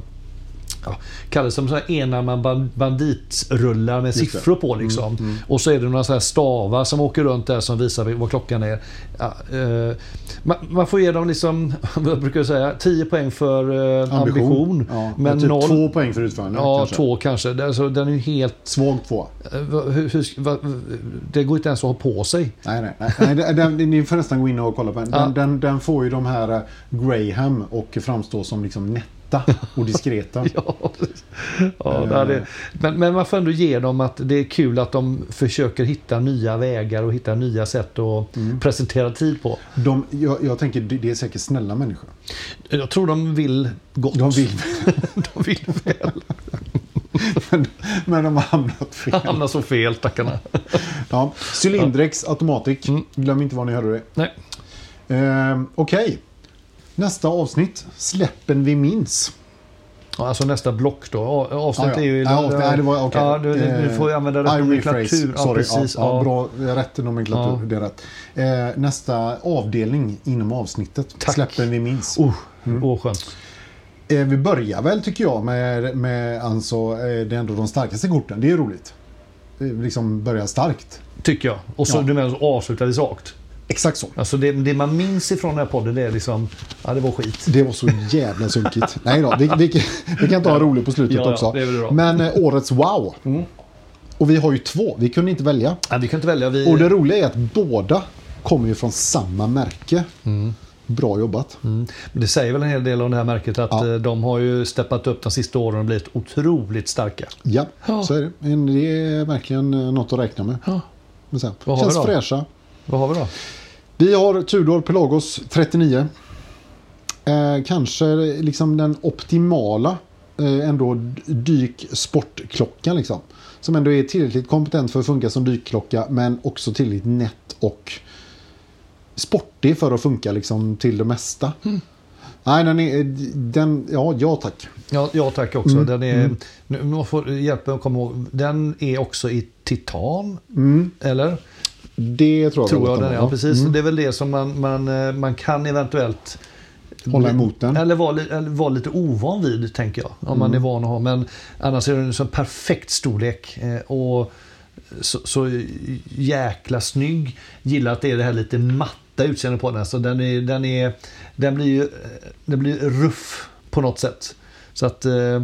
B: Ja, kallas som så här enarmad ban- banditrullar
A: det. Mm,
B: med siffror på liksom. Och så är det några så här stavar som åker runt där som visar vad klockan är. Ja, eh, man, man får ge dem liksom, vad brukar jag säga, 10 poäng för eh, ambition.
A: Ja,
B: men
A: men typ
B: noll,
A: två poäng för utförande.
B: ja,
A: kanske.
B: två kanske. Det- Alltså, den är ju helt
A: Svag två.
B: Eh, va- hur, hur, ska- va, det går inte ens att ha på sig.
A: Nej, nej, nej. nej den, den, ni får nästan gå in och kolla på den. Den,
B: Ja.
A: den, den får ju de här eh, Graham och framstå som liksom nätta och diskreta.
B: Ja, ja, det hade, men, men man får ändå ge dem att det är kul att de försöker hitta nya vägar och hitta nya sätt att
A: Mm.
B: presentera tid på.
A: de, jag, jag tänker, det det är säkert snälla människor.
B: Jag tror de vill gott.
A: De vill,
B: de vill väl.
A: men, men de har hamnat fel.
B: Hamnar så fel, tackarna.
A: Ja. Cylindrex Automatic.
B: Mm.
A: Glöm inte var ni hörde det.
B: Nej.
A: Ehm, Okej. Nästa avsnitt. Släppen vi minns.
B: Ja, Alltså nästa block då. A- Avsnitt
A: Ja, ja.
B: är ju...
A: Ja, avsnitt. Nej, det var- okej. Eh,
B: ja, du, du, du får ju använda rätt
A: I rephrase.
B: nomenklatur.
A: Sorry. Ja,
B: precis.
A: ja,
B: Ja.
A: bra, rätt nomenklatur.
B: Ja.
A: Det är rätt. Eh, nästa avdelning inom avsnittet.
B: Tack.
A: Släppen vi minns.
B: Oh,
A: Mm.
B: åh, skönt.
A: Eh, vi börjar väl tycker jag med, med alltså, eh, det är ändå de starkaste korten. Det är roligt. Eh, liksom börja starkt.
B: Tycker jag. Och så
A: Ja.
B: du menar så avslutar vi rakt.
A: Exakt så.
B: Alltså det, det man minns ifrån den här podden det är liksom, ja det var skit.
A: Det var så jävla sunkigt. Nej då, vi, vi, vi kan ta ha roligt på slutet
B: Ja, ja,
A: också.
B: det är väl bra. Mm.
A: Men eh, årets wow. Och vi har ju två, vi kunde inte välja.
B: Ja, vi kan inte välja, vi...
A: Och det roliga är att båda kommer ju från samma märke. Bra jobbat.
B: Mm. Det säger väl en hel del om det här märket att
A: Ja.
B: eh, de har ju steppat upp de sista åren och blivit otroligt starka.
A: Ja,
B: Ja.
A: så är det. Men Det är verkligen eh, något att räkna med. Men sen,
B: Vad har vi
A: känns
B: då?
A: fräscha.
B: Vad har vi då?
A: Vi har Tudor Pelagos 39. Eh, kanske liksom den optimala eh, ändå d- dyksportklockan liksom. Som ändå är tillräckligt kompetent för att funka som dykklocka men också tillräckligt nätt och sportig för att funka liksom till det mesta.
B: Mm.
A: Nej, den är... Den, ja, ja tack.
B: Ja, ja tack också. Den är, nu nu får du hjälpa mig att komma ihåg. Den är också i titan, eller?
A: Det tror jag
B: Tror
A: väl
B: jag
A: att
B: den är.
A: var,
B: Ja,
A: va? Mm.
B: precis. Det är väl det som man, man, eh, man kan eventuellt
A: Hålla emot den. Mm.
B: Eller vara li- eller vara lite ovan vid, tänker jag. Om man är van att ha. Men annars är den så perfekt storlek. eh, Och så, så jäkla snygg. Gillar att det är det här lite matta utseendet på den. Så den, är, den, är, den blir ju eh, den blir ruff på något sätt. Så att... Eh,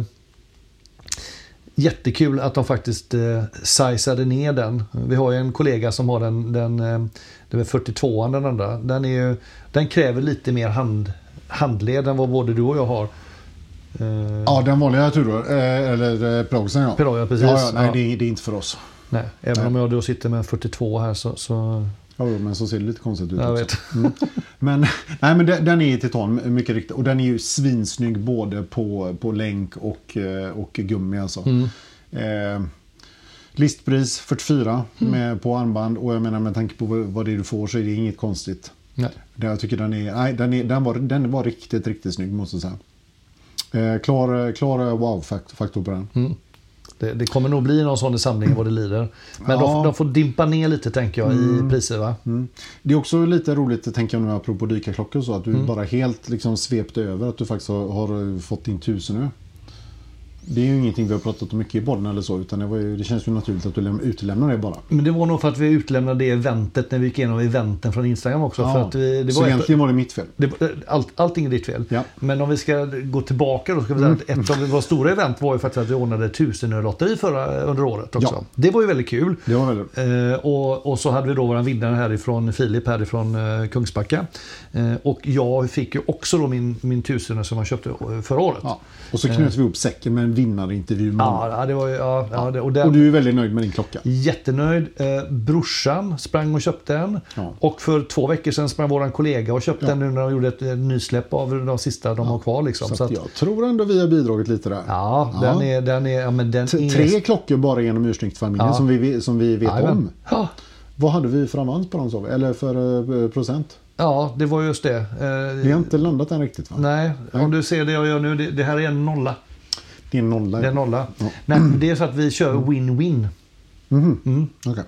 B: Jättekul att de faktiskt eh, sizade ner den. Vi har ju en kollega som har den, den, eh, den är 42an den andra. Den, är ju, den kräver lite mer hand, handled än vad både du och jag har. Eh,
A: Ja, den vanliga Tudor, eh, eller eh, Pelagosen ja.
B: Pelago, ja, precis.
A: Ja, ja, nej,
B: Ja.
A: Det, är, det är inte för oss.
B: Nej, även
A: nej.
B: om jag då sitter med en 42 här så... så
A: Ja, jo, men så ser det lite konstigt ut
B: jag
A: också. Mm.
B: vet.
A: Men, nej, men den, den är i titan, mycket riktigt. Och den är ju svinsnygg både på, på länk och, eh, och gummi. Alltså.
B: Mm.
A: Eh, listpris 44
B: Mm.
A: med, på armband. Och jag menar med tanke på vad vad det är du får så är det inget konstigt.
B: Nej.
A: Det, jag tycker den, är, nej, den, är, den, var, den var riktigt, riktigt snygg måste jag säga. Eh, klar klar wow-faktor på den.
B: Det, det kommer nog bli någon sån i samlingen vad det lider. Men de,
A: Ja.
B: får- de får dimpa ner lite tänker jag i priser va?
A: Mm. Det är också lite roligt, tänker jag nu apropå dykarklockor och
B: Mm.
A: så, att du bara helt liksom svepte över att du faktiskt har, har fått din tusen nu. det är ju ingenting vi har pratat om mycket i podden eller så, utan det, var ju, det känns ju naturligt att du läm- utelämnar det bara.
B: Men det var nog för att vi utelämnade det eventet när vi gick igenom eventen från Instagram också. För
A: Ja.
B: att vi, det
A: så
B: var ett-
A: egentligen var det mitt fel.
B: Det, eh, allt, allting är ditt fel.
A: Ja. Mm.
B: Men om vi ska gå tillbaka då ska vi säga att ett av våra stora event var ju faktiskt att vi ordnade tusenölotteri förra eh, under året också.
A: Ja.
B: Det var ju väldigt kul.
A: Det var väl
B: Eh, och, och så hade vi då våran vinnare härifrån, Filip härifrån eh, Kungsbacka. Eh, och jag fick ju också då min, min tusenöl som jag köpte eh, förra året.
A: ja. Och så knöt vi ihop säcken med en vinnarintervju med honom.
B: eh. Ja, ja, det var ju, ja, ja, det, och den,
A: Och du är väldigt nöjd med din klocka.
B: Jättenöjd. Eh, brorsan sprang och köpte en.
A: Ja.
B: Och för två veckor sedan sprang våran kollega och köpte en nu när de gjorde ett eh, nysläpp av de sista de har kvar. Liksom.
A: Så att jag tror ändå vi har bidragit lite där.
B: Ja, den är... Den är, ja, men den
A: T-
B: är
A: Tre klockor bara genom Ursnyktfamiljen
B: Ja.
A: som, vi, som vi vet
B: Jajamän.
A: om.
B: Ja.
A: Vad hade vi för avans på dem? sa vi? Eller för eh, procent?
B: ja, det var just det. Eh,
A: Vi har inte landat än riktigt va?
B: Nej, om du ser det jag gör nu, det, det här är en nolla.
A: Det är en nolla.
B: Det är en nolla. Nej, men det är så att vi kör win-win.
A: Mhm.
B: Mm.
A: Okej.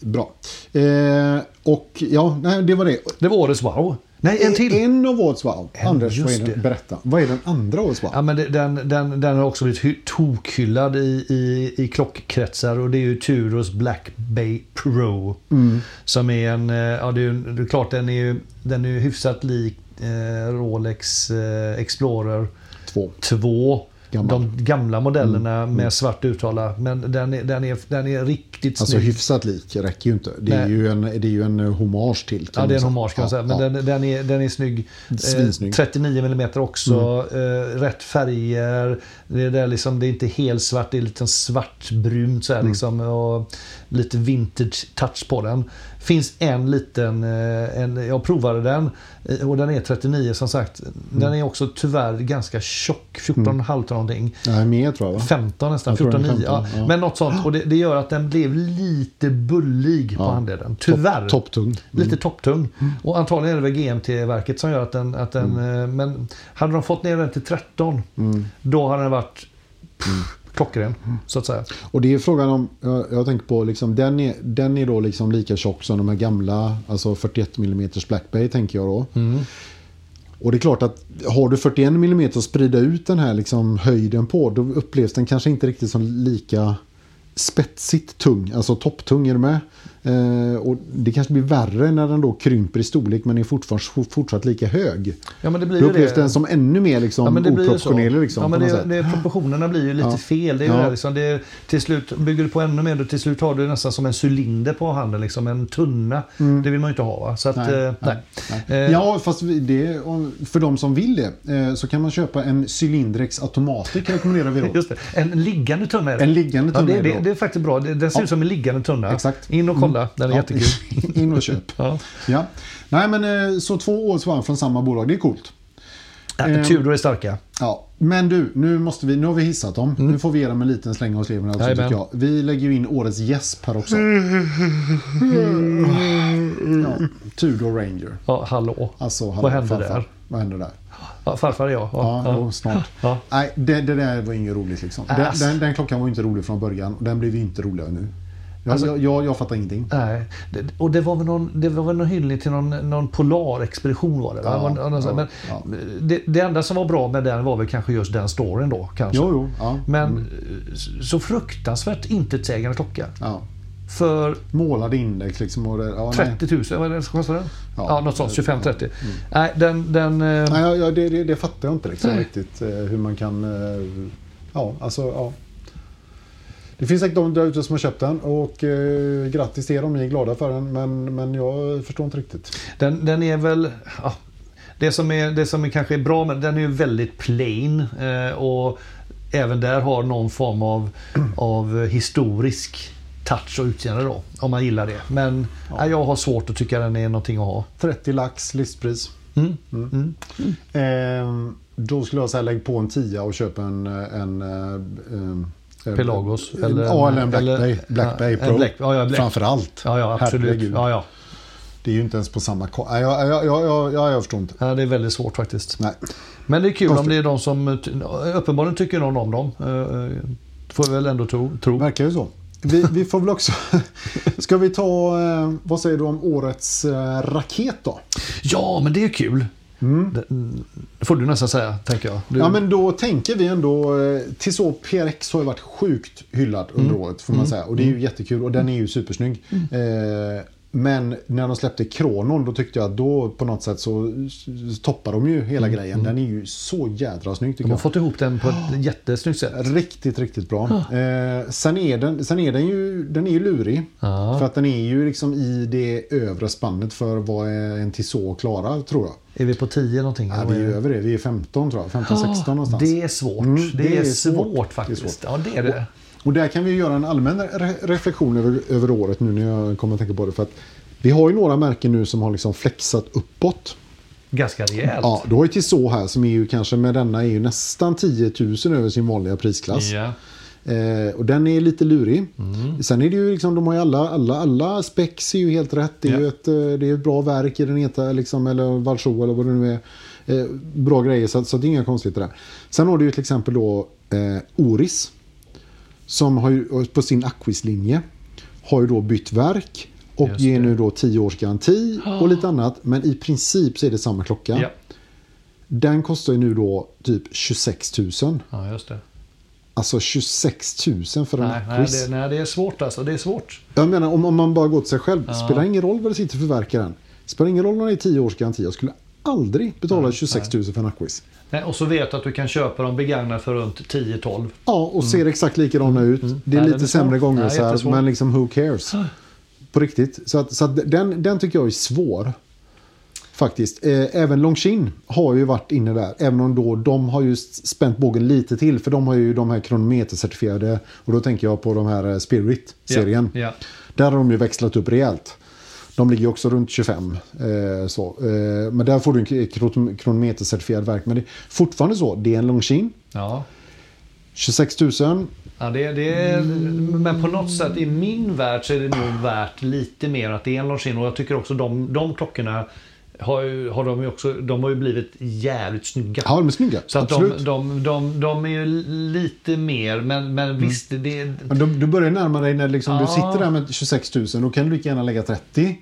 A: Bra. Eh, och ja, nej, det var det.
B: Det var årets wow. Nej, en till.
A: En av årets wow.
B: En,
A: Anders, vad är
B: just
A: den,
B: det.
A: berätta. Vad är den andra årets wow?
B: Ja, men det- den, den, den har också blivit hy- tokhyllad i, i, i klockkretsar och det är ju Turos Black Bay Pro. Som är en, eh, ja det är, ju- det är klart den är ju, den är ju hyfsat lik eh, Rolex eh, Explorer
A: Två.
B: 2.
A: Gammal.
B: De gamla modellerna
A: Mm,
B: med svart uttala. Men den är, den är, den är riktigt
A: Alltså
B: snygg.
A: hyfsat lik räcker ju inte. Det är,
B: Nej.
A: ju en, det är ju en eh, hommage till.
B: Ja, det är en
A: man
B: hommage kan man säga. Men
A: liksom. ja.
B: den, den, är, den är snygg. Eh,
A: Svinsnygg.
B: 39 mm också. Eh, rätt färger. Det är, där liksom, det är inte helt svart, det är lite svartbrunt så här,
A: Mm.
B: liksom, och lite vintage touch på den. Finns en liten, eh, en, jag provade den eh, och den är 39 som sagt. Den
A: Mm.
B: är också tyvärr ganska tjock, 14,5 mm. någonting.
A: Nej, mer tror jag va?
B: 15 nästan,
A: Jag tror den är
B: 14,9. Ja.
A: 15, ja.
B: Men något sånt. Och det, det gör att den blev lite bullig på
A: Ja. Mm.
B: handleden. Tyvärr.
A: Topptung.
B: Lite topptung. Och antagligen är det väl GMT-verket som gör att den... Att den
A: Mm.
B: eh, Men hade de fått ner den till 13, då hade den varit pff,
A: Mm.
B: klockren. Så att säga.
A: Och det är frågan om, jag, jag tänker på, liksom, den, är, den är då liksom lika tjock som de här gamla, alltså 41 mm Black Bay tänker jag då.
B: Mm.
A: Och det är klart att har du 41 mm och sprida ut den här liksom höjden på, då upplevs den kanske inte riktigt som lika spetsigt tung, alltså topptung är du med? Eh, och det kanske blir värre när den då krymper i storlek men är fortfarande, fortfartt lika hög.
B: Ja, men det blir
A: Då
B: ju
A: upplevs
B: det.
A: den som ännu mer liksom
B: Ja, men det blir ju så.
A: oproportionerlig. Liksom,
B: ja, men
A: på något
B: det,
A: sätt.
B: det, proportionerna blir ju lite
A: Ja.
B: fel. Det är ju
A: Ja.
B: det här liksom, det är, till slut bygger du på ännu mer. och Till slut har du nästan som en cylinder på handen. Liksom, en tunna.
A: Mm.
B: Det vill man ju inte ha. Va? Så att, eh, nej. Eh,
A: Ja, fast vi- det, om- för de som vill det eh, så kan man köpa en Cylindrex Automatic rekommenderar vi då.
B: Just det. En liggande tunna är det.
A: En liggande tunna
B: ja, det,
A: är
B: det,
A: bra.
B: det är faktiskt bra. Det- Den ser ut som en liggande tunna.
A: Exakt.
B: In och kolla. Den är
A: Ja,
B: jättekul.
A: In och köp.
B: Ja.
A: Ja. Nej, men eh, så två års varv från samma bolag, det är coolt. Ehm.
B: Äh, Tudor är starka.
A: Ja, men du, nu, måste vi, nu har vi hissat dem. Nu får vi ge dem en liten släng av sleven. Alltså,
B: Mm. Jajamän.
A: tycker jag. Vi lägger ju in årets gäsp här också. Ja, Tudor Ranger.
B: Ja, hallå.
A: Alltså,
B: Vad hände
A: farfar.
B: där?
A: Vad hände där?
B: Ja, farfar är jag.
A: Ja, jo, snart.
B: Ja.
A: Nej, det, det där var inget roligt liksom. Den,
B: Ass.
A: den, den klockan var ju inte rolig från början och den blev ju inte roligare nu. Jag,
B: Alltså-
A: jag, jag, jag fattar ingenting.
B: Nej. Det, och det var väl någon, det var väl någon hyllning till någon, någon polarexpedition var det va?
A: Ja,
B: Var det någon sån-
A: ja, ja.
B: men Det, det enda som var bra med den var väl kanske just den storyn då. Kanske.
A: Jo, Mm. jo. Ja.
B: Men eh, så- så fruktansvärt intetsägande klocka.
A: Ja.
B: För
A: Målade index liksom. Och det, ja, nej.
B: 30 000, vad är det som kostar den?
A: Ja. Mm.
B: Ja, något sånt. 25-30. Nej, den... den eh,
A: Nej, ja, ja, det, det, det fattar jag inte liksom,
B: Nej.
A: riktigt eh, hur man kan... Eh, ja, alltså, ja. Det finns säkert de där ute som har köpt den och eh, grattis till er om ni är glada för den. Men, men jag förstår inte riktigt.
B: Den, den är väl... Ja, det, som är, det som är kanske är bra men den är ju väldigt plain. Eh, och även där har någon form av, av historisk touch och utseende då. Om man gillar det. Men nej, jag har svårt att tycka den är någonting att ha.
A: 30 lax listpris.
B: Mm.
A: Eh, då skulle jag säga lägg på en 10 och köp en... en, eh, eh,
B: Pelagos,
A: Eller,
B: eller-
A: ja, eller en Black
B: eller-
A: Bay, Black Bay
B: ja, en
A: Pro.
B: Black- ja, ja, Black-
A: Framförallt.
B: Ja, ja absolut.
A: Herregud.
B: Ja, ja.
A: Det är ju inte ens på samma... ko- Nej, Jag, jag, jag, jag, jag, jag förstår inte.
B: Ja, det är väldigt svårt faktiskt.
A: Nej.
B: Men det är kul om
A: Konstigt.
B: det är de som... ty- Uppenbarligen tycker någon om dem. Eh, eh, Får vi väl ändå tro. tro.
A: Verkar ju så. Vi, vi får väl också... Ska vi ta... Eh, vad säger du om årets eh, raket då?
B: Ja, men det är kul.
A: Mm.
B: Det, det får du nästan säga, tänker jag. Du,
A: Ja, men då tänker vi ändå... eh, Tissot PRX har ju varit sjukt hyllad under
B: Mm.
A: året, får man säga. Och det är ju jättekul och den är ju supersnygg. Eh, men när de släppte Kronon, då tyckte jag att då på något sätt så s- toppar de ju hela grejen. Den är ju så jädra snygg tycker
B: Mm. de har
A: jag.
B: fått ihop den på ett jättesnyggt sätt.
A: Riktigt, riktigt bra. Eh, sen är, den, sen är den ju, den är ju lurig.
B: Ja.
A: För att den är ju liksom i det övre spannet för vad en Tissot klarar, tror jag.
B: Är vi på 10 någonting?
A: Ja,
B: eller
A: vi är
B: vad är
A: ju
B: det?
A: över det. Vi är 15 tror jag. 15-16 någonstans.
B: det är svårt.
A: Mm,
B: det, är, svårt, faktiskt.
A: Det är svårt.
B: Ja, det är det.
A: Och där kan vi ju göra en allmän re- reflektion över, över året nu när jag kommer att tänka på det. För att vi har ju några märken nu som har liksom flexat uppåt.
B: Ganska rejält.
A: Ja, du har ju Tissot här som är ju kanske med denna är ju nästan 10 000 över sin vanliga prisklass.
B: Ja.
A: Eh, och den är lite lurig.
B: Mm.
A: Sen är det ju liksom, de har ju alla, alla, alla specs är ju helt rätt. Det är
B: Ja.
A: ju ett, eh, det är ett bra verk i den heta, liksom, eller Valchot eller vad det nu är. Eh, bra grejer, så, så det är inga konstigheter där. Sen har du ju till exempel då eh, Oris. Som har ju, på sin Aquis-linje har ju då bytt verk. Och
B: Just
A: ger
B: det. Ah.
A: nu då 10 års garanti och lite annat. Men i princip så är det samma klocka.
B: Ja.
A: Den kostar ju nu då typ 26 000.
B: ja, just det.
A: Alltså 26 000 för en
B: Nej, nej,
A: Aquis.
B: det. nej, det är svårt alltså. Det är svårt.
A: Jag menar om, om man bara går till sig själv. Spelar ingen roll vad det sitter för verk i den. Spelar ingen roll om det är 10 års garanti. Jag skulle aldrig betala 26 000 för en Aquis.
B: Nej, och så vet du att du kan köpa dem begagnade för runt 10-12.
A: Ja, och ser exakt likadana ut. Det är
B: Mm. Nej, den
A: lite
B: är svår.
A: sämre gånger
B: Nej,
A: så här,
B: jättesvår.
A: men liksom who cares? På riktigt. Så, att, så att den, den tycker jag är svår. Faktiskt. Eh, även Longshin har ju varit inne där. Även om då de har just spänt bågen lite till. För de har ju de här kronometercertifierade. Och då tänker jag på de här eh, Spirit-serien.
B: Ja, ja.
A: Där har de ju växlat upp rejält. De ligger ju också runt 25. Eh, så. Eh, men där får du en k- kron- kronometercertifierad verk. Men det är fortfarande så. Det är en Longshin.
B: Ja.
A: 26 000.
B: Ja, det, det är, men på något sätt i min värld så är det nog värt lite mer att det är en Longines. Och jag tycker också de, de klockorna har, ju, har de ju också de har ju blivit jävligt snygga.
A: Ja, de är snygga.
B: så att de,
A: Absolut.
B: de, de, de är ju lite mer, men, men
A: Mm.
B: visst, det, det,
A: Men du, du börjar närma dig när liksom du
B: Ja.
A: sitter där med 26 000. Då kan du lika gärna lägga 30.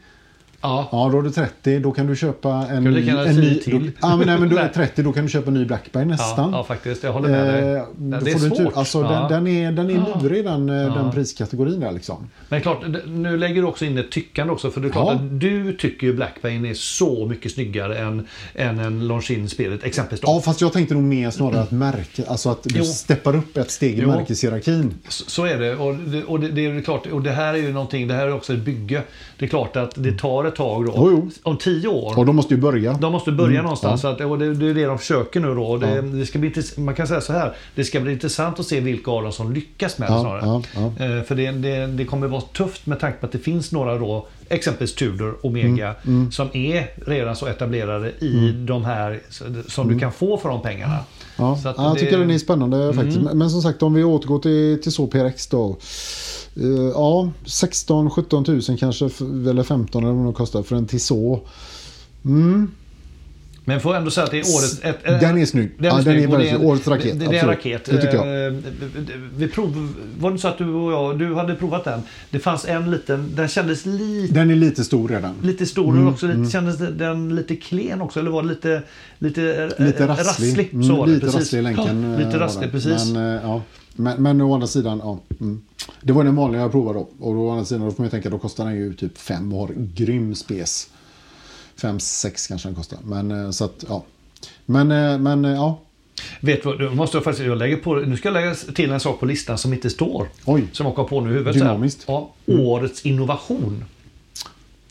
B: ja,
A: Ja, då har du 30. Då kan du köpa en,
B: du lika gärna
A: en
B: säga
A: ny...
B: till?
A: Då, ja, men, nej, men då är
B: Nej.
A: 30. Då kan du köpa en ny Blackberry
B: ja,
A: nästan.
B: ja, faktiskt. Jag håller med dig.
A: Eh,
B: Nej,
A: då
B: det är
A: får du
B: svårt.
A: tur. Alltså,
B: ja.
A: den, den är, den är lurig den, eh, den
B: Ja.
A: priskategorin där liksom.
B: Men klart, d- nu lägger du också in ett tyckande också. För det är klart
A: Ja.
B: att du tycker ju Blackbane är så mycket snyggare än, än en Longines Spirit exempelvis. då.
A: Ja, fast jag tänkte nog mer snarare att märke, alltså att du
B: Jo.
A: steppar upp ett steg i
B: Jo.
A: märkeshierarkin.
B: Så så är det. Och, det, och det, det är ju klart, och det här är ju någonting, det här är också ett bygge. Det är klart att det tar ett tag då.
A: Mm. Jo, jo.
B: Om tio år.
A: Och de måste ju börja.
B: de måste börja
A: Mm.
B: någonstans. Så att, och det, det är det de försöker nu då. Och Det, det ska bli, intress- man kan säga så här. Det ska bli intressant att se vilka av dem som lyckas med det
A: Ja,
B: snarare.
A: ja,
B: Eh, För det, det, det kommer vara tufft med tanke på att det finns några då, exempelvis Tudor, Omega,
A: Mm,
B: som är redan så etablerade i de här så- som du kan få för de pengarna.
A: Mm. Ja,
B: Så att
A: ja, jag
B: det- Mm.
A: tycker den är spännande faktiskt. Men, men som sagt, om vi återgår till, till så PRX då. Eh, ja, 16-17 000 kanske, f- eller 15 eller vad det kostar för en Tissot. Mm.
B: Men får ändå säga att det är årets... Ett,
A: Den är snygg. Ja, den
B: snygg
A: är
B: och
A: väldigt-
B: en-
A: årets raket,
B: Det, det är en
A: absolut.
B: raket.
A: Det tycker jag.
B: Eh, Vi prov, var det så att du och jag, du hade provat den. Det fanns en liten, den kändes lite,
A: Den är lite stor redan.
B: lite stor
A: Mm,
B: också. Lite, Kändes den lite klen också? Eller var det lite, lite, eh,
A: Lite rasslig. Mm,
B: Så var det,
A: lite
B: precis.
A: rasslig i länken.
B: Ja,
A: eh, var
B: lite rasslig,
A: den.
B: precis.
A: Men, eh, ja. men, men å andra sidan, ja. Mm. Det var den vanliga jag provade då. Och å andra sidan, då får man ju tänka, då kostar den ju typ fem år. Grym spes. Fem, sex kanske den kostar. Men eh, så att, ja. Men, eh, men eh, ja.
B: Vet du vad, nu måste jag faktiskt, jag lägger på, nu ska jag lägga till en sak på listan som inte står.
A: Oj.
B: Som jag kom på nu i huvudet. så här.
A: Dynamiskt.
B: Ja, årets innovation.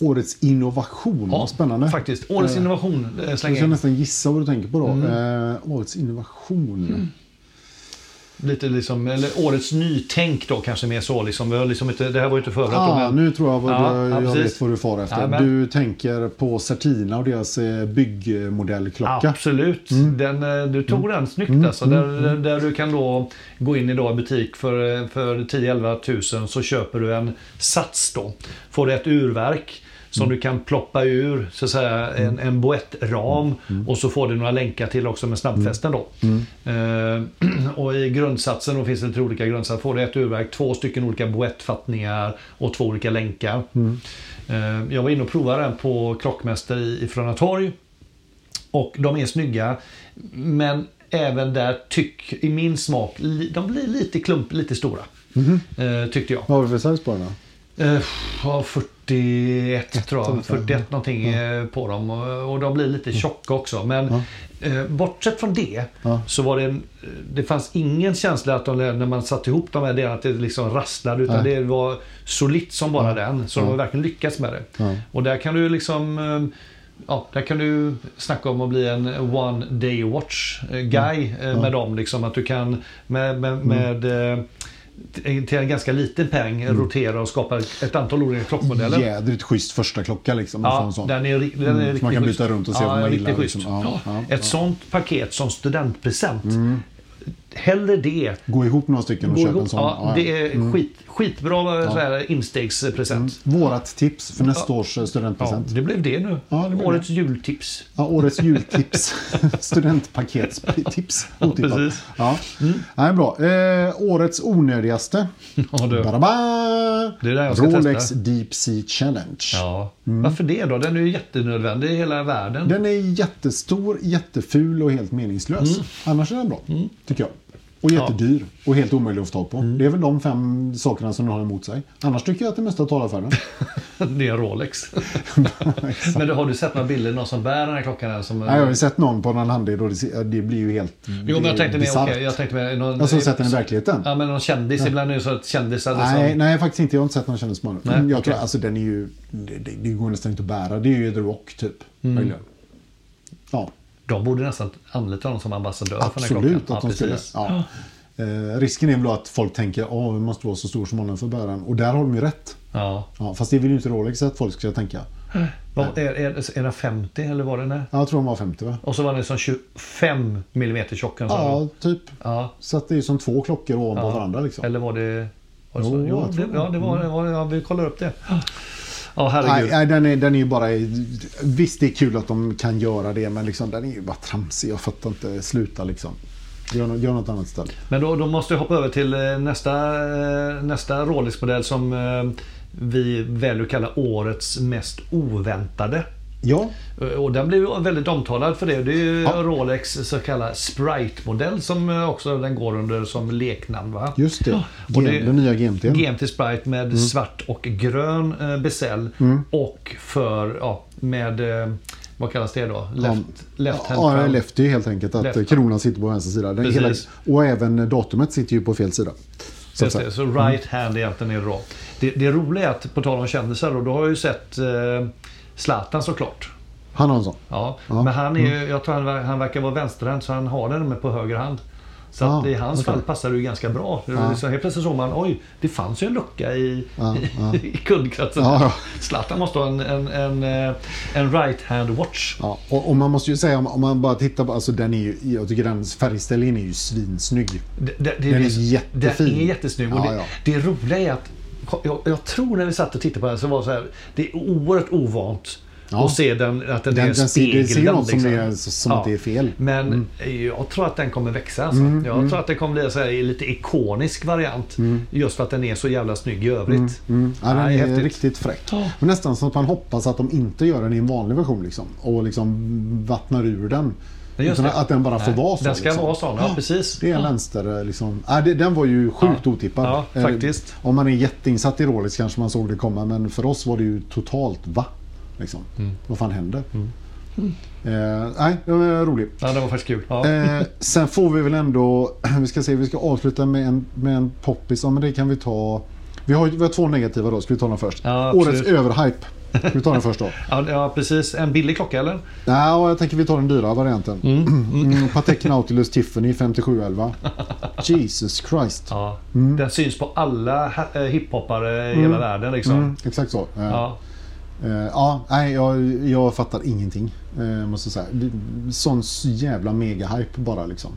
A: Årets innovation,
B: Ja,
A: vad spännande.
B: Faktiskt. Årets
A: Eh,
B: innovation Mm. eh,
A: Jag
B: slänger jag
A: kan
B: in.
A: nästan gissa vad du tänker på då. Eh, årets innovation.
B: Mm. Lite liksom, eller årets nytänk då kanske mer så. Liksom. Vi har liksom inte, det här var ju inte förberett. då,
A: Ah,
B: men-
A: nu tror jag vad
B: Ja,
A: du,
B: ja,
A: jag
B: precis.
A: vet vad du far efter.
B: Jajamän.
A: du tänker på Certina och deras eh, byggmodellklocka.
B: Absolut. Den, eh, du tog den snyggt alltså. Där, där- där du kan då gå in idag i butik för, eh, för 10-11 tusen så köper du en sats då. Får du ett urverk som du kan ploppa ur så att säga, en, en boettram och så får du några länkar till också med snabbfästen då. Eh, och i grundsatsen, då finns det lite olika grundsatser, får du ett urverk, två stycken olika boettfattningar och två olika länkar. Eh, jag var inne och provade den på Klockmäster i, i Fröna torg. Och de är snygga. Men även där tyck, i min smak, li- de blir lite klump, lite stora. Eh, tyckte jag.
A: Vad har vi för size på den då?
B: Eh, ja, 41 tror jag.
A: ungefär.
B: 41 någonting eh, på dem. Och, och de blir lite tjocka också. Men eh, bortsett från det
A: Ja.
B: så var det, en, det fanns ingen känsla att de, när man satte ihop de här delarna att det liksom rasslade. Utan
A: Nej.
B: det var solitt som bara den. Så de har verkligen lyckats med det.
A: Ja.
B: Och där kan du liksom eh, Ja, där kan du snacka om att bli en one day watch eh,
A: Mm.
B: guy eh, med dem. Liksom, att du kan med, med, med eh, t- till en ganska liten peng
A: Mm.
B: rotera och skapa ett ett antal olika klockmodeller.
A: Jädrigt schysst första klocka liksom. att få en
B: Ja,
A: sån.
B: den är, ri- den är
A: Mm,
B: riktigt
A: man kan
B: schysst.
A: byta runt och se vad man
B: riktigt
A: gillar,
B: schysst.
A: liksom. Ja,
B: Ja.
A: ja,
B: Ett sånt paket som studentpresent. Hellre det.
A: Gå ihop några stycken och
B: Gå
A: köp en
B: ihop.
A: sån.
B: Ja,
A: Ja, Mm. ja.
B: det är skit, skitbra så här, instegspresent.
A: Vårat tips för nästa års eh,
B: Ja,
A: studentpresent.
B: det blev det nu.
A: Ja, det blev
B: Årets jultips.
A: Ja, årets jultips. Studentpaketstips. Otippat.
B: precis. Mm.
A: Ja. Nej, bra. Eh, årets onödigaste.
B: Ja, du.
A: Badaba!
B: Det är det jag ska
A: Rolex
B: testa.
A: Deep Sea Challenge.
B: Ja.
A: Mm.
B: Varför det då? Den är ju jättenödvändig i hela världen.
A: Den är jättestor, jätteful och helt meningslös.
B: Mm.
A: Annars är den bra, tycker jag. Och jättedyr och helt omöjlig att få tag på.
B: Mm.
A: Det är väl de fem sakerna som den har emot sig. Annars tycker jag att det mesta talar för den.
B: Det är en Rolex.
A: Exakt.
B: Men då, har du sett några bilder någon som bär den här klockan? Här, som, eh,
A: Nej, jag har ju sett någon på någon handdel och det, ser- det blir ju helt
B: Mm. jo, men jag tänkte mer,
A: bisarrt.
B: okej, jag tänkte mer någon,
A: Alltså, sett den i verkligheten?
B: ja, men någon kändis. Ibland är det så att kändisar
A: Nej,
B: liksom,
A: nej, faktiskt inte. Jag har inte sett någon kändisman.
B: Nej,
A: jag
B: okej.
A: tror, alltså den är ju... Det, det, det går nästan inte att bära. Det är ju The Rock, typ.
B: Mm.
A: Möjligen. Ja,
B: de borde nästan anlita honom som ambassadör för den här
A: absolut
B: klockan.
A: att de skulle...
B: precis.
A: Ja. Eh, risken är väl då att folk tänker att vi måste vara så stor som honom för att bära den. Och där har de ju rätt.
B: Ja.
A: Ja, fast det vill ju inte Rolex att folk ska tänka.
B: Vad- Är, är, är den 50 eller var den är?
A: Ja, jag tror de var 50, va?
B: Och så var den som 25 mm tjock. eller så.
A: Ja, typ.
B: Ja.
A: Så att det är som två klockor ovanpå varandra. Liksom.
B: Eller var det... Var det
A: Jo,
B: så?
A: jag
B: Jo,
A: tror Mm.
B: det, ja, det var, det var, ja, vi kollar upp det. Ja,
A: Nej,
B: herregud.
A: nej den, är, den är ju bara... Visst, det är kul att de kan göra det, men liksom, den är ju bara tramsig. Jag fattar inte. Sluta liksom. Gör, nå- gör något annat ställe.
B: Men då, då måste jag hoppa över till eh, nästa, eh, nästa Rolex-modell som eh, vi väljer att kalla årets mest oväntade.
A: Ja,
B: Eh, Och den blev ju väldigt omtalad för det. Det är ju
A: Ja.
B: Rolex så kallade Sprite-modell som eh, också den går under som leknamn. Va?
A: just det.
B: och
A: Gen-
B: det-
A: den nya Mm. GMT.
B: GMT Sprite med svart och grön eh, bezel
A: Mm.
B: och för, ja, med, eh, vad kallas det då? Left, left hand
A: Ja,
B: crown.
A: lefty helt enkelt. Att
B: Left.
A: kronan sitter på vänster sida. Den hela,
B: Precis.
A: och även datumet sitter ju på fel sida. Så att
B: Just
A: säga.
B: det, så right hand egentligen är då. Det, det roliga är att, på tal om kändisar, då, då har jag ju sett eh, Zlatan såklart.
A: Han har en sån.
B: Ja.
A: Ja. Mm.
B: Men han, är, ju- jag tror han, ver- han verkar vara vänsterhänt så han har den med på höger hand. Så
A: Ah,
B: att i hans
A: okej.
B: fall passar det ju ganska bra. Så helt plötsligt såg man, oj, det fanns ju en lucka i, i kundkretsen.
A: Ja, ja.
B: Zlatan måste ha en, en, en, eh, en right hand watch.
A: Ja, och, och man måste ju säga om, om man bara tittar på, alltså den är ju, jag tycker den färgställningen är ju svinsnygg.
B: Det, det, det,
A: Den är
B: det-
A: jättefin.
B: Den är jättesnygg. Och
A: Ja,
B: det,
A: ja.
B: det roliga är att jag, jag tror när vi satt och tittade på den så var det så här, det är oerhört ovant
A: Ja.
B: att se den, att den,
A: Den,
B: är
A: den ser, det
B: speglad.
A: ser ju något som,
B: liksom.
A: är, som
B: Ja.
A: inte är fel. Mm.
B: Men jag tror att den kommer växa. Alltså. jag tror att det kommer bli så här, lite ikonisk variant. Just för att den är så jävla snygg i övrigt.
A: Mm. Ja, den
B: Nej,
A: är
B: häftigt.
A: riktigt fräck.
B: Ja.
A: Men nästan så att man hoppas att de inte gör den i en vanlig version liksom, och liksom vattnar ur den.
B: Ja, just
A: Utan
B: det.
A: att den bara får
B: Nej,
A: vara så.
B: den ska
A: liksom.
B: vara sån, ja, precis.
A: Det är en vänster... Liksom. Ja, det, den var ju sjukt
B: Ja.
A: otippad.
B: Ja,
A: Eh,
B: faktiskt.
A: Om man är jätteinsatt i Rolex kanske man såg det komma, men för oss var det ju totalt va? Liksom.
B: Mm.
A: Vad fan hände? Eh, nej, det var roligt.
B: Ja, den var faktiskt kul. Ja.
A: Eh, sen får vi väl ändå, vi ska se, vi ska avsluta med en, med en poppis. Ja, men det kan vi ta. Vi har, ju- vi har två negativa då, ska vi ta den först?
B: Ja, absolut.
A: Årets överhype. Ska vi ta den först då?
B: Ja, ja, precis. En billig klocka eller?
A: Nej, och jag tänker vi tar den dyra varianten. Mm, Patek Nautilus Tiffany 5711. Jesus Christ.
B: Ja.
A: Mm.
B: Den syns på alla ha- eh, hiphoppare i hela världen. Liksom.
A: Mm, exakt så. Eh,
B: Ja.
A: eh, ja, nej, jag, jag fattar ingenting. Eh, måste jag säga. Det- Sån jävla mega-hype bara liksom.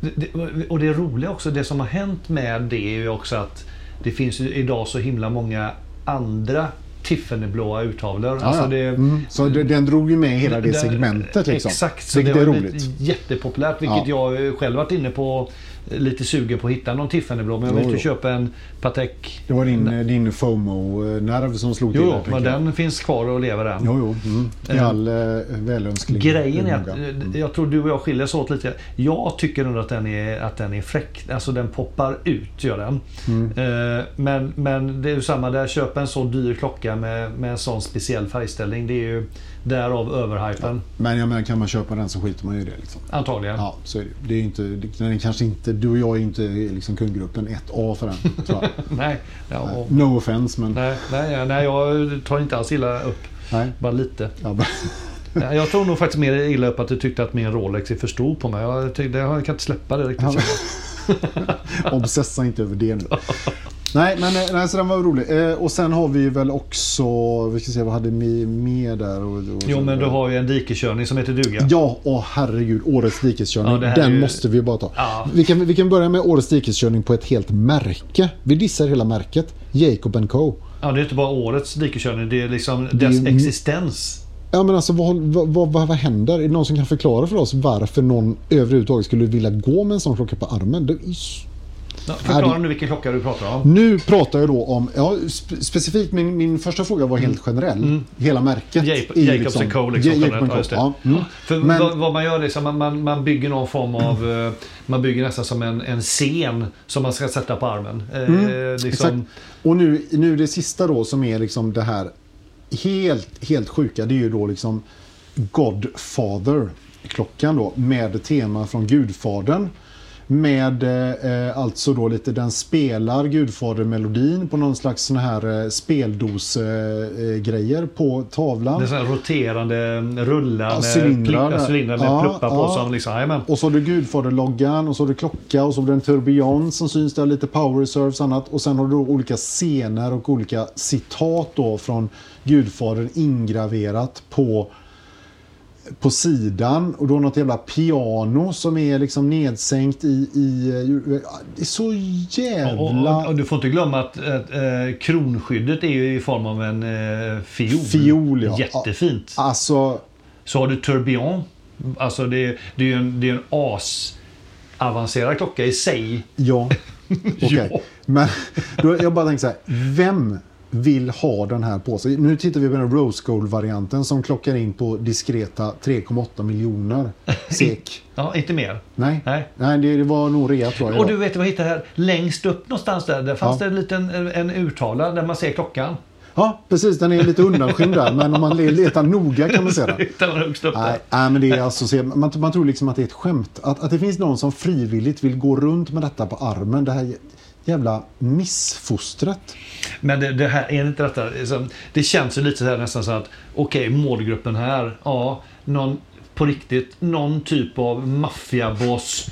B: Det- det- Och det roliga också, det som har hänt med det är ju också att det finns ju idag så himla många andra Tiffanyblåa urtavlor.
A: Ja,
B: Alltså
A: ja.
B: det,
A: Mm, Så det, den drog ju med hela det
B: Där-
A: segmentet liksom.
B: Exakt, så
A: Vilket
B: det
A: är
B: har
A: roligt.
B: blivit jättepopulärt. Vilket jag själv varit inne på lite sugen på att hitta någon Tiffanyblå. Men jag vill
A: Jo,
B: inte
A: jo.
B: köpa en Patek.
A: Det var din, din FOMO-nerv som slog
B: Jo,
A: till.
B: jo,
A: tänker
B: men
A: jag.
B: den finns kvar och lever än.
A: Jo, jo. Mm. I all eh, välönsklig
B: Grejen är att
A: förmåga.
B: eh, jag tror du och jag skiljer oss åt lite. Jag tycker nog att den är, att den är fräck. Alltså den poppar ut, gör den. Eh, Men, men det är ju samma där. Köpa en sån dyr klocka med, med en sån speciell färgställning. Det är ju därav överhypen.
A: Men jag menar, kan man köpa den så skiter man ju i det. Liksom.
B: Antagligen.
A: Ja, så är det. det är ju inte, den är kanske inte, du och jag är inte liksom kundgruppen 1A för den. Tror jag.
B: Nej, ja, och,
A: No offense, men...
B: nej, nej, ja, nej, jag tar inte alls illa upp.
A: Nej.
B: Bara lite.
A: Ja, bara-
B: Nej, Jag tror nog faktiskt mer illa upp att du tyckte att min Rolex är för stor på mig. Jag, tyckte, jag kan inte släppa det riktigt.
A: Obsessa inte över det nu. Nej, men eh, nej, så den var rolig. Eh, och sen har vi ju väl också, vi ska se vad hade vi mer där? Och, och,
B: Jo, men du har ju en dikeskörning som heter duga.
A: Ja, åh herregud. Årets dikeskörning.
B: Ja, det här är
A: den
B: ju-
A: måste vi bara ta.
B: Ja.
A: Vi, kan, vi kan börja med årets dikeskörning på ett helt märke. Vi dissar hela märket. Jacob Co.
B: Ja, det är inte bara årets dikeskörning, det är liksom
A: är
B: dess
A: ju-
B: existens.
A: Ja, men alltså, vad, vad, vad, vad händer? Är det någon som kan förklara för oss varför någon överhuvudtaget skulle vilja gå med en sån klocka på armen? Det är ju
B: Ja, Förklara
A: det-
B: nu vilken klocka du pratar om.
A: Nu pratar jag då om, ja, spe- specifikt min, min första fråga var helt generell. Hela märket.
B: Mm. Jape-
A: är ju
B: Jacobs and Co. liksom.
A: Ja, Jacobs
B: Ja,
A: and
B: just
A: Co.
B: det.
A: Ja, mm.
B: För
A: Men-
B: vad, vad man gör är liksom, man, man, man bygger någon form av... eh, Man bygger nästan som en, en scen som man ska sätta på armen. Eh,
A: Mm, Exakt.
B: liksom,
A: Och nu, nu det sista då som är liksom det här helt, helt sjuka. Det är ju då liksom Godfather-klockan då med tema från Gudfadern. Med eh, eh, alltså då lite, den spelar Gudfader-melodin på någon slags sån här eh, speldos-grejer eh, grejer på tavlan.
B: det är sån här roterande rullar med,
A: cylindrar
B: pli-
A: där.
B: cylindrar med
A: Ja,
B: pluppar på.
A: ja.
B: Som liksom, jajamän.
A: Och så har du Gudfaderloggan och så har du klocka och så har du en tourbillon som syns där, lite power reserves och annat. Och sen har du då olika scener och olika citat då från Gudfadern ingraverat på på sidan och då något jävla piano som är liksom nedsänkt i... i det är så jävla...
B: Och, och, och du får inte glömma att eh, eh, kronskyddet är ju i form av en eh, fiol.
A: Fiol, ja.
B: Jättefint.
A: Alltså,
B: Så har du tourbillon. Alltså det, är- det är ju en, det är en as avancerad klocka i sig.
A: Ja. Okej.
B: Ja.
A: Men då, jag bara tänker så här. Vem vill ha den här på sig? Nu tittar vi på den Rose Gold-varianten som klockar in på diskreta 3,8 miljoner SEK.
B: Ja, inte mer.
A: Nej,
B: Nej.
A: Nej det, det var nog rea tror jag.
B: Och du vet vad jag hittade här? Längst upp någonstans där, där fanns
A: Ja.
B: det en liten en urtavla där man ser klockan.
A: Ja, precis. Den är lite undanskymd där. Men om man le- letar noga kan man se den.
B: Hittar man högst upp där.
A: Nej, nej, men det är alltså, se- man, man tror liksom att det är ett skämt. Att, att det finns någon som frivilligt vill gå runt med detta på armen. Det här jävla missfostret.
B: Men det, det här, är inte detta, liksom, det känns ju lite så här nästan så att okej, målgruppen här, ja, någon, på riktigt, någon typ av maffiaboss,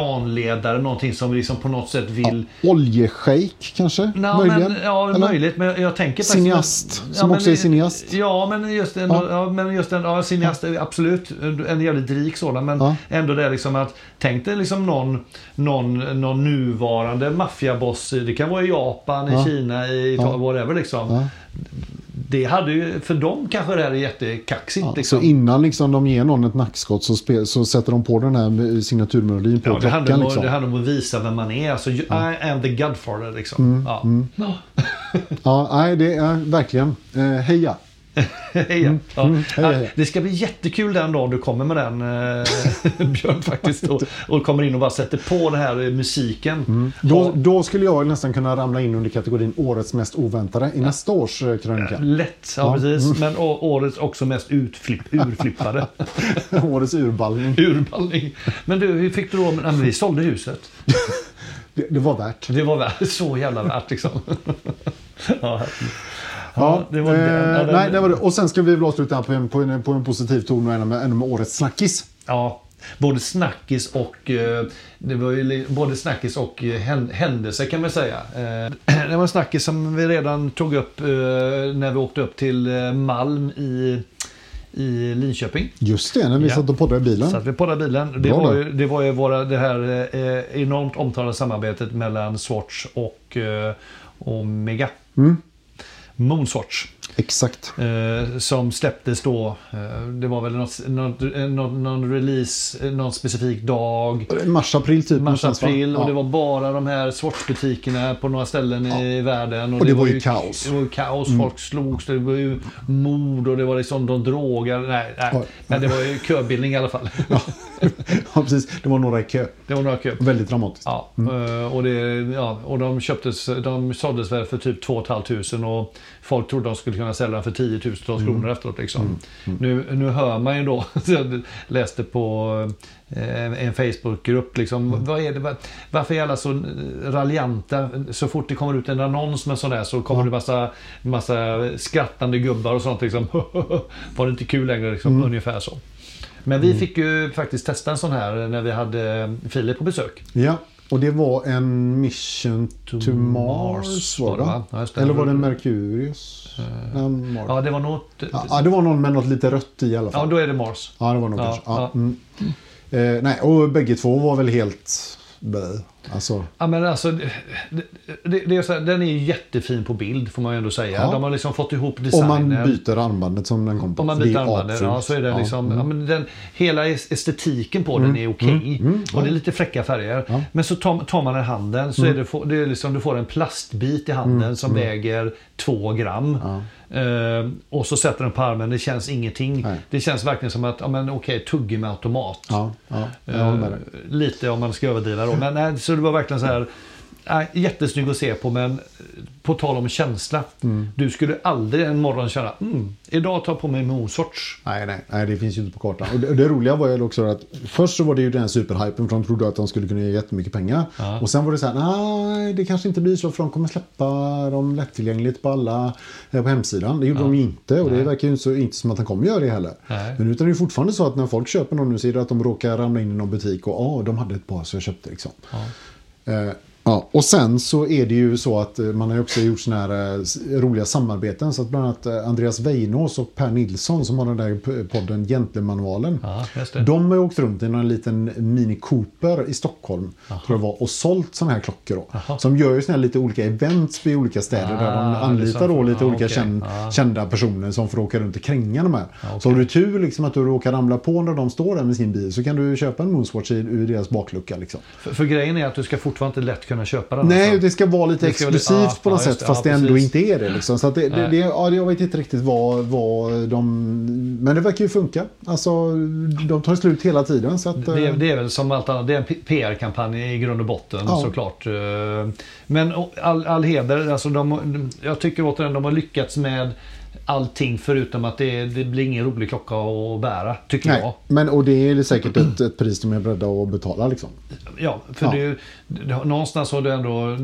B: klanledare, någonting som liksom på något sätt vill
A: Oljeshejk kanske?
B: Nej,
A: möjligen?
B: Men, ja,
A: Eller?
B: möjligt. Men jag- jag tänker faktiskt...
A: Cineast, som också är cineast.
B: Ja, men just en, ja.
A: Ja.
B: men just en ja, cineast, är absolut. En en jävligt rik sådan. Men
A: Ja.
B: ändå det liksom att, tänk dig liksom någon, någon, någon nuvarande maffiaboss. i- Det kan vara i Japan, i
A: Ja.
B: Kina, i
A: Ja.
B: Italien, whatever liksom.
A: Ja.
B: Det hade ju, för dem kanske det här är jättekaxigt.
A: Ja,
B: liksom.
A: Så innan liksom de ger någon ett nackskott så, spe, så sätter de på den här signaturmelodin på
B: Ja, det,
A: klockan.
B: handlar om,
A: liksom.
B: det handlar om att visa vem man är. Alltså, you- I am the Godfather liksom.
A: Mm,
B: ja. Ja.
A: Ja, nej, det är verkligen. Eh, heja!
B: Hej, ja. Ja.
A: hej, hej.
B: Mm. Ja, Det ska bli jättekul den dagen du kommer med den eh, Björn faktiskt. Och, och kommer in och bara sätter på den här eh, musiken.
A: Då,
B: Ja,
A: då skulle jag nästan kunna ramla in under kategorin årets mest oväntade i nästa års eh, krönika.
B: Lätt, ja, Mm. precis. Men å- årets också mest utflipp, urflippade.
A: årets urballning.
B: Urballning. Men du, hur fick du då? Nej, men vi sålde huset.
A: Det, det var värt.
B: Det var värt, så jävla värt liksom. ja.
A: Ja,
B: det var den. Ja,
A: eh,
B: den-
A: nej, det var det. Och sen ska vi väl avsluta här på en, på en, på en positiv ton och ännu med, ännu med årets snackis.
B: ja. Både snackis och, eh, det var ju li- både snackis och eh, hän- händelse kan man säga. Eh, Det var en snackis som vi redan tog upp eh, när vi åkte upp till eh, Malm i, i Linköping.
A: Just det, när vi
B: Ja.
A: satt och poddade i bilen.
B: Så att vi poddade bilen. Det
A: Bra
B: var,
A: då.
B: ju, det var ju våra, det här eh, enormt omtalade samarbetet mellan Swatch och eh, Omega. Mm. Moonswatch.
A: Exakt.
B: Eh, som släpptes då. Eh, det var väl något, något, eh, någon, någon release, eh, någon specifik dag.
A: Mars-april typ. någonstans, va?
B: Mars-april och
A: Ja.
B: det var bara de här Swatch-butikerna på några ställen i världen.
A: Och det var ju kaos. Mm.
B: Det var ju kaos. Folk slogs. Det var ju mord och det var liksom de drogade. Nej, nej.
A: Oj.
B: Men det var ju köbildning i alla fall.
A: Ja. ja, precis. Det var några i kö.
B: Det var några köer.
A: Väldigt dramatiskt.
B: Ja, eh, och, det, ja, och de, köptes, de såldes väl för typ 2 500 och folk trodde de skulle kunna sälja den för 10 000 kronor efteråt. Liksom. Nu, nu hör man ju då, så jag läste på eh, en Facebookgrupp, liksom, vad är det, va- varför är alla så raljanta? Så fort det kommer ut en annons med sån där så kommer det massa, massa skrattande gubbar och sånt. Liksom. Var det inte kul längre? Liksom, Ungefär så. Men vi fick ju faktiskt testa en sån här när vi hade Filip på besök.
A: Ja, och det var en Mission to, Mars var det, va?
B: Ja, just det. Eh,
A: Eller var det Mercurius? Nej, Mars.
B: Ja, det var något...
A: Ja,
B: Ja,
A: ja, det var någon med något lite rött i i alla fall.
B: då är det Mars.
A: Ja, det var nog
B: Ja,
A: kanske.
B: ja.
A: Ja, mm. eh, nej, och bägge två var väl helt bö. Alltså,
B: Ja, men alltså, det, det, det är så här, den är ju jättefin på bild får man ju ändå säga.
A: Ja.
B: De har liksom fått ihop
A: om
B: designen.
A: man byter armbandet som den kom på.
B: Om man
A: Det är
B: byter armbanden,
A: apfult.
B: ja, så är det liksom, ja, men den, hela es- estetiken på
A: Mm.
B: den är okej. Och det är lite fräcka färger.
A: Ja. Mm.
B: Men så tar, tar man den i handen så är det, få- det är liksom, du får en plastbit i handen som väger två gram. Eh, och så sätter den på armen, det känns ingenting.
A: Nej.
B: Det känns verkligen som att, ja men okej, tugga med automat.
A: Ja, ja, jag håller med dig.
B: Eh, Lite om man ska överdriva då. Men nej, så det var verkligen så här. nej, Jättesnygg att se på men eh, på tal om känsla.
A: Mm.
B: Du skulle aldrig en morgon känna mm, idag tar jag på mig Mosorts.
A: Nej, nej, nej, det finns ju inte på kartan. Och det, det roliga var ju också att först så var det ju den här superhypen för de trodde att de skulle kunna ge jättemycket pengar.
B: Ja.
A: Och sen var det så här, nej, det kanske inte blir så för de kommer släppa dem lättillgängligt på alla eh, på hemsidan. Det gjorde de ju inte och det verkar ju inte, så, inte som att de kommer göra det heller.
B: Nej.
A: Men utan det är ju fortfarande så att när folk köper någon nu så är det att de råkar ramla in i någon butik och ja, de hade ett par så jag köpte liksom. Eh, Ja, och sen så är det ju så att eh, man har ju också gjort såna här eh, s- roliga samarbeten. Så att bland annat eh, Andreas Weinås och Per Nilsson som har den där p- podden Gentlemanvalen.
B: Ja, just det.
A: De har ju åkt runt i någon liten Mini Cooper i Stockholm tror jag det var, och sålt sådana här klockor. Då,
B: Aha.
A: Som gör ju såna här lite olika events i olika städer där
B: Ah,
A: de
B: det är
A: anlitar
B: så.
A: då lite
B: Ah,
A: olika
B: okej.
A: känd,
B: Ah.
A: kända personer som får åka runt och kränga de här.
B: okej.
A: Så har du tur liksom att du råkar ramla på när de står där med sin bil så kan du köpa en Moonswatch i- ur deras baklucka. Liksom.
B: För, för grejen är att du ska fortfarande inte lätt kunna köpa den.
A: Nej,
B: alltså.
A: det ska vara lite
B: Det ska väl-
A: exklusivt
B: ja,
A: på något
B: ja,
A: sätt
B: just det.
A: fast
B: Ja,
A: det ändå
B: precis.
A: inte är det. Liksom. Så att det, det,
B: Nej.
A: det ja, jag vet inte riktigt vad, vad de... Men det verkar ju funka. Alltså, de tar slut hela tiden. Så att,
B: Det,
A: eh,
B: är- det är väl som allt annat, det är en P- PR-kampanj i grund och botten
A: Ja.
B: såklart. Eh, Men och all, all heder, alltså de, jag tycker återigen de har lyckats med allting förutom att det, det blir ingen rolig klocka att bära, tycker jag.
A: Nej, men, och det är säkert ett, ett pris de är beredda att betala. Liksom.
B: Ja, för
A: Ja.
B: Det, är ju- det, har- någonstans har du ändå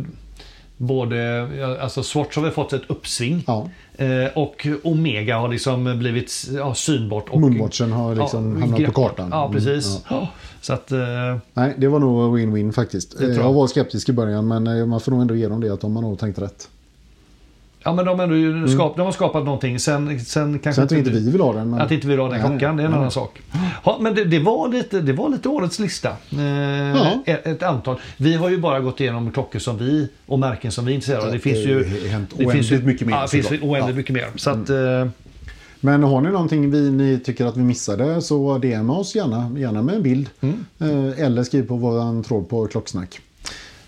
B: både, ja, alltså Swatch har väl fått ett uppsving
A: Ja.
B: eh, och Omega har liksom blivit ja, synbart. Och,
A: Moonwatchen har liksom hamnat
B: grepp-
A: på kartan.
B: Ja,
A: Mm,
B: precis.
A: ja.
B: Ja. Så att, eh,
A: Nej, det var nog win-win faktiskt.
B: tror
A: Eh,
B: jag.
A: Jag var skeptisk i början men eh, man får nog ändå ge dem det att de har nog tänkt rätt.
B: ja men de, har ändå ju skap, de har skapat någonting. Sen, sen kanske
A: Mm. Sen att inte vi vill ha den. Men...
B: Att inte vi la den
A: Nej,
B: klockan, det är en
A: nej.
B: annan sak. Ja, men det, det, var lite, det var lite årets lista. Eh,
A: Ja.
B: ett, ett antal. Vi har ju bara gått igenom klockor som vi och märken som vi är intresserade av. Det
A: Ja,
B: finns
A: det
B: ju...
A: har hänt
B: det finns ju-
A: oändligt mycket mer,
B: Ja, det finns
A: såklart.
B: oändligt
A: Ja. Mm.
B: mycket mer. Så att, eh,
A: Men har ni någonting vi, ni tycker att vi missade så DMa oss gärna, gärna med en bild.
B: Mm.
A: Eh, Eller skriv på vår tråd på Klocksnack.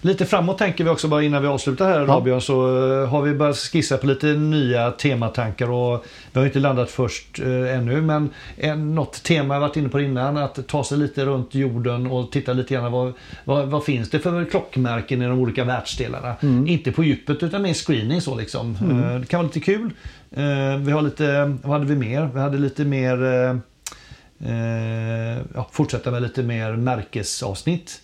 B: lite framåt tänker vi också bara innan vi avslutar här Rabia, så eh, har vi börjat skissa på lite nya tematankar och vi har ju inte landat först eh, ännu men en, något tema jag varit inne på innan att ta sig lite runt jorden och titta lite grann vad, vad, vad finns det för klockmärken i de olika världsdelarna. Inte på djupet utan mer screening så liksom. Eh, Det kan vara lite kul. Eh, Vi har lite, vad hade vi mer? Vi hade lite mer eh, eh, ja, fortsätta med lite mer märkesavsnitt.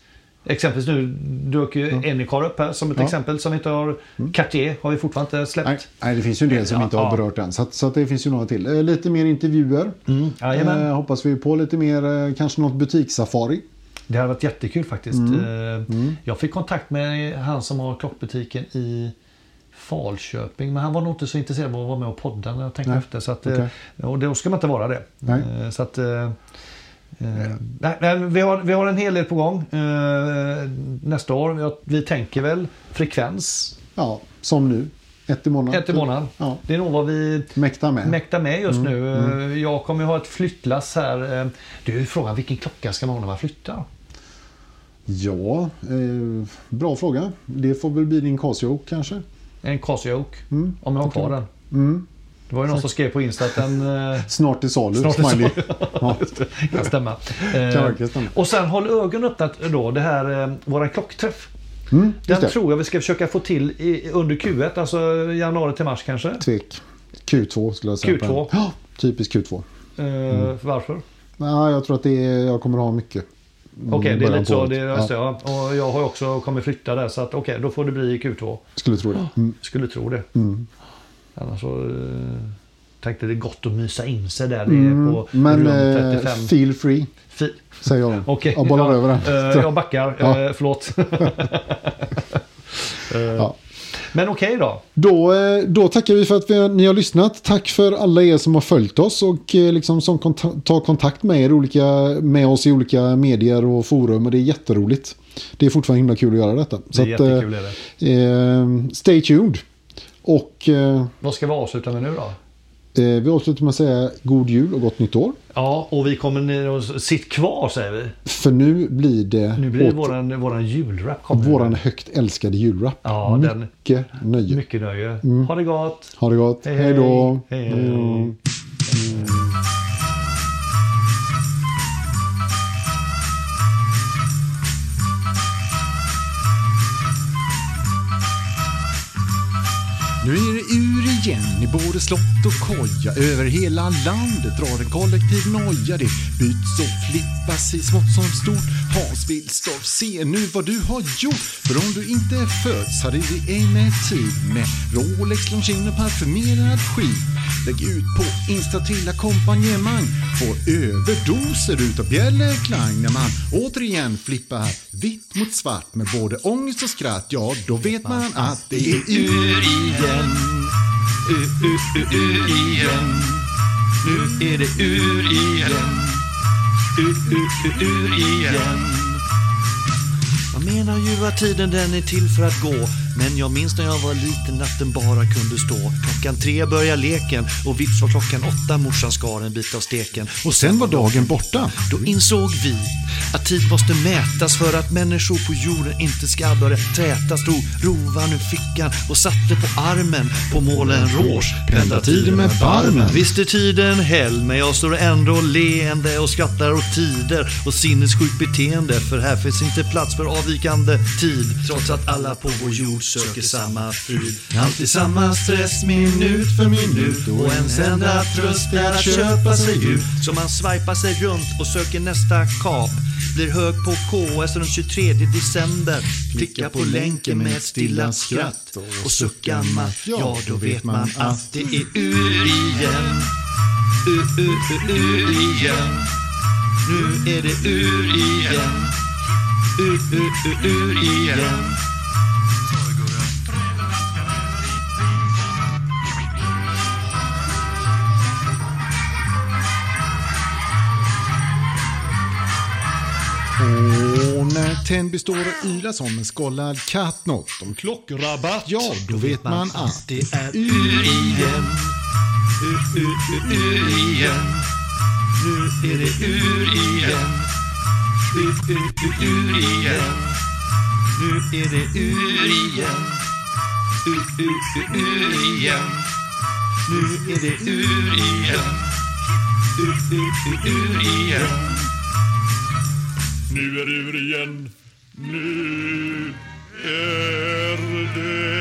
B: Exempelvis nu dök ju Anycar upp här som ett
A: Ja.
B: exempel som vi inte har... Cartier har vi fortfarande inte släppt.
A: Nej, nej, det finns ju en del som
B: Ja,
A: inte har
B: ja.
A: berört den. Så, att, så att det finns ju några till. Eh, Lite mer intervjuer.
B: Mm. jajamän.
A: Eh, hoppas vi på lite mer, eh, kanske något butikssafari.
B: Det hade varit jättekul faktiskt.
A: Mm.
B: Eh, Jag fick kontakt med han som har klockbutiken i Falköping. Men han var nog inte så intresserad av att vara med och podda när jag tänkte
A: Nej,
B: efter. Så att, eh,
A: okej.
B: Och då ska man inte vara det.
A: Nej.
B: Eh, Så att, eh, eh, nej, nej, vi, har, vi har en hel del på gång eh, nästa år. Vi, har, vi tänker väl frekvens.
A: Ja, som nu. Ett i månaden.
B: Ett i månaden.
A: Ja.
B: Det är nog vad vi
A: Mäkta med.
B: mäktar med just
A: Mm.
B: nu. Eh, Jag kommer ju ha ett flyttlass här. eh. Du, frågan vilken klocka ska man ha när man flyttar?
A: ja, eh, bra fråga. Det får väl bli din Casio kanske.
B: En Casio Oak,
A: Mm.
B: om jag har kvar den.
A: Mm.
B: Det var ju någon som skrev på Insta att den... eh,
A: Snart till salu.
B: Snart till
A: smiley. ja.
B: kan stämma.
A: Kan
B: Eh,
A: verkligen stämma.
B: och sen håll ögonen öppna då, det här, eh, våran klockträff.
A: Mm,
B: Den
A: just det.
B: tror jag vi ska försöka få till i, under Q1, alltså januari till mars kanske.
A: Tvek. Q2 skulle jag säga. på
B: Q2.
A: den. Ja, typiskt Q2.
B: Eh,
A: Mm.
B: Varför?
A: Nej, jag tror att det är, jag kommer ha mycket.
B: Okej, det är
A: Början
B: lite så.
A: på
B: Det,
A: året.
B: ja. Ja. Och jag har ju också kommit flytta där, så att okej, då får det bli i Q2.
A: Skulle tro det. Mm.
B: Skulle tro det.
A: Mm.
B: Annars så eh, tänkte det är gott att mysa in sig där nere
A: Mm.
B: på
A: Men
B: rum
A: eh,
B: 35.
A: feel free,
B: Fi-
A: säger jag.
B: Okej.
A: Jag bollar över den.
B: eh, jag backar,
A: Ja.
B: eh, förlåt. Eh,
A: Ja.
B: Men okej då.
A: Då, eh, då tackar vi för att vi, ni har lyssnat. Tack för alla er som har följt oss och eh, liksom som konta- tar kontakt med, er olika, med oss i olika medier och forum. Och det är jätteroligt. Det är fortfarande himla kul att göra detta.
B: Det är
A: eh,
B: jättekul. Är det.
A: eh, stay tuned. Och eh, eh,
B: Vad ska vi avsluta med nu då?
A: vi avslutar med att säga god jul och gott nytt år.
B: Ja, och vi kommer ner och sitt kvar säger vi.
A: För nu blir det,
B: Nu blir det
A: åter-
B: våran, våran julrap. Kommer
A: våran högt älskade julrap.
B: Ja, den-
A: Mycket nöje.
B: Mycket nöje. Ha det gott.
A: Ha det gott.
B: Hej,
A: Mm. Hej då.
B: hej. Hej,
A: Hej då.
B: hej.
C: Nu är det ur igen i både slott och koja. Över hela landet drar en kollektiv noja. Det byts och flippas i smått som stort. Hans Wilstorff, se nu vad du har gjort. För om du inte föds hade vi ej med tid med Rolex, Longines och parfymerad skit. Lägg ut på Insta till ackompanjemang. Får överdoser utav bjällerklang när man återigen flippar vitt mot svart med både ångest och skratt. Ja, då vet man att det är ur igen. Ur, ur, ur, ur igen. Nu är det ur igen. Ur, ur, ur, ur igen.
D: Man menar ju att tiden den är till för att gå Men jag minns när jag var liten att den bara kunde stå Klockan tre börjar leken och vips var klockan åtta morsan skar en bit av steken
C: Och sen var dagen borta.
D: Då insåg vi att tid måste mätas för att människor på jorden inte ska börja träta Stod rovan ur fickan och satte på armen på målen rouge Pendlar
C: tiden med barmen.
D: Visst är tiden hell, men jag står ändå leende och skrattar åt tider och sinnessjukt beteende. För här finns inte plats för avvikande tid. Trots att alla på vår jord söker samma frid. Alltid samma stress minut för minut. Och ens enda tröst är att köpa sig ut. Så man swipar sig runt och söker nästa kap. Blir hög på KS den 23 december. Klicka på länken med ett stilla skratt. Och sucka matt, ja då vet man att det är ur igen. Ur, ur, ur, ur igen. Nu är det ur igen. Ur, ur, ur, ur igen.
C: Och när Tännby eh, står och ylar som en skållad katt något om klockrabatt. Ja, då vet man att
D: Det är ur igen. Ur, ur, ur, ur igen. Nu är det ur igen. Ur, ur, ur, ur igen. Nu är det ur igen. Ur, ur, ur, ur igen. Nu är det ur igen. Ur, ur, ur, ur igen.
E: Nu är det ur igen. Nu är det